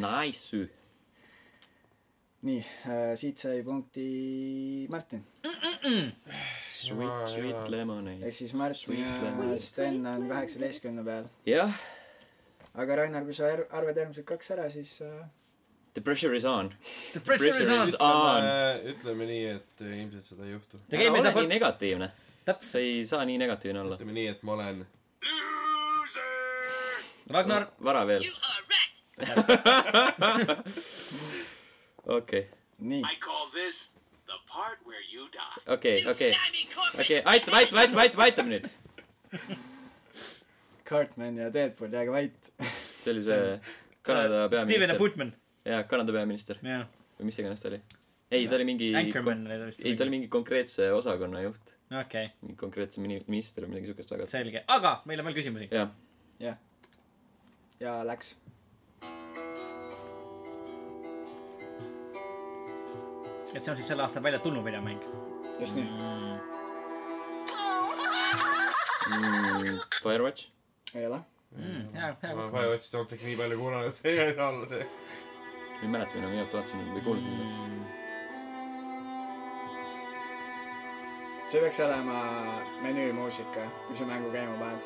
Speaker 1: Nice .
Speaker 4: nii äh, , siit sai punkti Martin .
Speaker 1: Sweet , sweet lemonade .
Speaker 4: ehk siis Martin
Speaker 1: Sweet
Speaker 4: ja
Speaker 1: lemon.
Speaker 4: Sten on kaheksateistkümne peal .
Speaker 1: jah ,
Speaker 4: aga Ragnar , kui sa ar- arvad järgmised kaks ära , siis äh,
Speaker 1: the pressure is on .
Speaker 2: The pressure is on .
Speaker 3: ütleme , ütleme nii , et äh, ilmselt seda ei juhtu .
Speaker 2: The game
Speaker 1: ära ole
Speaker 2: is a
Speaker 1: nii
Speaker 2: fun .
Speaker 1: negatiivne . sa
Speaker 2: täpselt .
Speaker 1: ei saa nii negatiivne olla .
Speaker 3: ütleme nii , et ma olen
Speaker 2: Ragnar ,
Speaker 1: vara veel . okei ,
Speaker 4: nii .
Speaker 6: I call this the part where you die.
Speaker 1: okei , okei , okei , aitame , aitame , aitame , aitame , aitame nüüd .
Speaker 4: Cartman ja Deadpool , jääge vait .
Speaker 1: see oli see Kanada
Speaker 2: Äh, Steven
Speaker 1: peaminister .
Speaker 2: Putman ,
Speaker 1: jaa , Kanada peaminister
Speaker 2: jah .
Speaker 1: või mis iganes ta oli . ei , ta oli mingi .
Speaker 2: Anchorman oli ta vist .
Speaker 1: ei , ta oli . mingi konkreetse osakonna juht ,
Speaker 2: okei ,
Speaker 1: mingi konkreetse mini- , minister või midagi siukest väga .
Speaker 2: selge , aga meil on veel küsimusi .
Speaker 1: jah ,
Speaker 4: jah . ja läks .
Speaker 2: et see on siis sel aastal välja tulnud videomäng .
Speaker 4: just nii .
Speaker 1: mm, Firewatch .
Speaker 4: ei ole .
Speaker 2: jaa ,
Speaker 3: ma
Speaker 2: jaa .
Speaker 3: vaja otsin Tomteki nii palju kuulanud , see ei saa olla see .
Speaker 1: ma ei mäleta , millal ma viimati vaatasin või kuulsin seda .
Speaker 4: see peaks olema menüümuusika , kui sa mängu käima paned .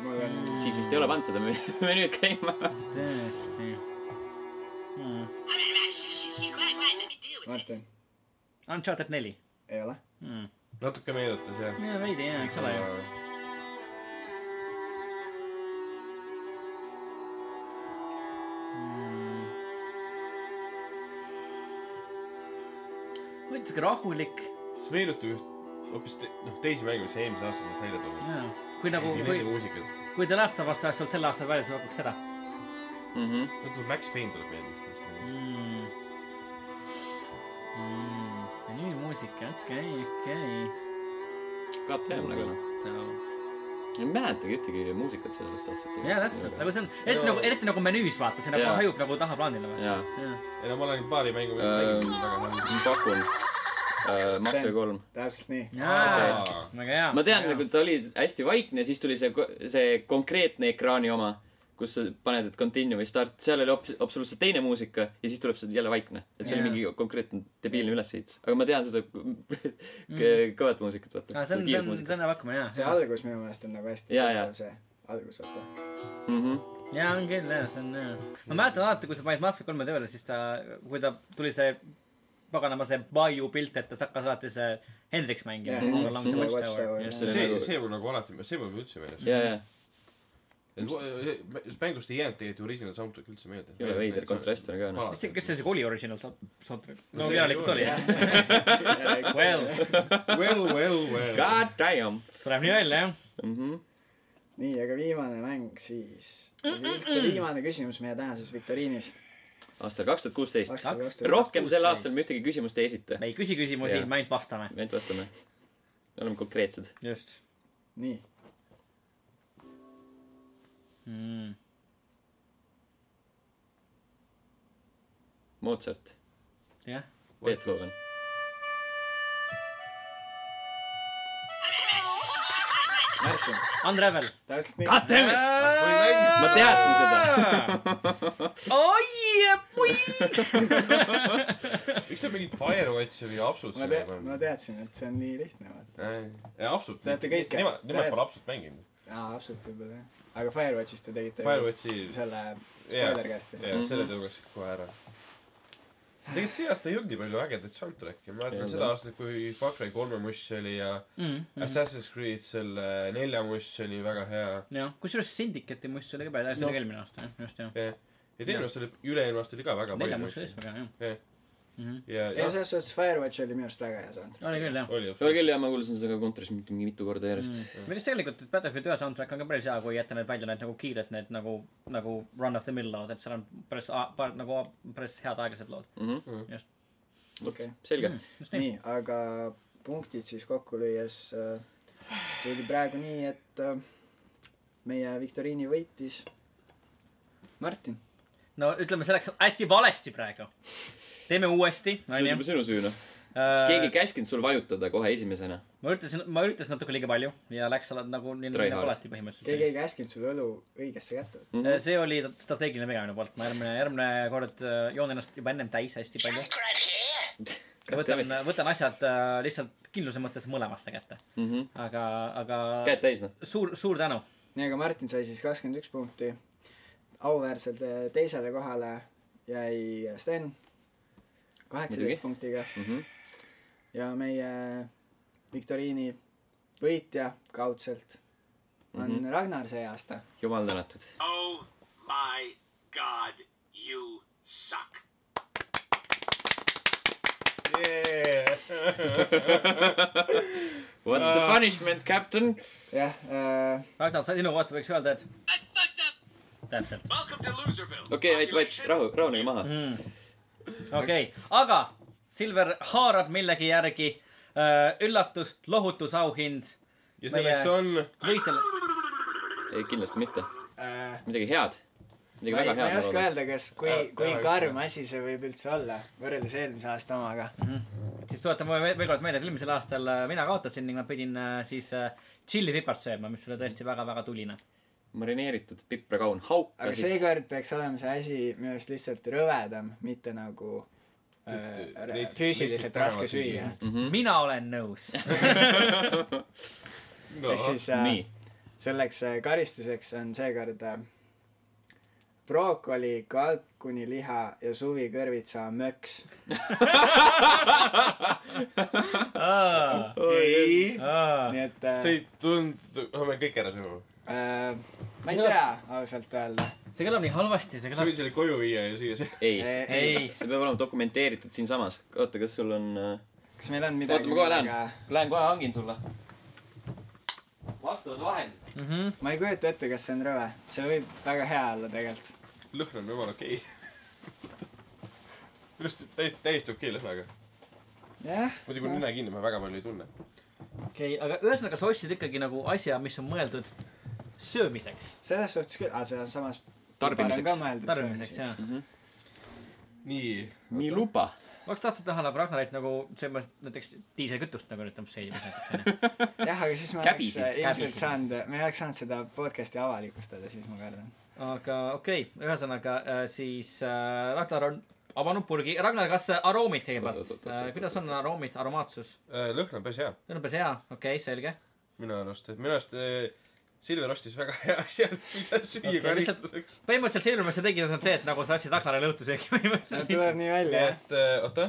Speaker 4: mul on mm.
Speaker 1: siis vist ei ole pannud seda menü- menüüd käima .
Speaker 4: Martin ,
Speaker 2: Uncharted neli .
Speaker 4: ei ole .
Speaker 3: natuke meenutas jah .
Speaker 2: jaa , veidi jaa , eks ole ju . muidugi rahulik .
Speaker 3: see meenutab üht hoopis te, noh teisi mänge , mis eelmisel aastal olid välja tulnud .
Speaker 2: kui nagu ,
Speaker 3: nii
Speaker 2: kui
Speaker 3: nende , muusikat .
Speaker 2: kui The Last of Us oleks olnud sel aastal väljas , ma pakuks seda
Speaker 1: mm . -hmm.
Speaker 3: mõtle , Max Payne tuleb meelde .
Speaker 2: mm. . Mm. ja nii muusika , okei okay, , okei
Speaker 1: God damn nagu noh .
Speaker 2: okay. no. .
Speaker 1: ma ei mäletagi ühtegi muusikat sellest aastast .
Speaker 2: jaa , täpselt , nagu see on , eriti
Speaker 3: Jaa.
Speaker 2: nagu , eriti nagu menüüs vaata , see nagu
Speaker 1: Jaa.
Speaker 2: hajub nagu tahaplaanile või .
Speaker 1: jaa ,
Speaker 3: ei no ma olen paari mängu veel
Speaker 1: Ähm.
Speaker 3: mänginud väga
Speaker 1: ma pakun uh, Mafia
Speaker 4: Sten.
Speaker 1: kolm .
Speaker 4: täpselt nii .
Speaker 2: jaa ,
Speaker 3: Aa.
Speaker 2: väga hea .
Speaker 1: ma tean , nagu ta oli hästi vaikne , siis tuli see , see konkreetne ekraani oma , kus sa paned , et continue või start , seal oli hoopis , absoluutselt teine muusika ja siis tuleb see jälle vaikne . et see oli
Speaker 2: Jaa.
Speaker 1: mingi konkreetne debiilne ülesehitus . aga ma tehan seda kõ- kõvat muusikat , vaata .
Speaker 2: Mhm. see on , see on , see on pakkumine jaa .
Speaker 4: see algus minu meelest on nagu hästi
Speaker 1: Jaa, jaa.
Speaker 4: tuttav see algus , vaata .
Speaker 1: on .
Speaker 2: jaa , on küll jah , see on jah . ma mäletan alati , kui sa panid Mafia kolme tööle , siis ta , kui ta tuli see paganama see Bayou pilt , et ta hakkas alati see Hendrix mängima
Speaker 4: Jah,
Speaker 2: yeah, .
Speaker 1: see
Speaker 2: Mm
Speaker 4: Watchtower.
Speaker 2: -hmm.
Speaker 1: See
Speaker 3: hea .
Speaker 1: oli
Speaker 3: see
Speaker 1: nagu- ,
Speaker 3: see mul nagu alati , see mul üldse meeles . eh,
Speaker 1: ja , ja ,
Speaker 3: et mängust ei jäänud tegelikult original soundtrack üldse meelde .
Speaker 1: jõle veider kontrast on ka noh .
Speaker 2: kas see , kas see isegi oli original sound- soundtrack ?
Speaker 3: No
Speaker 2: no
Speaker 3: see
Speaker 2: järelikult oli
Speaker 3: oli,
Speaker 2: jah . Well ,
Speaker 3: Well , well , well .
Speaker 1: God damn
Speaker 2: tuleb nii välja jah .
Speaker 1: mm . -hmm.
Speaker 4: nii , aga viimane mäng siis . üldse viimane küsimus meie tänases viktoriinis .
Speaker 1: aastal kaks tuhat kuusteist .
Speaker 4: Aastal
Speaker 2: Kaks.
Speaker 4: 2016.
Speaker 1: rohkem sel aastal me ühtegi küsimust ei esita .
Speaker 2: me ei küsi küsimusi
Speaker 1: Jaa. ,
Speaker 2: me ainult vastame .
Speaker 1: me ainult vastame . me oleme konkreetsed .
Speaker 2: just
Speaker 4: nii ,
Speaker 2: mm. .
Speaker 1: Mozart ,
Speaker 2: jah .
Speaker 1: Beethoven .
Speaker 4: Martin ,
Speaker 2: Unravel .
Speaker 4: täpselt nii .
Speaker 1: God damn it ! ma teadsin seda .
Speaker 2: oi , pui .
Speaker 3: miks sa mingid Firewatchi või Apsut
Speaker 4: ma tea- , ma teadsin , et see on nii lihtne , vaata .
Speaker 3: tean . Apsut .
Speaker 4: Teate kõike.
Speaker 3: eh, Nemad , nemad
Speaker 4: Tead-
Speaker 3: pole Apsut mänginud .
Speaker 4: aa , absoluutselt võib-olla jah . aga Firewatchis te tegite
Speaker 3: Firewatchi ,
Speaker 4: selle
Speaker 3: jaa ,
Speaker 4: spoiler käest .
Speaker 3: jaa , selle tõugasid kohe ära . tegelikult see aasta ei olnud nii palju ägedaid soundtrack'e , ma mäletan seda aastat , kui Far Cry kolme muss oli ja
Speaker 2: Mm, Mhm.
Speaker 3: Assassin's Creed selle nelja muss oli väga hea .
Speaker 2: jah , kusjuures Syndicate'i must oli ka päris hästi , see oli ka eelmine aasta jah , just jah .
Speaker 3: ja teine aasta oli , üle-eelmine aasta oli ka väga
Speaker 2: nelja
Speaker 3: palju
Speaker 2: must
Speaker 3: musse
Speaker 2: oli . siis väga hea .
Speaker 3: ja ,
Speaker 4: ei ,
Speaker 2: Mhm.
Speaker 3: ja
Speaker 4: selles suhtes Firewatch oli minu arust väga hea soundtrack .
Speaker 2: oli küll jah .
Speaker 3: oli
Speaker 1: oli . küll ja ma kuulsin seda ka kontoris mingi mitu korda järjest mm. .
Speaker 2: millest tegelikult , et Battlefield ühe soundtrack on ka päris hea , kui jätta need välja , need nagu kiired , need nagu , nagu run of the mill lood , et seal on päris , paar nagu päris head aeglased lood .
Speaker 1: Mm -hmm.
Speaker 2: just ,
Speaker 4: okei .
Speaker 1: selge mm. .
Speaker 2: just nii .
Speaker 4: nii , aga punktid siis kokku lüües äh, tuli praegu nii , et äh, meie viktoriini võitis Martin .
Speaker 2: no ütleme , see läks hästi valesti praegu . teeme uuesti ,
Speaker 1: see on
Speaker 2: onju
Speaker 1: juba . sinu süü noh .
Speaker 4: Äh,
Speaker 1: keegi ei käskinud sul vajutada kohe esimesena .
Speaker 2: ma üritasin , ma üritasin natuke liiga palju ja läks ala- nagu nii
Speaker 1: Try
Speaker 2: nagu
Speaker 1: hard.
Speaker 2: alati põhimõtteliselt
Speaker 4: keegi . ei käskinud sul õlu õigesse kätte võtta .
Speaker 2: Mm. see oli strateegiline viga minu poolt , ma järgmine , järgmine kord äh, joon ennast juba ennem täis hästi palju . ja võtan , võtan asjad äh, lihtsalt kindluse mõttes mõlemasse kätte . aga , aga
Speaker 1: Mhm. käed täis noh .
Speaker 2: suur , suur tänu .
Speaker 4: nii , aga Martin sai siis kakskümmend üks punkti . auväärselt äh, teisele kohale jäi Sten
Speaker 1: Muidugi.
Speaker 4: kaheksateist punktiga
Speaker 1: Mhm.
Speaker 4: ja meie viktoriini võitja kaudselt on
Speaker 1: Mhm.
Speaker 4: mm -hmm. Ragnar see aasta .
Speaker 1: jumal tänatud .
Speaker 6: Oh my god, you suck.
Speaker 1: What's the punishment , captain ?
Speaker 4: jah äh, ,
Speaker 2: Ragnar , sinu kohta võiks öelda , et
Speaker 6: I fucked up.
Speaker 2: täpselt .
Speaker 6: Welcome to Loserville.
Speaker 1: okei , vait , vait ,
Speaker 6: Population-
Speaker 1: rahu , rahunege maha mm. .
Speaker 2: okei okay. , aga Silver haarab millegi järgi äh, üllatus , lohutusauhind
Speaker 3: ja selleks on
Speaker 2: võitjale .
Speaker 1: ei , kindlasti mitte .
Speaker 4: äh,
Speaker 1: midagi head . midagi
Speaker 4: ma ei ,
Speaker 1: väga
Speaker 4: ma ei
Speaker 1: head .
Speaker 4: oska öelda , kas , kui
Speaker 3: Ära- ,
Speaker 4: kui
Speaker 3: ära
Speaker 4: karm
Speaker 3: ütle.
Speaker 4: asi see võib üldse olla võrreldes eelmise aasta omaga .
Speaker 2: siis tuletame veel veel kord meelde , et eelmisel aastal äh, mina kaotasin ning ma pidin äh, siis äh, tšillipipart sööma , mis oli tõesti väga-väga tuline .
Speaker 1: marineeritud piprakaun ,
Speaker 4: aga
Speaker 1: haukasid .
Speaker 4: seekord peaks olema see asi minu arust lihtsalt rõvedam , mitte nagu äh,
Speaker 3: Tüüt-
Speaker 4: rä-
Speaker 3: leidsid- leidsid
Speaker 4: füüsiliselt raske
Speaker 3: tänavad
Speaker 4: süüa .
Speaker 2: mina olen nõus .
Speaker 3: no,
Speaker 4: ehk siis äh,
Speaker 1: nii ,
Speaker 4: selleks äh, karistuseks on seekord äh, brookoli , kalkuniliha ja suvikõrvitsa möks .
Speaker 3: ei ,
Speaker 4: nii et äh,
Speaker 3: see ei tundu , no me kõik ära sööme .
Speaker 4: äh, ma ei tea ausalt öelda .
Speaker 2: see kõlab nii halvasti , see
Speaker 3: sa
Speaker 2: kõlab
Speaker 3: võid . selle koju viia ja süüa see .
Speaker 1: ei ,
Speaker 4: ei ,
Speaker 2: ei ,
Speaker 1: see peab olema dokumenteeritud siinsamas . oota , kas sul on äh,
Speaker 4: kas meil on midagi
Speaker 1: oota , ma kohe lähen , lähen kohe hangin sulle . vastavad vahendid .
Speaker 4: ma ei kujuta ette , kas see on rõve , see võib väga hea olla tegelikult .
Speaker 3: lõhn on jumala okei okay. . just täiesti , täiesti okei okay lõhnaga .
Speaker 4: jah ,
Speaker 3: muidugi kui nina kinni ma väga palju ei tunne .
Speaker 2: okei okay, , aga ühesõnaga sa ostsid ikkagi nagu asja , mis on mõeldud söömiseks ,
Speaker 4: selles suhtes küll , aga see on samas .
Speaker 1: Tarbimiseks.
Speaker 2: tarbimiseks jah .
Speaker 3: nii .
Speaker 1: nii luba .
Speaker 2: ma oleks tahtnud näha Ragnarit nagu söömas näiteks diiselkütust nagu ütleme seilmas näiteks onju .
Speaker 4: jah , aga siis me oleks
Speaker 1: Käbisid,
Speaker 4: äh, ilmselt
Speaker 2: käbisid.
Speaker 4: saanud , me ei oleks saanud seda podcast'i avalikustada , siis ma kardan .
Speaker 2: aga okei okay, , ühesõnaga äh, siis äh, Ragnar on avanud purgi , Ragnar , kas äh, aroomid
Speaker 1: Oot, oot,
Speaker 2: kõigepealt Äh,
Speaker 1: oot, oot, ,
Speaker 2: kuidas on aroomid , aromaatsus ?
Speaker 3: Äh, lõhn on päris hea
Speaker 2: see on päris hea , okei okay, , selge .
Speaker 3: minu arust , et minu arust äh, Silver ostis väga hea asja , mida süüa
Speaker 2: Okei,
Speaker 3: okay, karistuseks .
Speaker 2: põhimõtteliselt see , mis sa tegid , on see , et nagu sa ostsid Ragnarile õhtu söögi
Speaker 4: see
Speaker 2: põhimõtteliselt .
Speaker 4: tuleb nii välja , jah .
Speaker 3: et äh, oota .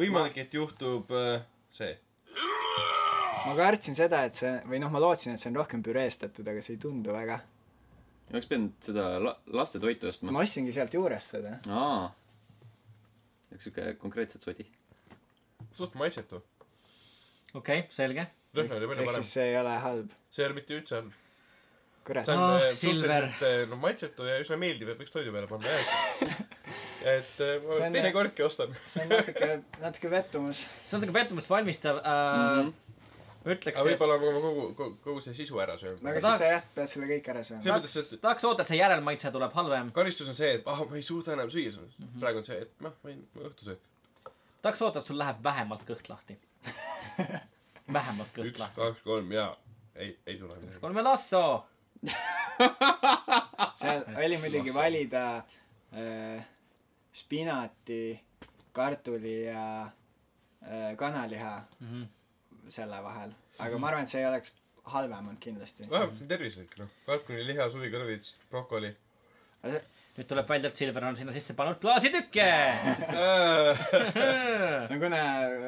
Speaker 3: võimalik , et juhtub äh, see .
Speaker 4: ma kartsin seda , et see , või noh , ma lootsin , et see on rohkem püreestatud , aga see ei tundu väga .
Speaker 1: oleks pidanud seda la- , lastetoitu ostma .
Speaker 4: ma ostsingi sealt juurest seda .
Speaker 1: aa . üks siuke konkreetselt sodi .
Speaker 3: suht maitsetu .
Speaker 2: okei , selge .
Speaker 3: lõhn oli palju
Speaker 4: ehk
Speaker 3: parem
Speaker 4: siis . see ei ole halb .
Speaker 3: see ei ole mitte üldse halb .
Speaker 4: kurat
Speaker 3: see on
Speaker 2: Ah,
Speaker 3: oh,
Speaker 2: Silver.
Speaker 3: suhteliselt äh, no, maitsetu ja üsna meeldiv , et võiks toidu peale panna jah . et äh, ma
Speaker 4: See on-
Speaker 3: teinekordki ostan .
Speaker 4: see on natuke , natuke pettumus .
Speaker 2: see on natuke pettumust valmistav äh,
Speaker 1: Mhm.
Speaker 2: mm . -hmm. ütleks ,
Speaker 3: aga
Speaker 2: et
Speaker 3: võib-olla ma kogu, kogu , kogu see sisu ära söön .
Speaker 4: no aga
Speaker 2: tahaks-
Speaker 4: siis sa jah , pead selle kõik ära sööma .
Speaker 3: See- mõttes,
Speaker 2: tahaks
Speaker 3: et- ,
Speaker 2: tahaks oodata , et see järelmaitse tuleb halvem .
Speaker 3: karistus on see , et ah , ma ei suuda enam süüa seda mm .
Speaker 4: Mhm.
Speaker 3: -hmm. praegu on see , et noh , ma võin ma õhtusöök .
Speaker 2: tahaks oodata , et sul läheb vähemalt kõht lahti . vähemalt kõht
Speaker 3: üks ,
Speaker 2: lahti .
Speaker 3: kaks , kolm ja ei , ei tule midagi .
Speaker 2: kolme lasso . Ah,
Speaker 4: seal oli muidugi valida äh, spinati , kartuli ja äh, kanaliha mm
Speaker 2: Mhm.
Speaker 4: -hmm. selle vahel . aga ma arvan , et see ei oleks halvem olnud kindlasti .
Speaker 3: vähemalt on tervislik , noh . kalkuniliha , suvikõrvits , brokoli .
Speaker 2: nüüd tuleb välja , et Silver on sinna sisse pannud klaasitükke .
Speaker 4: no kuna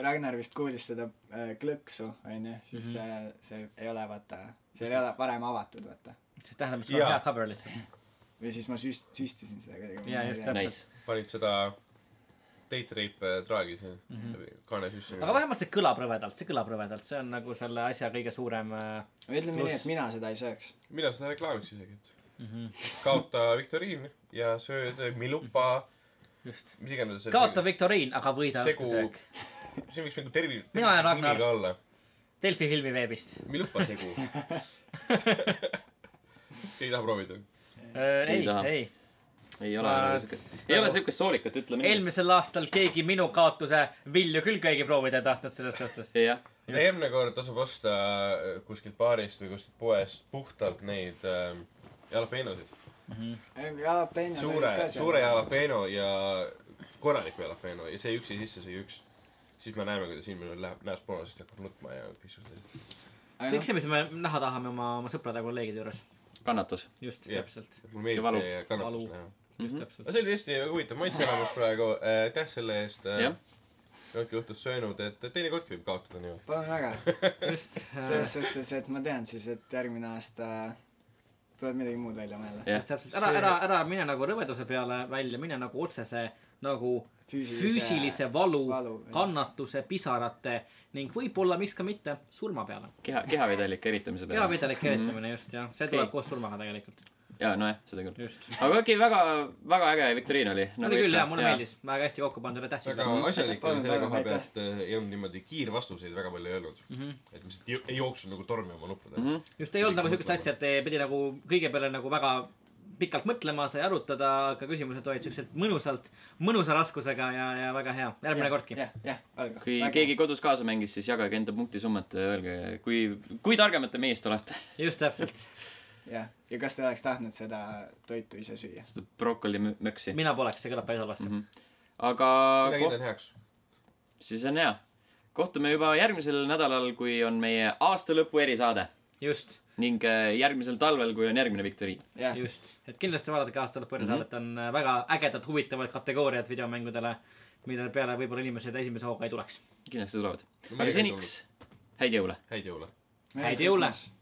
Speaker 4: Ragnar vist kuulis seda äh, klõksu , onju , siis
Speaker 2: Mhm.
Speaker 4: mm -hmm. see , see ei ole vaata , see ei ole varem avatud , vaata .
Speaker 2: siis tähendab , et sul on
Speaker 3: Jaa.
Speaker 2: hea cover lihtsalt .
Speaker 4: või siis ma süst- , süstisin seda kuidagi .
Speaker 2: Jaa, just täpselt.
Speaker 1: Nice .
Speaker 3: panid seda date rape traagi sinna mm -hmm. kaane sisse .
Speaker 2: Mhm. aga vähemalt see kõlab rõvedalt , see kõlab rõvedalt , see on nagu selle asja kõige suurem äh,
Speaker 4: ütleme nii ,
Speaker 2: Pluss-
Speaker 4: et mina seda ei sööks .
Speaker 3: mina seda reklaamiks isegi , et mm .
Speaker 2: Mhm.
Speaker 3: -hmm. kaota viktoriin ja sööd milupa ,
Speaker 2: Mhm. just .
Speaker 3: mis iganes .
Speaker 2: kaota . viktoriin , aga võida
Speaker 3: Segu-
Speaker 2: õhtusöök .
Speaker 3: see võiks nagu tervi- .
Speaker 2: Mina olen Ragnar.
Speaker 3: nimiga olla .
Speaker 2: Delfi filmi veebist .
Speaker 3: milupa segu . ei taha proovida .
Speaker 2: Äh, ei ,
Speaker 1: taha.
Speaker 2: ei .
Speaker 1: ei ole
Speaker 2: Ma-
Speaker 1: nagu siukest , ei ole siukest soolikut , ütleme nii .
Speaker 2: eelmisel aastal keegi minu kaotuse vilju küll keegi proovida ei tahtnud selles suhtes .
Speaker 1: jah ,
Speaker 3: järgmine kord tasub osta äh, kuskilt baarist või kuskilt poest puhtalt neid äh, jalapeenosid .
Speaker 4: jalapeeno .
Speaker 3: suure , suure . jalapeeno ja korraliku jalapeeno ja see üksi sisse , see üks . siis me näeme , kuidas inimene läheb näost punasest , hakkab nutma ja kõik sellised .
Speaker 2: kõik see , mis me näha tahame oma , oma sõprade ja kolleegide juures .
Speaker 1: kannatus .
Speaker 2: just ,
Speaker 3: Jah.
Speaker 2: täpselt .
Speaker 3: mul
Speaker 1: Ja valu.
Speaker 3: meeldib see kannatus
Speaker 2: Valu.
Speaker 3: näha .
Speaker 2: just
Speaker 3: aga
Speaker 2: täpselt .
Speaker 3: see oli tõesti huvitav maitseelamus praegu , aitäh selle eest .
Speaker 1: Jah.
Speaker 3: olete õhtust söönud , et teinekordki võib kaotada niimoodi .
Speaker 4: palun väga .
Speaker 2: just äh,
Speaker 4: selles suhtes , et ma tean siis , et järgmine aasta tuleb midagi muud välja mõelda .
Speaker 1: jah
Speaker 2: just , täpselt , ära , ära , ära mine nagu rõveduse peale välja , mine nagu otsese nagu füüsilise, füüsilise valu, valu ,
Speaker 4: kann- .
Speaker 2: kannatuse , pisarate ning võib-olla , miks ka mitte , surma peale .
Speaker 1: keha , kehavedelike eritamise peale .
Speaker 2: kehavedelik eritamine just jah , see tuleb
Speaker 1: Okei.
Speaker 2: koos surmaga tegelikult ,
Speaker 1: jaa , nojah , seda küll .
Speaker 2: just .
Speaker 1: aga okei , väga , väga äge viktoriin oli . Nagu
Speaker 2: oli küll jaa , mulle meeldis , väga hästi kokku pandud , nagu- aitäh
Speaker 3: väga
Speaker 2: Silver .
Speaker 3: asjalik oli
Speaker 4: Palun
Speaker 3: selle
Speaker 4: väga,
Speaker 3: koha
Speaker 4: aitäh.
Speaker 3: pealt , ei olnud niimoodi kiirvastuseid väga palju ei olnud
Speaker 1: Mhm.
Speaker 3: mm . -hmm. et lihtsalt jo- ei jooksnud nagu tormi oma nuppudega mm . -hmm.
Speaker 2: just ei olnud nagu siukest asja , et eh, pidi nagu kõige peale nagu väga pikalt mõtlema , sai arutada , aga küsimused olid siuksed mõnusalt , mõnusa raskusega ja , ja väga hea , järgmine kordki .
Speaker 4: jah , jah , olgu .
Speaker 1: kui väga. keegi kodus kaasa mängis , siis jagage enda punktisummat ja öelge , kui , kui targemad te meest olete .
Speaker 2: just täpselt ,
Speaker 4: jah , ja kas te oleks tahtnud seda toitu ise süüa ?
Speaker 1: seda brokoli mö- möksi .
Speaker 2: mina poleks , see kõlab päris halvasti .
Speaker 1: aga
Speaker 3: aga
Speaker 1: koht,
Speaker 3: kiidan heaks .
Speaker 1: siis on hea . kohtume juba järgmisel nädalal , kui on meie aastalõpu erisaade
Speaker 2: just ,
Speaker 1: ning äh, järgmisel talvel , kui on järgmine viktoriin .
Speaker 4: jah ,
Speaker 2: just , et kindlasti vaadake aasta lõpu erisaadet , on eh, väga ägedad , huvitavad kategooriad videomängudele , mille peale võib-olla inimesed esimese hooga ei tuleks .
Speaker 1: kindlasti tulevad .
Speaker 3: No meil
Speaker 1: aga
Speaker 3: ei
Speaker 1: seniks , häid jõule .
Speaker 3: häid jõule .
Speaker 2: häid jõule.